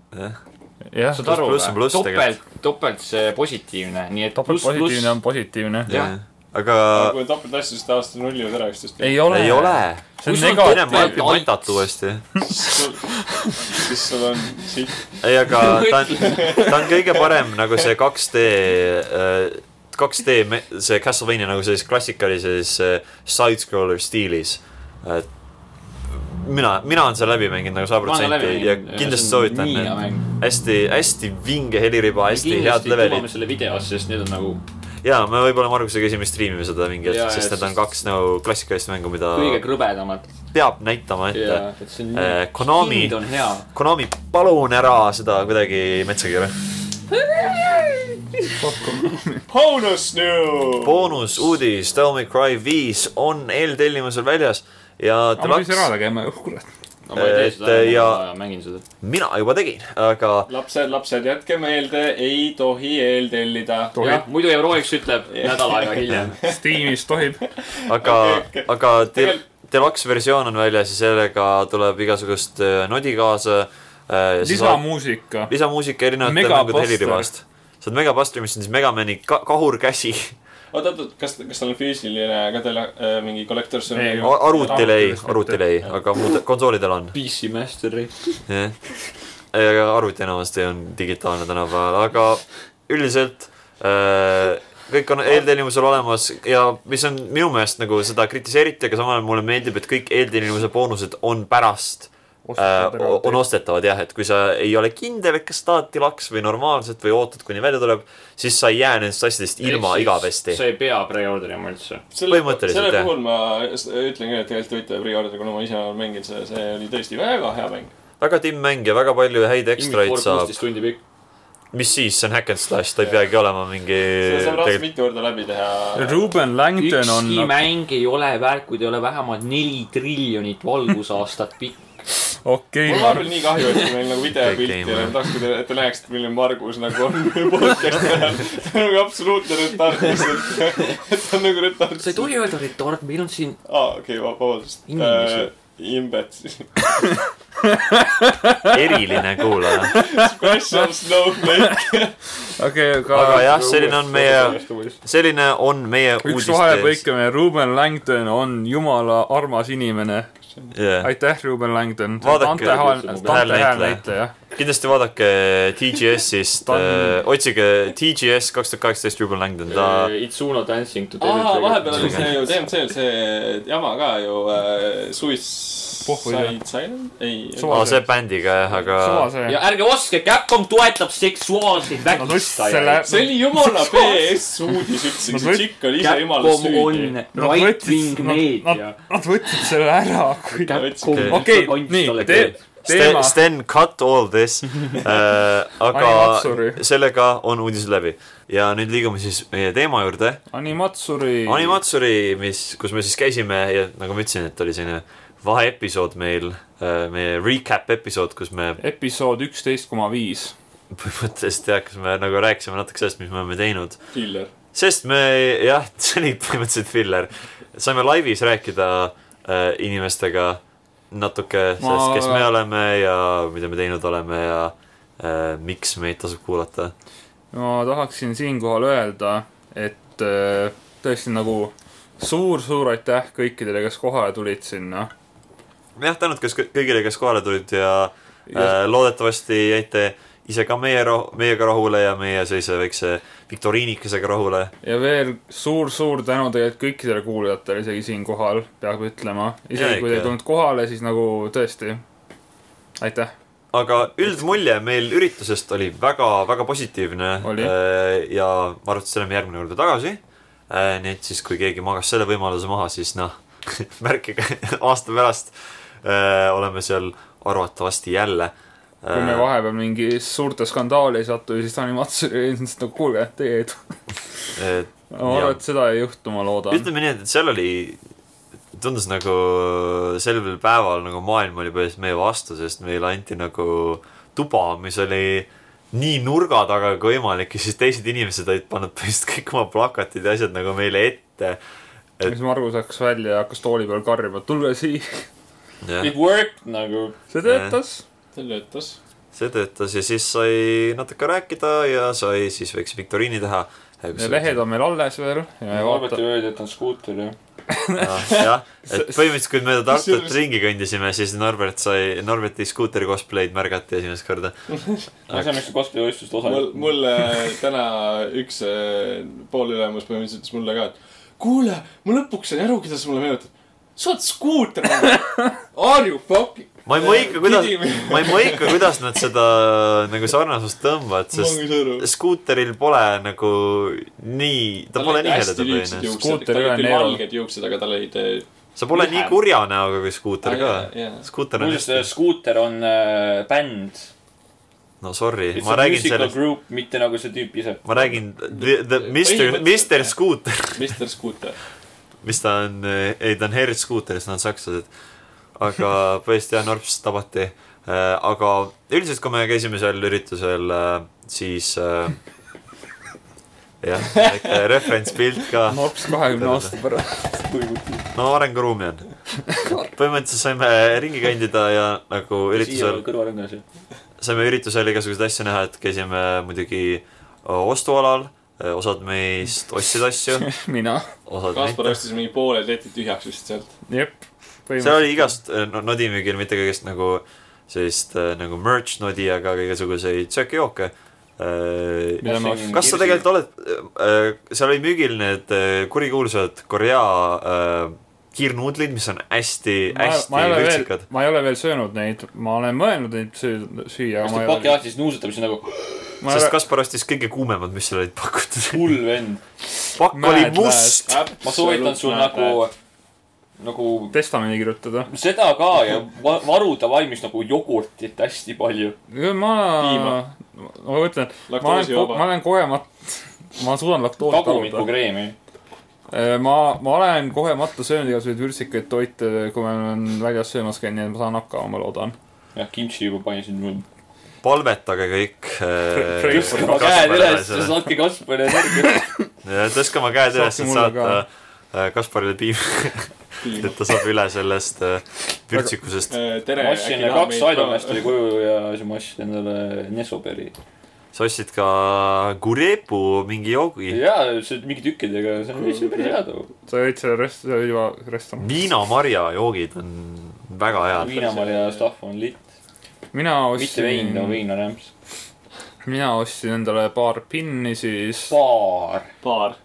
[SPEAKER 3] jah ,
[SPEAKER 4] saad aru
[SPEAKER 1] pluss on
[SPEAKER 4] või ?
[SPEAKER 1] pluss
[SPEAKER 4] topelt , topelt see positiivne , nii et pluss ,
[SPEAKER 3] topeltpositiivne on
[SPEAKER 4] pluss .
[SPEAKER 3] positiivne .
[SPEAKER 4] jah.
[SPEAKER 1] aga
[SPEAKER 2] kui on topeltasju , siis tavaliselt nullivad ära üksteist .
[SPEAKER 3] ei
[SPEAKER 4] Nagu-
[SPEAKER 3] ole .
[SPEAKER 1] ei ole .
[SPEAKER 3] see on
[SPEAKER 4] Kus on
[SPEAKER 3] negatiivne .
[SPEAKER 1] Venemaa õpib
[SPEAKER 4] Alt.
[SPEAKER 1] matat uuesti .
[SPEAKER 2] siis sul on siit .
[SPEAKER 1] ei , aga ta on , ta on kõige parem nagu see äh, 2D , 2D , see Castlevania nagu selles klassikalises äh, side-scroller stiilis . et mina , mina olen selle läbi mänginud nagu sada protsenti ja kindlasti soovitan , et hästi ,
[SPEAKER 4] hästi
[SPEAKER 1] hästi vinge heliriba , hästi head levelid .
[SPEAKER 4] selle videos , sest need on nagu
[SPEAKER 1] ja me võib-olla Margusega esimest striimime seda mingi
[SPEAKER 4] Jaa,
[SPEAKER 1] hetk ,
[SPEAKER 4] jaa,
[SPEAKER 1] sest need on
[SPEAKER 4] sest-
[SPEAKER 1] kaks nagu klassikalist mängu , mida
[SPEAKER 4] kõige krõbedamad
[SPEAKER 1] peab näitama ette
[SPEAKER 4] ja . et see on
[SPEAKER 1] Eh,
[SPEAKER 4] nii .
[SPEAKER 1] Konami-
[SPEAKER 4] hind on hea .
[SPEAKER 1] Konami , palun ära seda kuidagi metsa keera .
[SPEAKER 2] bonus nüüd .
[SPEAKER 1] boonusuudis , Devil May Cry viis on eeltellimusel väljas ja
[SPEAKER 3] aga ma peaks ära
[SPEAKER 1] Deluxe ,
[SPEAKER 3] tegema , oh kurat .
[SPEAKER 4] no ma ei tee
[SPEAKER 1] et,
[SPEAKER 4] seda
[SPEAKER 1] ja- ,
[SPEAKER 4] ma mängin seda .
[SPEAKER 1] mina juba tegin , aga
[SPEAKER 2] lapsed , lapsed , jätke meelde , ei tohi eeltellida .
[SPEAKER 3] Tohib.
[SPEAKER 4] jah , muidu Euroix ütleb nädal aega hiljem .
[SPEAKER 3] Steamis tohib .
[SPEAKER 1] aga
[SPEAKER 2] Okei, ,
[SPEAKER 1] aga del-
[SPEAKER 2] Tegelikult- ,
[SPEAKER 1] Deluxe versioon on väljas ja sellega tuleb igasugust äh, nodi kaasa .
[SPEAKER 3] lisamuusika .
[SPEAKER 1] lisamuusika erinevate
[SPEAKER 3] Megabuster.
[SPEAKER 1] mängude heliribast . see on Megabuster , mis on siis Megamani ka kahurkäsi
[SPEAKER 2] oot , oot , oot , kas , kas tal on füüsiline ka teil äh, mingi kollektor seal
[SPEAKER 3] Ei, ?
[SPEAKER 1] Ar- arvutil ei
[SPEAKER 3] Arvutides , mitte.
[SPEAKER 1] arvutil ei , aga muud konsoolidel on .
[SPEAKER 4] PC Master Race .
[SPEAKER 1] jah , aga arvuti enamasti on digitaalne tänapäeval , aga üldiselt äh, kõik on eeltellimusel olemas ja mis on minu meelest nagu seda kritiseeriti , aga samal ajal mulle meeldib , et kõik eeltellimuse boonused on pärast äh, o- on ostetavad jah , et kui sa ei ole kindel , et kas tahad dilaks või normaalset või ootad , kuni välja tuleb , siis sa ei jää nendest asjadest ilma igavesti .
[SPEAKER 4] sa ei pea pre-order ima üldse .
[SPEAKER 2] selle ,
[SPEAKER 1] Põhimõtteliselt,
[SPEAKER 2] selle
[SPEAKER 1] jah.
[SPEAKER 2] puhul ma s- ütlen küll , et tegelikult võite pre-order , kuna ma ise olen mänginud seda , see oli tõesti väga hea mäng .
[SPEAKER 1] väga timm mäng ja väga palju häid ekstraid saab .
[SPEAKER 4] kuusteist tundi pikk .
[SPEAKER 1] mis siis , see on hack and slash , ta ei peagi olema mingi
[SPEAKER 2] seda saab raudselt
[SPEAKER 1] tegelikult
[SPEAKER 2] mitu korda läbi teha .
[SPEAKER 3] Ruben Langton on
[SPEAKER 4] ükski , mäng ei ole väärt , kui ta ei ole vähemalt neli triljonit valgusaastat pikk .
[SPEAKER 3] okei
[SPEAKER 2] mul , vahepeal nii kahju , et meil nagu videopilti ei
[SPEAKER 1] Game
[SPEAKER 2] ole
[SPEAKER 1] over. ,
[SPEAKER 2] tahaks , kui te , et te näeksite , milline Margus nagu on podcast'i ajal . ta on nagu absoluutne retard lihtsalt . ta on nagu retard .
[SPEAKER 4] sa ei tohi öelda retard , meil on siin
[SPEAKER 2] aa , okei , vabandust .
[SPEAKER 4] Inimesi.
[SPEAKER 2] Imbet siis .
[SPEAKER 1] eriline kuulaja .
[SPEAKER 2] Special snowflake .
[SPEAKER 3] okei ,
[SPEAKER 1] aga
[SPEAKER 3] aga
[SPEAKER 1] jah , selline on meie , selline on meie
[SPEAKER 3] üks vahepõikamine , Ruben Langton on jumala armas inimene .
[SPEAKER 1] Yeah.
[SPEAKER 3] aitäh , Ruben Langton .
[SPEAKER 1] Vaadake-
[SPEAKER 3] Dante hääl , Dante
[SPEAKER 1] Häälnäitleja.
[SPEAKER 3] häälnäitleja .
[SPEAKER 1] kindlasti vaadake TGS-ist
[SPEAKER 3] Ta on- ,
[SPEAKER 1] äh, otsige TGS kaks tuhat kaheksateist Ruben Langdon , ta
[SPEAKER 4] Itsuno dancing to
[SPEAKER 2] aa , vahepeal oli
[SPEAKER 1] oli
[SPEAKER 2] see
[SPEAKER 1] see
[SPEAKER 2] ju DMC-l see jama ka ju äh,
[SPEAKER 3] Pohhu ei
[SPEAKER 2] Suicide Silent , ei .
[SPEAKER 3] Suva-
[SPEAKER 1] aa , see bändiga jah , aga
[SPEAKER 3] suva see
[SPEAKER 4] ja . ärge ostke , Capcom toetab seksuaalseid
[SPEAKER 3] Nad võtsid selle
[SPEAKER 4] vägistajaid .,
[SPEAKER 2] see oli jumala BS uudis üldse ,
[SPEAKER 3] Nad
[SPEAKER 2] see
[SPEAKER 3] võt-
[SPEAKER 2] tšikk oli ise jumala
[SPEAKER 4] Capcom on
[SPEAKER 2] süüdi .
[SPEAKER 3] nad
[SPEAKER 4] right-wing
[SPEAKER 3] nad-
[SPEAKER 4] meedia
[SPEAKER 3] nad- . nad võtsid selle ära , kui .
[SPEAKER 4] Capcom
[SPEAKER 1] Okei.
[SPEAKER 3] okei , nii , tee , teema
[SPEAKER 1] Sten ,. Sten , cut all this äh, . aga
[SPEAKER 3] Animatsuri.
[SPEAKER 1] sellega on uudised läbi ja nüüd liigume siis meie teema juurde .
[SPEAKER 3] Animatsuri .
[SPEAKER 1] Animatsuri , mis , kus me siis käisime ja nagu ma ütlesin , et oli selline vaheepisood meil , meie recap episood , kus me
[SPEAKER 3] episood üksteist koma viis .
[SPEAKER 1] põhimõtteliselt jah , kus me nagu rääkisime natuke sellest , mis me oleme teinud .
[SPEAKER 2] killer .
[SPEAKER 1] sest me jah , see oli põhimõtteliselt filler . saime laivis rääkida äh, inimestega natuke sellest , kes me oleme ja mida me teinud oleme ja äh, miks meid tasub kuulata .
[SPEAKER 3] ma tahaksin siinkohal öelda , et äh, tõesti nagu suur-suur aitäh kõikidele , kes kohale tulid sinna .
[SPEAKER 1] jah , tänud kes kõigile , kes kohale tulid ja, ja. Äh, loodetavasti jäite ise ka meie rahu , meiega rahule ja meie sellise väikse viktoriinikesega rahule .
[SPEAKER 3] ja veel suur-suur tänu tegelikult kõikidele kuulajatele , isegi siinkohal peab ütlema .
[SPEAKER 1] Jaa,
[SPEAKER 3] isegi kui te ei
[SPEAKER 1] ikka.
[SPEAKER 3] tulnud kohale , siis nagu tõesti aitäh .
[SPEAKER 1] aga üldmulje meil üritusest oli väga-väga positiivne
[SPEAKER 3] Oli.
[SPEAKER 1] Äh, ja ma arvan , et selle me järgmine kord tagasi . nii et siis , kui keegi magas selle võimaluse maha , siis noh , märkige aasta pärast äh, oleme seal arvatavasti jälle . Äh,
[SPEAKER 3] kui me vahepeal mingi suurte skandaali ei satu , siis Animatsuri ütles , et no nagu, kuulge , teie ei tule . ma
[SPEAKER 1] Jaa.
[SPEAKER 3] arvan , et seda ei juhtu , ma loodan .
[SPEAKER 1] ütleme nii , et seal oli , tundus nagu sel päeval nagu maailm oli põhimõtteliselt meie vastu , sest meile anti nagu tuba , mis oli nii nurga taga kui võimalik ja siis teised inimesed olid pannud põhimõtteliselt kõik oma plakatid ja asjad nagu meile ette .
[SPEAKER 3] siis Margus hakkas välja ja hakkas tooli peal karjuma , tulge siia .
[SPEAKER 4] It worked nagu .
[SPEAKER 3] see
[SPEAKER 1] Äh.
[SPEAKER 3] töötas .
[SPEAKER 2] see töötas .
[SPEAKER 1] see töötas ja siis sai natuke rääkida ja sai siis väikse viktoriini teha .
[SPEAKER 3] lehed on meil alles veel ja vaata .
[SPEAKER 4] Alberti öeldi , et on skuuter ja .
[SPEAKER 1] Ah, jah , et põhimõtteliselt , kui me Tartut
[SPEAKER 2] Kusjuures-
[SPEAKER 1] ringi kõndisime , siis Norbert sai , Norberti skuuteri cosplay'd märgati esimest korda .
[SPEAKER 4] ma ei saa , miks sa cosplay võistlusest osa
[SPEAKER 2] mul , mulle täna üks äh, poolülemus põhimõtteliselt ütles mulle ka , et kuule , ma lõpuks sain aru , keda sa mulle meenutad . sa oled skuuter . Are you fucking ?
[SPEAKER 1] ma ei mõika , kuidas ,
[SPEAKER 2] ma
[SPEAKER 1] ma ei mõika , kuidas nad seda nagu sarnasust tõmbavad , sest
[SPEAKER 2] ei saa aru .
[SPEAKER 1] skuuteril pole nagu nii , ta pole nii heledapõhine .
[SPEAKER 2] juuksed ,
[SPEAKER 3] Skuuter
[SPEAKER 2] tal
[SPEAKER 3] ei
[SPEAKER 2] olid
[SPEAKER 3] ole
[SPEAKER 2] küll
[SPEAKER 3] neeru.
[SPEAKER 2] valged juuksed , aga tal olid . äh,
[SPEAKER 1] sa pole nii
[SPEAKER 4] lühem.
[SPEAKER 1] kurja näoga kui skuuter ka .
[SPEAKER 2] ma
[SPEAKER 1] skuuter on
[SPEAKER 4] muuseas ,
[SPEAKER 1] hästi ,
[SPEAKER 4] skuuter on äh, bänd .
[SPEAKER 1] no sorry ,
[SPEAKER 4] It's
[SPEAKER 1] ma
[SPEAKER 4] a
[SPEAKER 1] räägin
[SPEAKER 4] musical
[SPEAKER 1] sellest ,
[SPEAKER 4] group , mitte nagu see tüüp ise .
[SPEAKER 1] ma räägin the, the Mr ,
[SPEAKER 2] Põhimõtteliselt,
[SPEAKER 1] Mr
[SPEAKER 2] jah.
[SPEAKER 1] Scooter ,
[SPEAKER 2] Mr Scooter .
[SPEAKER 1] mis ta on , ei ta on Herr Scooter , sest nad on sakslased . aga põhimõtteliselt jah , Norps tabati . aga üldiselt , kui me käisime seal üritusel , siis äh, jah , väike referentspilt ka
[SPEAKER 3] nops
[SPEAKER 1] Ah.
[SPEAKER 3] kahekümne aasta pärast .
[SPEAKER 1] no arenguruumi on . põhimõtteliselt saime ringi kõndida ja nagu üritusel ,
[SPEAKER 4] kõrval on ka see .
[SPEAKER 1] saime üritusel igasuguseid asju näha , et käisime muidugi eh, ostualal , osad meist ostsid asju ,
[SPEAKER 3] mina .
[SPEAKER 1] osad
[SPEAKER 2] Kaspar
[SPEAKER 1] mitte .
[SPEAKER 2] ostis mingi pooled letid tühjaks vist sealt .
[SPEAKER 3] jep .
[SPEAKER 1] seal oli igast eh, no, nodimüügil mitte kõigest nagu sellist eh, nagu merch nodi , aga ka igasuguseid söökijooke .
[SPEAKER 3] Mida ma
[SPEAKER 4] ostsin?
[SPEAKER 1] kas sa äh, tegelikult oled , seal oli müügil need eh, kurikuulsad äh, Korea eh, kiirnuudlid , mis on hästi ,
[SPEAKER 3] ma
[SPEAKER 1] hästi
[SPEAKER 3] ma ei ole veel
[SPEAKER 1] kõltsikad .,
[SPEAKER 3] ma ei ole veel söönud neid , ma olen mõelnud neid söö- süüa ,
[SPEAKER 4] kas
[SPEAKER 3] aga ma
[SPEAKER 4] ta
[SPEAKER 3] ei
[SPEAKER 4] paki
[SPEAKER 3] ole .
[SPEAKER 4] aastas nuusutab siis nagu
[SPEAKER 3] ma ei
[SPEAKER 1] sest
[SPEAKER 3] ole ,
[SPEAKER 1] Kaspar ostis kõige kuumemad , mis seal olid pakutud .
[SPEAKER 4] hull vend .
[SPEAKER 1] pakk oli
[SPEAKER 3] Mäed
[SPEAKER 1] must .
[SPEAKER 4] ma soovitan sul nagu , nagu
[SPEAKER 3] testamendi kirjutada .
[SPEAKER 4] seda ka ja va- varuda valmis nagu jogurtit hästi palju .
[SPEAKER 3] ma , ma mõtlen , ma olen ,
[SPEAKER 2] laktoosivaba.
[SPEAKER 3] ma olen kogemata , ma suudan laktoosi taluda .
[SPEAKER 4] tagumikukreemi .
[SPEAKER 3] ma , ma olen kogemata söönud igasuguseid vürtsikaid toite , kui ma olen väljas söömas käinud , nii et ma saan hakkama , ma loodan .
[SPEAKER 4] jah , kimchi juba panin siin mul .
[SPEAKER 1] palvetage kõik . äh,
[SPEAKER 3] Tõstke
[SPEAKER 4] oma käed üles ja saatke Kaspari energiat .
[SPEAKER 1] tõstke oma käed üles ,
[SPEAKER 3] Saatke
[SPEAKER 1] et
[SPEAKER 3] mulle
[SPEAKER 1] saata
[SPEAKER 3] ka.
[SPEAKER 1] äh, Kasparile piima ,
[SPEAKER 2] piima
[SPEAKER 1] et . ta saab üle sellest äh, vürtsikusest .
[SPEAKER 2] Äh, tere .
[SPEAKER 4] ma ostsin kaks aidomest oli koju ja siis ma ostsin endale Nesoperi .
[SPEAKER 1] sa ostsid ka Gurepu mingi joogi .
[SPEAKER 4] jaa , see mingi tükkidega , see on see on päris hea too .
[SPEAKER 3] sa jõid selle rest- , see oli juba restoran .
[SPEAKER 1] viinamarja joogid on väga head .
[SPEAKER 4] viinamarja stuff on lit .
[SPEAKER 3] mina
[SPEAKER 4] mitte vein ,
[SPEAKER 3] ostsin ,
[SPEAKER 4] no vein on ämps .
[SPEAKER 3] mina ostsin endale paar pinni siis .
[SPEAKER 4] baar ,
[SPEAKER 2] paar .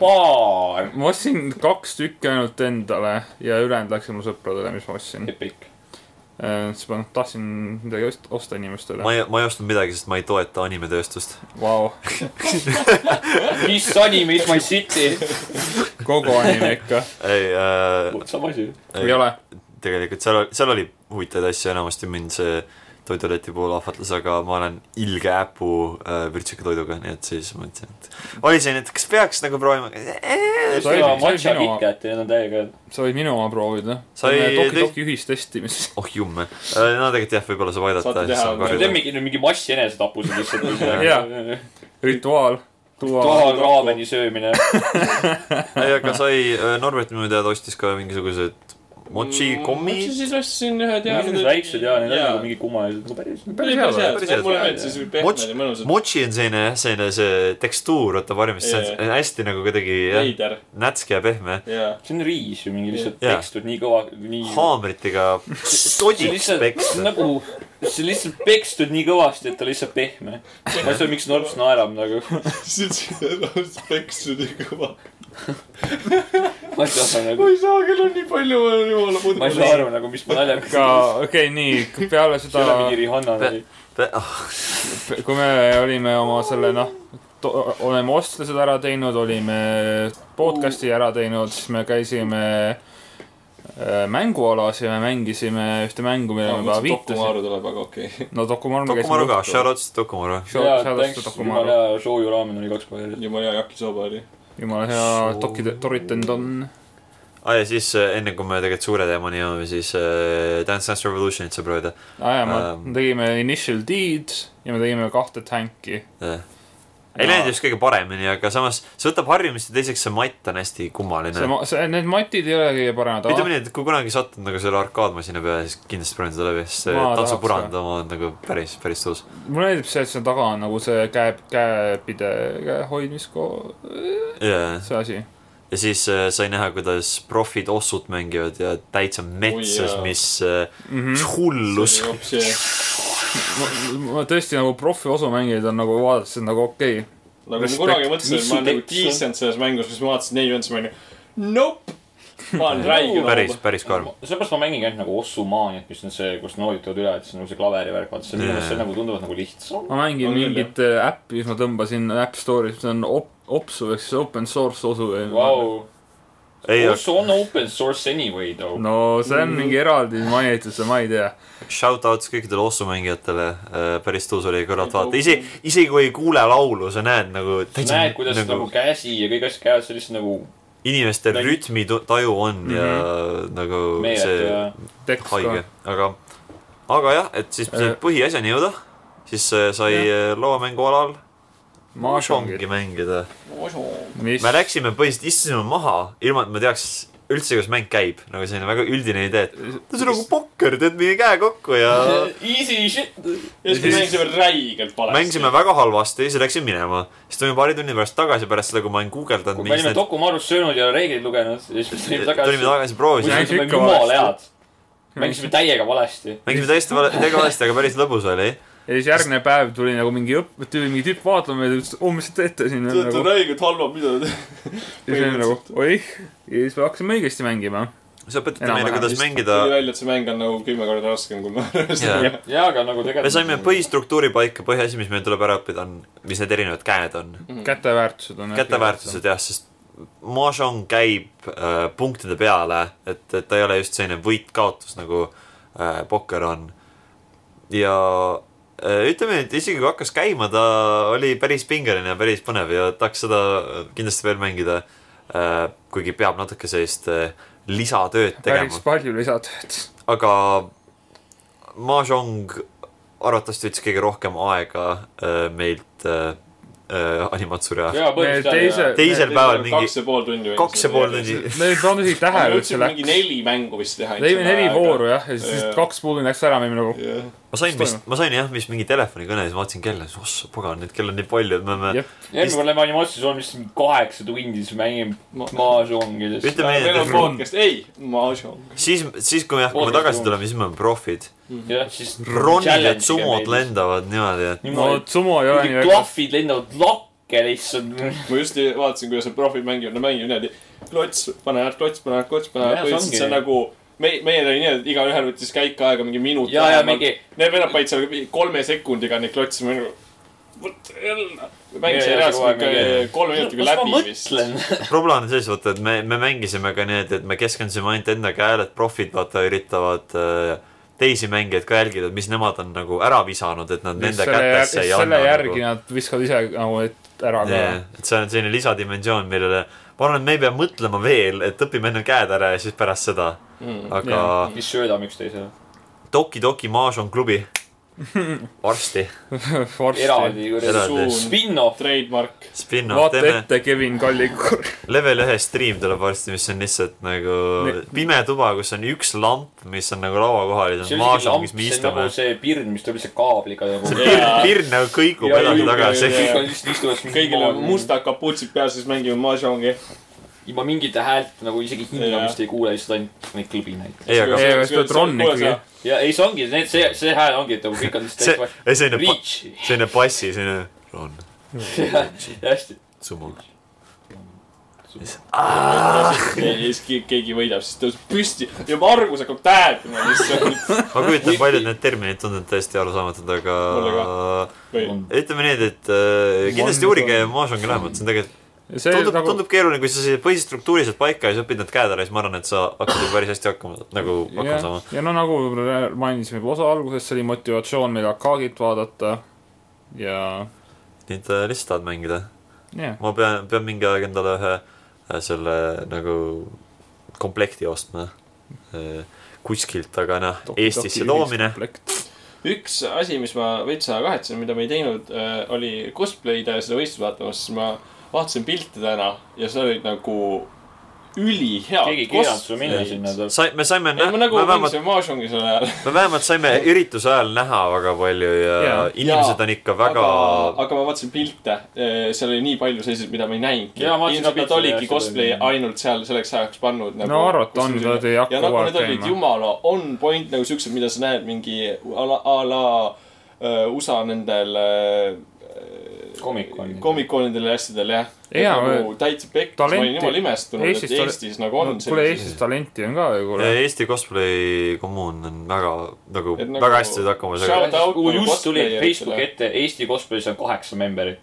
[SPEAKER 4] baar .
[SPEAKER 3] ma ostsin kaks tükki ainult endale ja ülejäänud läksid mu sõpradele , mis ma ostsin .
[SPEAKER 4] epic .
[SPEAKER 3] Äh, siis ma tahtsin midagi ost- osta inimestele .
[SPEAKER 1] ma ei , ma ei ostnud midagi , sest ma ei toeta animetööstust .
[SPEAKER 3] Vau ,
[SPEAKER 4] mis anime is my city ?
[SPEAKER 3] kogu anime ikka .
[SPEAKER 1] ei äh, ,
[SPEAKER 4] sama asi .
[SPEAKER 3] ei ole .
[SPEAKER 1] tegelikult seal , seal oli huvitavaid asju , enamasti mind see toiduleti puhul ahvatles , aga ma olen ilge äpu äh, vürtsikatoiduga , nii et siis mõtlesin , et oli selline , et kas peaks nagu proovima .
[SPEAKER 3] Sa ei-
[SPEAKER 4] seda
[SPEAKER 3] sa ei
[SPEAKER 4] matša
[SPEAKER 3] minu-
[SPEAKER 4] kitkati , need on täiega head .
[SPEAKER 3] sa võid minu oma proovida .
[SPEAKER 1] Sa ei-
[SPEAKER 3] Toki-Toki ühistestimis .
[SPEAKER 1] oh jumme , no tegelikult jah , võib-olla saab aidata
[SPEAKER 2] Saate
[SPEAKER 1] ja siis
[SPEAKER 2] teha,
[SPEAKER 1] saab
[SPEAKER 4] me
[SPEAKER 1] karjuda
[SPEAKER 4] teeme . mingi , mingi massenesetapused
[SPEAKER 3] Jaa.
[SPEAKER 4] lihtsalt .
[SPEAKER 3] rituaal . tuua
[SPEAKER 4] toal raameni söömine .
[SPEAKER 1] ei , aga sai , Norbert minu teada ostis ka mingisugused mochi kommid .
[SPEAKER 2] Mm, siis ostsin ühed ja .
[SPEAKER 4] mingisugused väiksed ja need on nagu mingi kummalised , nagu päris .
[SPEAKER 2] päris head ,
[SPEAKER 1] päris
[SPEAKER 2] päris head . mulle
[SPEAKER 4] head.
[SPEAKER 2] meeldis , siis
[SPEAKER 1] Mochi-
[SPEAKER 2] pehmed ja mõnusad .
[SPEAKER 1] mochi on selline jah , selline see tekstuur , vaata varem , mis see on hästi nagu kuidagi jah,
[SPEAKER 2] veider .
[SPEAKER 1] nätske ja pehme .
[SPEAKER 2] jaa .
[SPEAKER 4] see on riis ju mingi lihtsalt
[SPEAKER 1] Jaa.
[SPEAKER 4] tekstud nii kõva , nii .
[SPEAKER 1] haamritega
[SPEAKER 4] see
[SPEAKER 1] sodiks
[SPEAKER 4] lihtsalt
[SPEAKER 1] peksta .
[SPEAKER 4] nagu , see lihtsalt pekstud nii kõvasti , et ta lihtsalt pehme . ma ei saa , miks Norps naerab nagu .
[SPEAKER 2] siis ütlesin , et on spektrid nii kõva .
[SPEAKER 4] ma ei saa
[SPEAKER 2] ma
[SPEAKER 4] nagu ,
[SPEAKER 2] ei saa , kell on nii palju , ma olen jumala
[SPEAKER 4] ma ei saa aru nagu , mis ma naljakas .
[SPEAKER 3] ka , okei , nii , peale
[SPEAKER 4] see ei ole
[SPEAKER 3] seda
[SPEAKER 4] mingi Rihanna
[SPEAKER 1] Pe-
[SPEAKER 4] nali .
[SPEAKER 1] ah,
[SPEAKER 3] kui me olime oma selle noh , oleme ostlused ära teinud , olime podcast'i ära teinud , siis me käisime äh, mängualas ja me mängisime ühte mängu , millele ma juba viitasin .
[SPEAKER 2] Dokumaru tuleb , aga okei okay. .
[SPEAKER 3] no Dokumaru me
[SPEAKER 1] Dokumaru ka ,
[SPEAKER 3] käisime .
[SPEAKER 1] shoutouts Dokumaru .
[SPEAKER 4] jaa , tänks , jumala
[SPEAKER 3] Dokumaru ,
[SPEAKER 4] hea , Shoujo raamen oli kaks päeva järjest .
[SPEAKER 2] jumala hea yakisooba oli .
[SPEAKER 3] jumala hea Toki , Toriton .
[SPEAKER 1] aa ja siis äh, enne kui me tegelikult suure teemani jõuame , siis äh, Dance Dance Revolutionit saab proovida
[SPEAKER 3] aa jaa , me
[SPEAKER 1] Ähm.
[SPEAKER 3] tegime Initial D-d ja me tegime kahte tanki .
[SPEAKER 1] äh. . ei läinud just kõige paremini , aga samas see võtab harjumist ja teiseks see matt on hästi
[SPEAKER 3] see
[SPEAKER 1] kummaline .,
[SPEAKER 3] see , need matid ei ole kõige
[SPEAKER 1] ütleme
[SPEAKER 3] paremad .
[SPEAKER 1] nii , et kui kunagi satud nagu selle arkaadmasina peale , siis kindlasti proovi seda läbi , sest see
[SPEAKER 3] Ma tahaks
[SPEAKER 1] tantsupurand oma on nagu päris , päris tõus .
[SPEAKER 3] mulle meeldib see , et seal taga on nagu see käe , käepide , käe hoidmisko- ,
[SPEAKER 1] ja ,
[SPEAKER 3] see asi
[SPEAKER 1] ja siis äh, sai näha , kuidas profid ossut mängivad ja täitsa metsas
[SPEAKER 2] jaa. ,
[SPEAKER 1] mis äh,
[SPEAKER 3] mm . -hmm.
[SPEAKER 1] hullus .
[SPEAKER 3] ma, ma tõesti nagu profiosumängijad on nagu vaadates on nagu okei okay. .
[SPEAKER 2] nagu ma
[SPEAKER 3] Respekt.
[SPEAKER 2] kunagi mõtlesin ,
[SPEAKER 4] Mis
[SPEAKER 2] et ma
[SPEAKER 4] su
[SPEAKER 2] olen nagu
[SPEAKER 4] tekst on?
[SPEAKER 2] decent selles mängus , siis ma vaatasin neid ühendusi , ma olin nagu, nope , ma olen räige
[SPEAKER 1] päris , päris karm .
[SPEAKER 4] seepärast ma mängin ainult nagu Ossu maaniat , mis on see , kus noolid tulevad üle , et see on nagu see klaverivärk , vaata see on minu meelest see nagu tunduvad nagu lihtsam .
[SPEAKER 3] ma mängin
[SPEAKER 2] On
[SPEAKER 3] on
[SPEAKER 2] küll,
[SPEAKER 3] mingit äh, äppi , mis ma tõmbasin App Store'is , see on op- , Opsu ehk siis open source osu .
[SPEAKER 4] Vau ,
[SPEAKER 1] ei ,
[SPEAKER 4] Ossu on open source anyway though no. .
[SPEAKER 3] no see on mingi eraldi mainitus , ma ei tea .
[SPEAKER 1] Shoutouts kõikidele ossumängijatele , päris tõus oli kõrvalt vaadata , isegi , isegi kui ei kuule laulu , sa näed nagu
[SPEAKER 4] sa näed , kuidas nagu, nagu käsi ja kõik asjad käivad sellist nagu
[SPEAKER 1] inimeste
[SPEAKER 4] nägi-
[SPEAKER 1] rütmitaju on mm -hmm. ja nagu
[SPEAKER 4] Mhm. meeletu
[SPEAKER 1] see
[SPEAKER 4] ja
[SPEAKER 3] tekst ka
[SPEAKER 1] haige ., aga , aga jah , et siis
[SPEAKER 3] Äh.
[SPEAKER 1] äh. põhiasjani jõuda , siis äh, sai äh, loomängualal
[SPEAKER 3] Mahjongid ,
[SPEAKER 1] mahjongi mängida .
[SPEAKER 3] mis
[SPEAKER 1] me läksime põhiliselt , istusime maha , ilma et ma teaks üldse , kuidas mäng käib , nagu selline väga üldine idee , et see on nagu pokker , teed mingi käe kokku ja
[SPEAKER 4] easy shit .
[SPEAKER 2] ja siis me mängisime räigelt valesti .
[SPEAKER 1] mängisime väga halvasti ja siis läksin minema . siis tulime paari tunni pärast tagasi , pärast seda , kui ma olin guugeldanud .
[SPEAKER 4] kui me olime dokumarust söönud ja reegleid lugenud ja siis me tulime
[SPEAKER 1] tulime
[SPEAKER 4] tagasi .
[SPEAKER 1] tagasi , proovisime .
[SPEAKER 3] Mängisime
[SPEAKER 4] mängisime
[SPEAKER 3] ikka
[SPEAKER 4] jumala
[SPEAKER 3] valesti.
[SPEAKER 4] head . mängisime täiega valesti .
[SPEAKER 1] mängime täiesti vale , täiega valesti , aga päris lõbus oli .
[SPEAKER 3] ja siis järgmine päev tuli nagu mingi õpp- , tuli mingi tüüp vaatama meid ja ütles , oh mis te teete siin
[SPEAKER 2] Te olete
[SPEAKER 3] nagu .
[SPEAKER 2] räigelt halvad , mida te teete .
[SPEAKER 3] ja siis oli nagu oih . ja siis me hakkasime õigesti mängima .
[SPEAKER 1] sa õpetad meile ,
[SPEAKER 3] Enam-vähem
[SPEAKER 1] kuidas
[SPEAKER 3] vist.
[SPEAKER 1] mängida
[SPEAKER 2] tuli välja , et see mäng on nagu kümme korda raskem , kui ma arvasin .
[SPEAKER 4] jaa , aga nagu tegelikult
[SPEAKER 1] me saime . põhistruktuuri paika , põhiasi , mis meil tuleb ära õppida , on , mis need erinevad käed on .
[SPEAKER 3] käteväärtused on .
[SPEAKER 1] Mhm. käteväärtused jah , sest mahjong käib äh, punktide peale , et , et ta ei ole just selline võit-kaotus nagu äh, pokker on . ja äh, ütleme , et isegi kui hakkas käima , ta oli päris pingeline ja päris põnev ja tahaks seda kindlasti veel mängida äh, . kuigi peab natuke sellist äh, lisatööd tegema
[SPEAKER 3] päris . palju lisatööd .
[SPEAKER 1] aga Mahjong arvatavasti võttis kõige rohkem aega äh, meilt äh, äh, animatsuri ajal .
[SPEAKER 2] jaa ,
[SPEAKER 3] teise-
[SPEAKER 2] põhimõtteliselt .
[SPEAKER 1] teisel päeval mingi
[SPEAKER 2] kaks ja pool tundi .
[SPEAKER 1] kaks ja pool . tundi ,
[SPEAKER 3] me ei pannud isegi
[SPEAKER 2] me
[SPEAKER 3] tähele , et see
[SPEAKER 2] ütlesime mingi
[SPEAKER 3] läks .
[SPEAKER 2] neli mängu vist teha .
[SPEAKER 3] tegime neli vooru jah , ja siis
[SPEAKER 2] Jaa.
[SPEAKER 3] lihtsalt kaks puud läks ära , me olime nagu
[SPEAKER 2] jah .
[SPEAKER 1] ma sain vist , ma sain jah , vist mingi telefonikõne ja siis ma vaatasin kella , siis ossa pagan , neid kell on nii palju , et me oleme ,
[SPEAKER 3] jah ,
[SPEAKER 4] eelmine kord lähme animatsiooni , siis mingi kaheksa tundi , siis mängime maasongidest .
[SPEAKER 1] Ütleme nii,
[SPEAKER 2] meil
[SPEAKER 1] et-
[SPEAKER 2] on podcast , ei , mahjong .
[SPEAKER 1] siis , siis kui me , kui me tagasi tuleme , siis me oleme profid .
[SPEAKER 4] jah , siis .
[SPEAKER 1] ronid ja sumod . lendavad niimoodi , et
[SPEAKER 3] no
[SPEAKER 4] niimoodi ,
[SPEAKER 3] sumo ei ole nii
[SPEAKER 4] mingid
[SPEAKER 3] väga .
[SPEAKER 4] klahvid lendavad lakke lihtsalt .
[SPEAKER 2] ma just vaatasin , kuidas need profid mängivad , nad mängivad niimoodi . klots , pane ära , klots , pane ära , klots , pane
[SPEAKER 4] Jah,
[SPEAKER 2] ära .
[SPEAKER 4] see
[SPEAKER 2] põhimõtteliselt see on
[SPEAKER 4] ongi.
[SPEAKER 2] nagu , meie , meil oli nii , et igaühel võttis käik aega mingi minut .
[SPEAKER 4] ja , ja mingi .
[SPEAKER 2] Need vennad panid seal kolme sekundiga neid klotse , ma olin nagu , vot jälle .
[SPEAKER 4] Ja,
[SPEAKER 2] mängisin
[SPEAKER 4] ja,
[SPEAKER 2] reaalselt
[SPEAKER 4] kogu aeg
[SPEAKER 2] ikka
[SPEAKER 4] mingi-
[SPEAKER 2] kolme minutiga läbi vist .
[SPEAKER 4] vist .
[SPEAKER 1] probleem on selles , vaata , et me , me mängisime ka niimoodi , et me keskendusime ainult enda käele , et profid vaata üritavad äh, teisi mängijaid ka jälgida , et mis nemad on nagu ära visanud , et nad nende
[SPEAKER 3] selle
[SPEAKER 1] kätesse ei
[SPEAKER 3] järgi ,
[SPEAKER 1] anna
[SPEAKER 3] selle järgi
[SPEAKER 1] nagu .
[SPEAKER 3] nad viskavad ise nagu et ära ka .
[SPEAKER 1] Yeah, et see on selline lisadimensioon , millele ma arvan , et me ei pea mõtlema veel , et õpime enne käed ära ja siis pärast seda . aga
[SPEAKER 3] Mm, Jah.
[SPEAKER 1] yeah.
[SPEAKER 4] siis söödame üksteisele .
[SPEAKER 1] Toki Toki Mahjong klubi varsti
[SPEAKER 4] eraldi
[SPEAKER 3] varsti .
[SPEAKER 1] Eraldi.
[SPEAKER 4] kuradi
[SPEAKER 2] suun ,
[SPEAKER 4] spin-off .
[SPEAKER 2] trademark .
[SPEAKER 1] spin-off
[SPEAKER 3] vaata
[SPEAKER 1] teeme .
[SPEAKER 3] ette , Kevin Kallikur .
[SPEAKER 1] level ühe stream tuleb varsti , mis on lihtsalt nagu
[SPEAKER 3] Ne-
[SPEAKER 1] pime tuba , kus on üks lamp , mis on nagu laua kohal ja
[SPEAKER 4] see
[SPEAKER 1] siis on
[SPEAKER 4] on isegi
[SPEAKER 1] mahjong ,
[SPEAKER 4] lamp ,
[SPEAKER 1] mis me
[SPEAKER 4] see on
[SPEAKER 1] istume
[SPEAKER 4] nagu . see pirn , mis tuleb lihtsalt kaabliga nagu .
[SPEAKER 2] jaa.
[SPEAKER 1] pirn nagu kõigub
[SPEAKER 4] Jaa,
[SPEAKER 1] edasi
[SPEAKER 4] jaa,
[SPEAKER 1] tagasi
[SPEAKER 2] jaa, . jaa.
[SPEAKER 4] kõik on lihtsalt istuvad siin nagu
[SPEAKER 2] kõigil on
[SPEAKER 4] maal.
[SPEAKER 2] mustad kaputsid peas , siis mängime mahjongi .
[SPEAKER 4] ilma mingite häält nagu isegi hingamist ei kuule , lihtsalt ainult neid klõbinaid .
[SPEAKER 1] ei , aga
[SPEAKER 3] Ei, aga sa oled Ron ikkagi.
[SPEAKER 4] ja ei , see ongi , need , see , see hääl ongi , et nagu kõik on
[SPEAKER 1] see ,
[SPEAKER 4] lihtsalt
[SPEAKER 1] ei selline pa- ,
[SPEAKER 4] Reach .
[SPEAKER 1] selline bassi , selline on
[SPEAKER 4] hästi .
[SPEAKER 1] sumul .
[SPEAKER 2] ja siis ke- keegi võidab , siis tõuseb püsti ja Margus hakkab tähendama lihtsalt .
[SPEAKER 1] ma kujutan , paljud need terminid tunduvad täiesti arusaamatud , aga
[SPEAKER 2] Mulle
[SPEAKER 1] ütleme nii , et äh, kindlasti
[SPEAKER 3] Mandu-
[SPEAKER 1] uurige mahjongi lähemalt , see on tegelikult ,
[SPEAKER 3] see
[SPEAKER 1] tundub ,
[SPEAKER 3] nagu
[SPEAKER 1] tundub keeruline , kui sa selle põhistruktuuri saad paika ja sa õpid need käed ära , siis ma arvan , et sa hakkad juba päris hästi hakkama , nagu hakkama
[SPEAKER 3] ja
[SPEAKER 1] saama .,
[SPEAKER 3] ja no nagu võib-olla mainisime juba osa alguses , see oli motivatsioon meil Akaagit vaadata ja ,
[SPEAKER 1] nii et äh, lihtsalt tahad mängida .
[SPEAKER 3] jah .
[SPEAKER 1] ma pean , pean mingi aeg endale ühe äh, selle nagu komplekti ostma äh, kuskilt , aga noh , Eestisse toomine .
[SPEAKER 2] üks asi , mis ma veitsa kahetsen , mida me ei teinud , oli cosplay'de seda võistlust vaatamas , siis ma vaatasin pilte täna ja seal olid nagu ülihead .
[SPEAKER 4] keegi ei keelanud sul minna sinna .
[SPEAKER 1] sai , me saime ,
[SPEAKER 2] ei , ma
[SPEAKER 1] me
[SPEAKER 2] nagu
[SPEAKER 1] vähemalt ,
[SPEAKER 2] mängisin mahjongi selle ajal .
[SPEAKER 1] me vähemalt saime ürituse ajal näha väga palju ja
[SPEAKER 3] Jaa.
[SPEAKER 1] inimesed on ikka väga
[SPEAKER 2] aga , aga ma vaatasin pilte , seal oli nii palju selliseid , mida ma ei näinudki .
[SPEAKER 4] Jaa, ma vaatasin ka
[SPEAKER 2] ilmselt nad
[SPEAKER 4] pilte,
[SPEAKER 2] oligi
[SPEAKER 4] jah,
[SPEAKER 2] cosplay
[SPEAKER 4] seal oli-
[SPEAKER 2] ainult seal selleks ajaks pannud nagu, .
[SPEAKER 3] No arvata on, nad ei hakka
[SPEAKER 2] ja nagu
[SPEAKER 3] kogu aeg
[SPEAKER 2] need olid
[SPEAKER 3] käima.
[SPEAKER 2] jumala on point nagu siuksed , mida sa näed mingi a la , a la äh, USA nendel äh,
[SPEAKER 4] Comic-Conidel.
[SPEAKER 2] Comic-Conidel ja asjadel jah .
[SPEAKER 3] Jaa,
[SPEAKER 2] nagu täitsa pekk , ma olin
[SPEAKER 3] talenti-
[SPEAKER 2] jumala imestunud , et
[SPEAKER 3] Eestis tal-
[SPEAKER 2] Eestis nagu on
[SPEAKER 3] no, . kuule , Eestis talenti on ka ju , kuule .
[SPEAKER 1] Eesti cosplay kommuun on väga nagu ,
[SPEAKER 2] Et nagu-
[SPEAKER 1] väga hästi said hakkama sellega
[SPEAKER 2] Shout out nagu
[SPEAKER 4] just tuli
[SPEAKER 2] cosplay'd
[SPEAKER 4] Facebooki
[SPEAKER 2] selle-
[SPEAKER 4] ette , Eesti cosplay's on kaheksa memberit .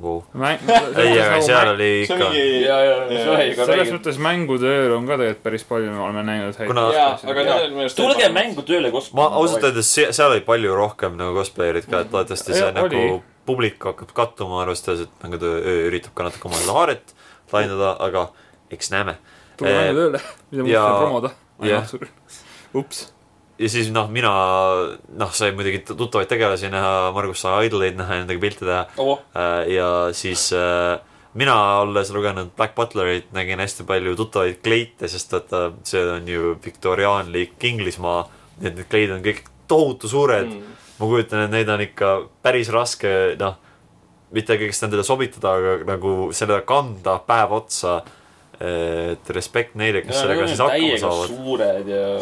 [SPEAKER 1] wow. . ei , aga seal
[SPEAKER 3] selles nagu
[SPEAKER 1] oli
[SPEAKER 2] nagu see on
[SPEAKER 1] ikka ,
[SPEAKER 2] mingi
[SPEAKER 4] ja , ja ,
[SPEAKER 2] Jaa.
[SPEAKER 4] see oli ka väike .
[SPEAKER 3] mõttes mängutööl on ka tegelikult päris palju , me oleme näinud häid
[SPEAKER 1] Kuna-
[SPEAKER 2] jaa , aga need
[SPEAKER 4] Jaa.
[SPEAKER 2] on minu arust .
[SPEAKER 4] tulge mängu tööle
[SPEAKER 1] ma
[SPEAKER 4] cosplay'ma .
[SPEAKER 1] ausalt . öeldes , seal oli palju rohkem nagu cosplayer'id ka , et loodetavasti see
[SPEAKER 3] Jah,
[SPEAKER 1] nagu
[SPEAKER 3] oli.
[SPEAKER 1] publik hakkab kattuma , arvestades , et nagu ta öö üritab ka natuke oma seda haaret laiendada , aga eks näeme .
[SPEAKER 3] tule mängutööle , mida ma
[SPEAKER 1] ja-
[SPEAKER 3] tahan promoda .
[SPEAKER 1] eh, jah.
[SPEAKER 3] ups ,
[SPEAKER 1] ja siis noh , mina , noh , sai muidugi t- tuttavaid tegelasi näha , Margus sai idleid näha , nendega pilte teha
[SPEAKER 4] ovoh ,
[SPEAKER 1] Äh, ja siis äh, mina , olles lugenud Black Butlerit , nägin hästi palju tuttavaid kleite , sest vaata , see on ju viktoriaanlik Inglismaa , nii et need kleid on kõik tohutu suured mm. . ma kujutan , et neid on ikka päris raske , noh , mitte kõigest nendele sobitada , aga nagu selle kanda päev otsa . et respekt neile , kes sellega siis hakkama
[SPEAKER 4] täiega
[SPEAKER 1] saavad .
[SPEAKER 4] suured ja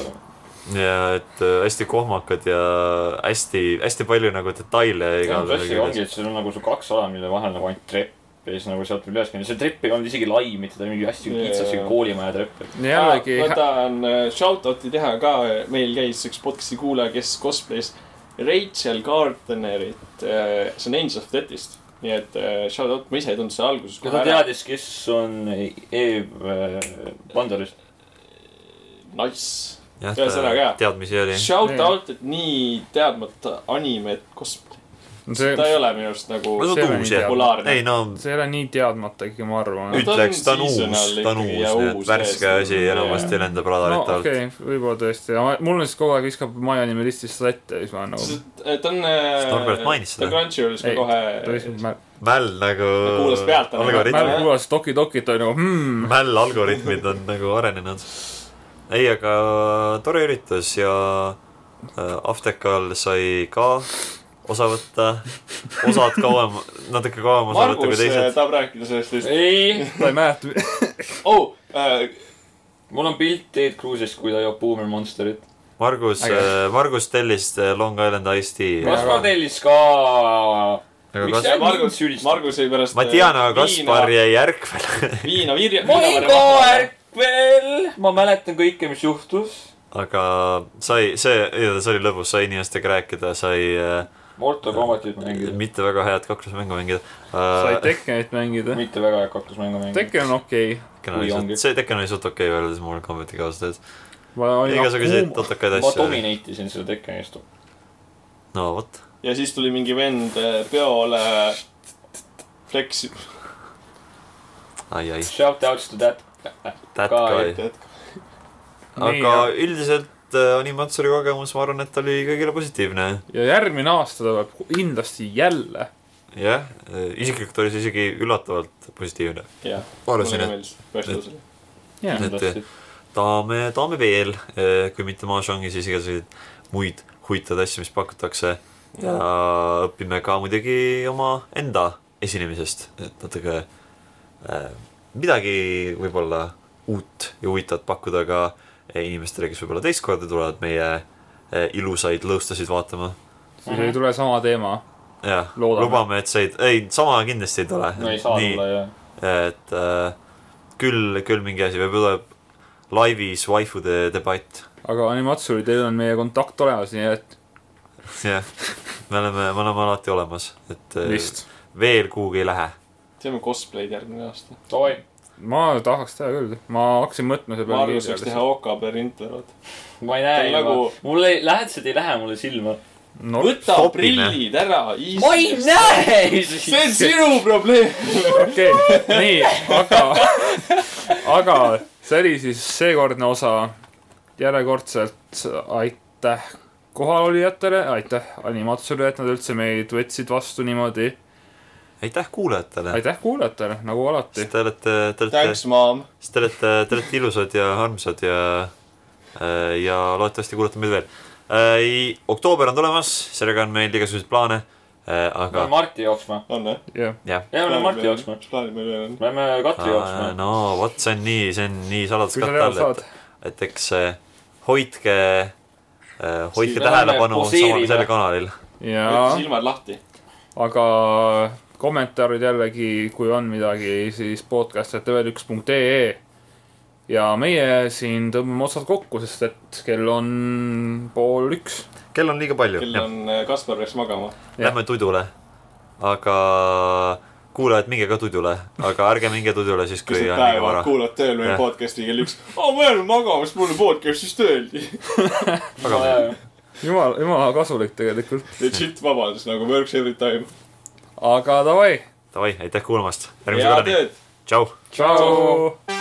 [SPEAKER 1] ja et äh, hästi kohmakad ja hästi , hästi palju nagu detaile
[SPEAKER 4] see on
[SPEAKER 1] igal .
[SPEAKER 4] tõesti ongi , et sul on nagu see kaks ala , mille vahel nagu ainult trepp ja siis nagu sealt tuli üles minna , see trepp ei olnud isegi lai , mitte ta oli mingi hästi
[SPEAKER 2] Jaa.
[SPEAKER 4] kitsas siuke koolimaja trepp .
[SPEAKER 3] jällegi
[SPEAKER 2] Ah, ma , tahan äh, shout-out'i teha ka , meil käis üks podcast'i kuulaja , kes cosplay's Rachel Gardnerit , see on Angel of Death'ist . nii et äh, shout-out , ma ise ei tundnud seda alguses
[SPEAKER 4] ta . teadis , kes on Eve äh, Pandorist .
[SPEAKER 2] Nice ,
[SPEAKER 1] jah ,
[SPEAKER 2] Ühesõnaga, jah.
[SPEAKER 1] teadmisi oli .
[SPEAKER 2] shout-out , et nii teadmata animet cosplay ,
[SPEAKER 3] see ,
[SPEAKER 2] ta ei ole minu arust nagu
[SPEAKER 1] no see
[SPEAKER 3] see
[SPEAKER 1] on
[SPEAKER 3] oli
[SPEAKER 1] uus jah .
[SPEAKER 2] populaarne .
[SPEAKER 1] ei no
[SPEAKER 3] see ei ole nii teadmata ikkagi , ma
[SPEAKER 2] ta
[SPEAKER 3] arvan .
[SPEAKER 2] on
[SPEAKER 1] ütleks , ta on uus ,
[SPEAKER 2] seasonal
[SPEAKER 1] ta on uus ,
[SPEAKER 2] ikkagi ja
[SPEAKER 1] nii et
[SPEAKER 2] uus
[SPEAKER 1] värske
[SPEAKER 2] täiesti.
[SPEAKER 1] asi enamasti lendab
[SPEAKER 3] no
[SPEAKER 1] radarit alt .
[SPEAKER 3] okei okay, , võib-olla tõesti , mul lihtsalt kogu aeg viskab My Anime Listist seda ette ja siis ma olen nagu ,
[SPEAKER 2] sest ta on .
[SPEAKER 1] Norbert mainis
[SPEAKER 2] ta
[SPEAKER 1] seda.
[SPEAKER 2] Crunchyrollis ka
[SPEAKER 3] Ei,
[SPEAKER 2] kohe .
[SPEAKER 3] ta viskab , ma
[SPEAKER 1] mäll nagu .
[SPEAKER 2] Ta kuulas pealt, aga-
[SPEAKER 1] algoritmid
[SPEAKER 2] Mäll- .
[SPEAKER 3] kuulasin Toki Tokit , olin nagu hmm .
[SPEAKER 1] mäll algoritmid on nagu arenenud . ei , aga tore üritus ja äh, Aftekal sai ka osa võtta , osad kauem , natuke kauem osa võtta
[SPEAKER 2] Margus
[SPEAKER 1] kui
[SPEAKER 2] äh,
[SPEAKER 1] teised .
[SPEAKER 2] tahab rääkida sellest vist .
[SPEAKER 4] ei ,
[SPEAKER 3] ta ei mäleta ,
[SPEAKER 2] oh , äh,
[SPEAKER 4] mul on pilt Ted Cruzist , kui ta joob Boomer Monsterit .
[SPEAKER 1] Margus
[SPEAKER 3] Äge. ,
[SPEAKER 1] Margus tellis äh, Long Island Ice Tea .
[SPEAKER 4] Kaspar tellis ka .
[SPEAKER 1] aga
[SPEAKER 4] miks
[SPEAKER 1] kas ,
[SPEAKER 4] see-
[SPEAKER 2] Margus
[SPEAKER 4] mind , süüdistab.
[SPEAKER 2] Margus jäi pärast .
[SPEAKER 1] ma tean , aga Kaspar jäi ärkvele .
[SPEAKER 2] viina virje .
[SPEAKER 4] oi ka . ärkvel , ma mäletan kõike , mis juhtus .
[SPEAKER 1] aga sai , see , see oli lõbus , sai inimestega rääkida , sai äh,
[SPEAKER 4] Mortal Combatit mängida ,
[SPEAKER 1] mitte väga head kaklusmängu mängida
[SPEAKER 3] sai
[SPEAKER 1] äh, .
[SPEAKER 3] Tekkenit mängida .
[SPEAKER 4] mitte väga hea kaklusmängu mängida .
[SPEAKER 3] Tekken on okei okay. ,
[SPEAKER 4] kui ongi.
[SPEAKER 1] see Tekken oli suht okei võrreldes mul Combatiga ausalt öeldes .
[SPEAKER 3] ma olin nagu,
[SPEAKER 1] igasuguseid
[SPEAKER 3] kuum-
[SPEAKER 1] totakaid
[SPEAKER 4] ma
[SPEAKER 1] asju .
[SPEAKER 4] dominate isin seda Tekkenist .
[SPEAKER 1] no vot ,
[SPEAKER 2] ja siis tuli mingi vend äh, peole fleksi- .
[SPEAKER 1] Eh, ai , ai ,
[SPEAKER 4] Shout out to that .
[SPEAKER 1] that
[SPEAKER 4] Ka-
[SPEAKER 1] guy .
[SPEAKER 3] Nii,
[SPEAKER 1] aga
[SPEAKER 3] ja-
[SPEAKER 1] üldiselt äh, animatsori kogemus , ma arvan , et oli kõigile positiivne .
[SPEAKER 3] ja järgmine aasta tuleb kindlasti jälle .
[SPEAKER 1] jah , isiklikult oli see isegi üllatavalt positiivne .
[SPEAKER 2] jah ,
[SPEAKER 1] ma
[SPEAKER 2] mulle
[SPEAKER 1] arvasin ,
[SPEAKER 2] ka
[SPEAKER 1] et
[SPEAKER 2] meeldis . vestlus oli .
[SPEAKER 3] jah ,
[SPEAKER 1] tahame , tahame veel , kui mitte Mahjongi , siis igasuguseid muid huvitavaid asju , mis pakutakse . ja õpime ka muidugi oma enda esinemisest , et natuke äh, midagi võib-olla uut ja huvitavat pakkuda ka eh, inimestele , kes võib-olla teist korda tulevad meie äh, ilusaid lõustasid vaatama .
[SPEAKER 3] siis ei tule sama teema .
[SPEAKER 1] jah ,
[SPEAKER 3] Loodame.
[SPEAKER 1] lubame , et see ei , ei sama kindlasti ei tule .
[SPEAKER 4] no ei saa tulla jah .
[SPEAKER 1] et äh, küll , küll mingi asi , võib-olla laivis waifude debatt ,
[SPEAKER 3] aga animatsioonid , teil on meie kontakt olemas , nii et
[SPEAKER 1] jah . me oleme , me oleme alati olemas , et äh,
[SPEAKER 3] vist .
[SPEAKER 1] veel kuhugi ei lähe .
[SPEAKER 2] teeme cosplay'd järgmine aasta .
[SPEAKER 4] oi ,
[SPEAKER 3] ma tahaks teha küll , ma hakkasin mõtlema selle
[SPEAKER 2] Margus võiks teha
[SPEAKER 3] peale .
[SPEAKER 2] OK printerot .
[SPEAKER 4] ma ei näe
[SPEAKER 2] Ta on
[SPEAKER 4] juba
[SPEAKER 2] nagu-
[SPEAKER 4] nagu... , mul ei , lähedased ei lähe mulle silma .
[SPEAKER 3] no
[SPEAKER 2] võta
[SPEAKER 1] stopime.
[SPEAKER 2] prillid ära .
[SPEAKER 4] ma ei . näe
[SPEAKER 2] see on
[SPEAKER 4] siis .
[SPEAKER 2] sinu probleem .
[SPEAKER 3] okei okay. , nii , aga , aga see oli siis seekordne osa . järjekordselt aitäh kohalolijatele , aitäh animatsioonile , et nad üldse meid võtsid vastu niimoodi .
[SPEAKER 1] aitäh kuulajatele ,
[SPEAKER 3] aitäh kuulajatele , nagu alati
[SPEAKER 1] sest . te olete , te olete
[SPEAKER 2] Thanks , mom .
[SPEAKER 1] sest te olete , te olete ilusad ja armsad ja , ja loodetavasti kuulete meid veel . oktoober on tulemas , sellega on meil igasuguseid plaane ,
[SPEAKER 4] ma
[SPEAKER 1] aga
[SPEAKER 4] lähen Marti jooksma .
[SPEAKER 2] on või ?
[SPEAKER 3] jah ,
[SPEAKER 1] jah .
[SPEAKER 4] jah , ma lähen Marti jooksma .
[SPEAKER 2] plaanid meil veel on .
[SPEAKER 4] me lähme Katri jooksma .
[SPEAKER 1] Äh, no vot , see on nii , see on nii
[SPEAKER 3] kui sa teada
[SPEAKER 1] saladuskatte all ,
[SPEAKER 3] saad
[SPEAKER 1] et , et eks äh, hoidke , hoidke
[SPEAKER 4] Siin
[SPEAKER 1] tähelepanu
[SPEAKER 4] läheme
[SPEAKER 1] samal ,
[SPEAKER 4] poseerime.
[SPEAKER 1] sellel kanalil .
[SPEAKER 3] ja
[SPEAKER 2] silmad lahti .
[SPEAKER 3] aga kommentaarid jällegi , kui on midagi , siis podcast.tv1.ee e ja meie siin tõmbame otsad kokku , sest et kell on pool üks .
[SPEAKER 1] kell on liiga palju ,
[SPEAKER 2] kell on , Kaspar peaks magama .
[SPEAKER 1] lähme tudule . aga kuulajad , minge ka tudule , aga ärge minge tudule siis ,
[SPEAKER 2] kui
[SPEAKER 1] kui on
[SPEAKER 2] sa
[SPEAKER 1] liiga
[SPEAKER 2] päeva
[SPEAKER 1] vara .
[SPEAKER 2] kuulad tööl meie
[SPEAKER 1] Jah.
[SPEAKER 2] podcast'i kell üks . aa , ma jään magama , sest mul on podcast'ist öeldi .
[SPEAKER 3] jumal , jumala kasulik tegelikult .
[SPEAKER 2] Legit vabandus nagu works every time .
[SPEAKER 3] aga davai ,
[SPEAKER 1] Davai , aitäh kuulamast , järgmise
[SPEAKER 2] head
[SPEAKER 1] korrani ,
[SPEAKER 2] tööd .
[SPEAKER 1] tšau .
[SPEAKER 3] tšau .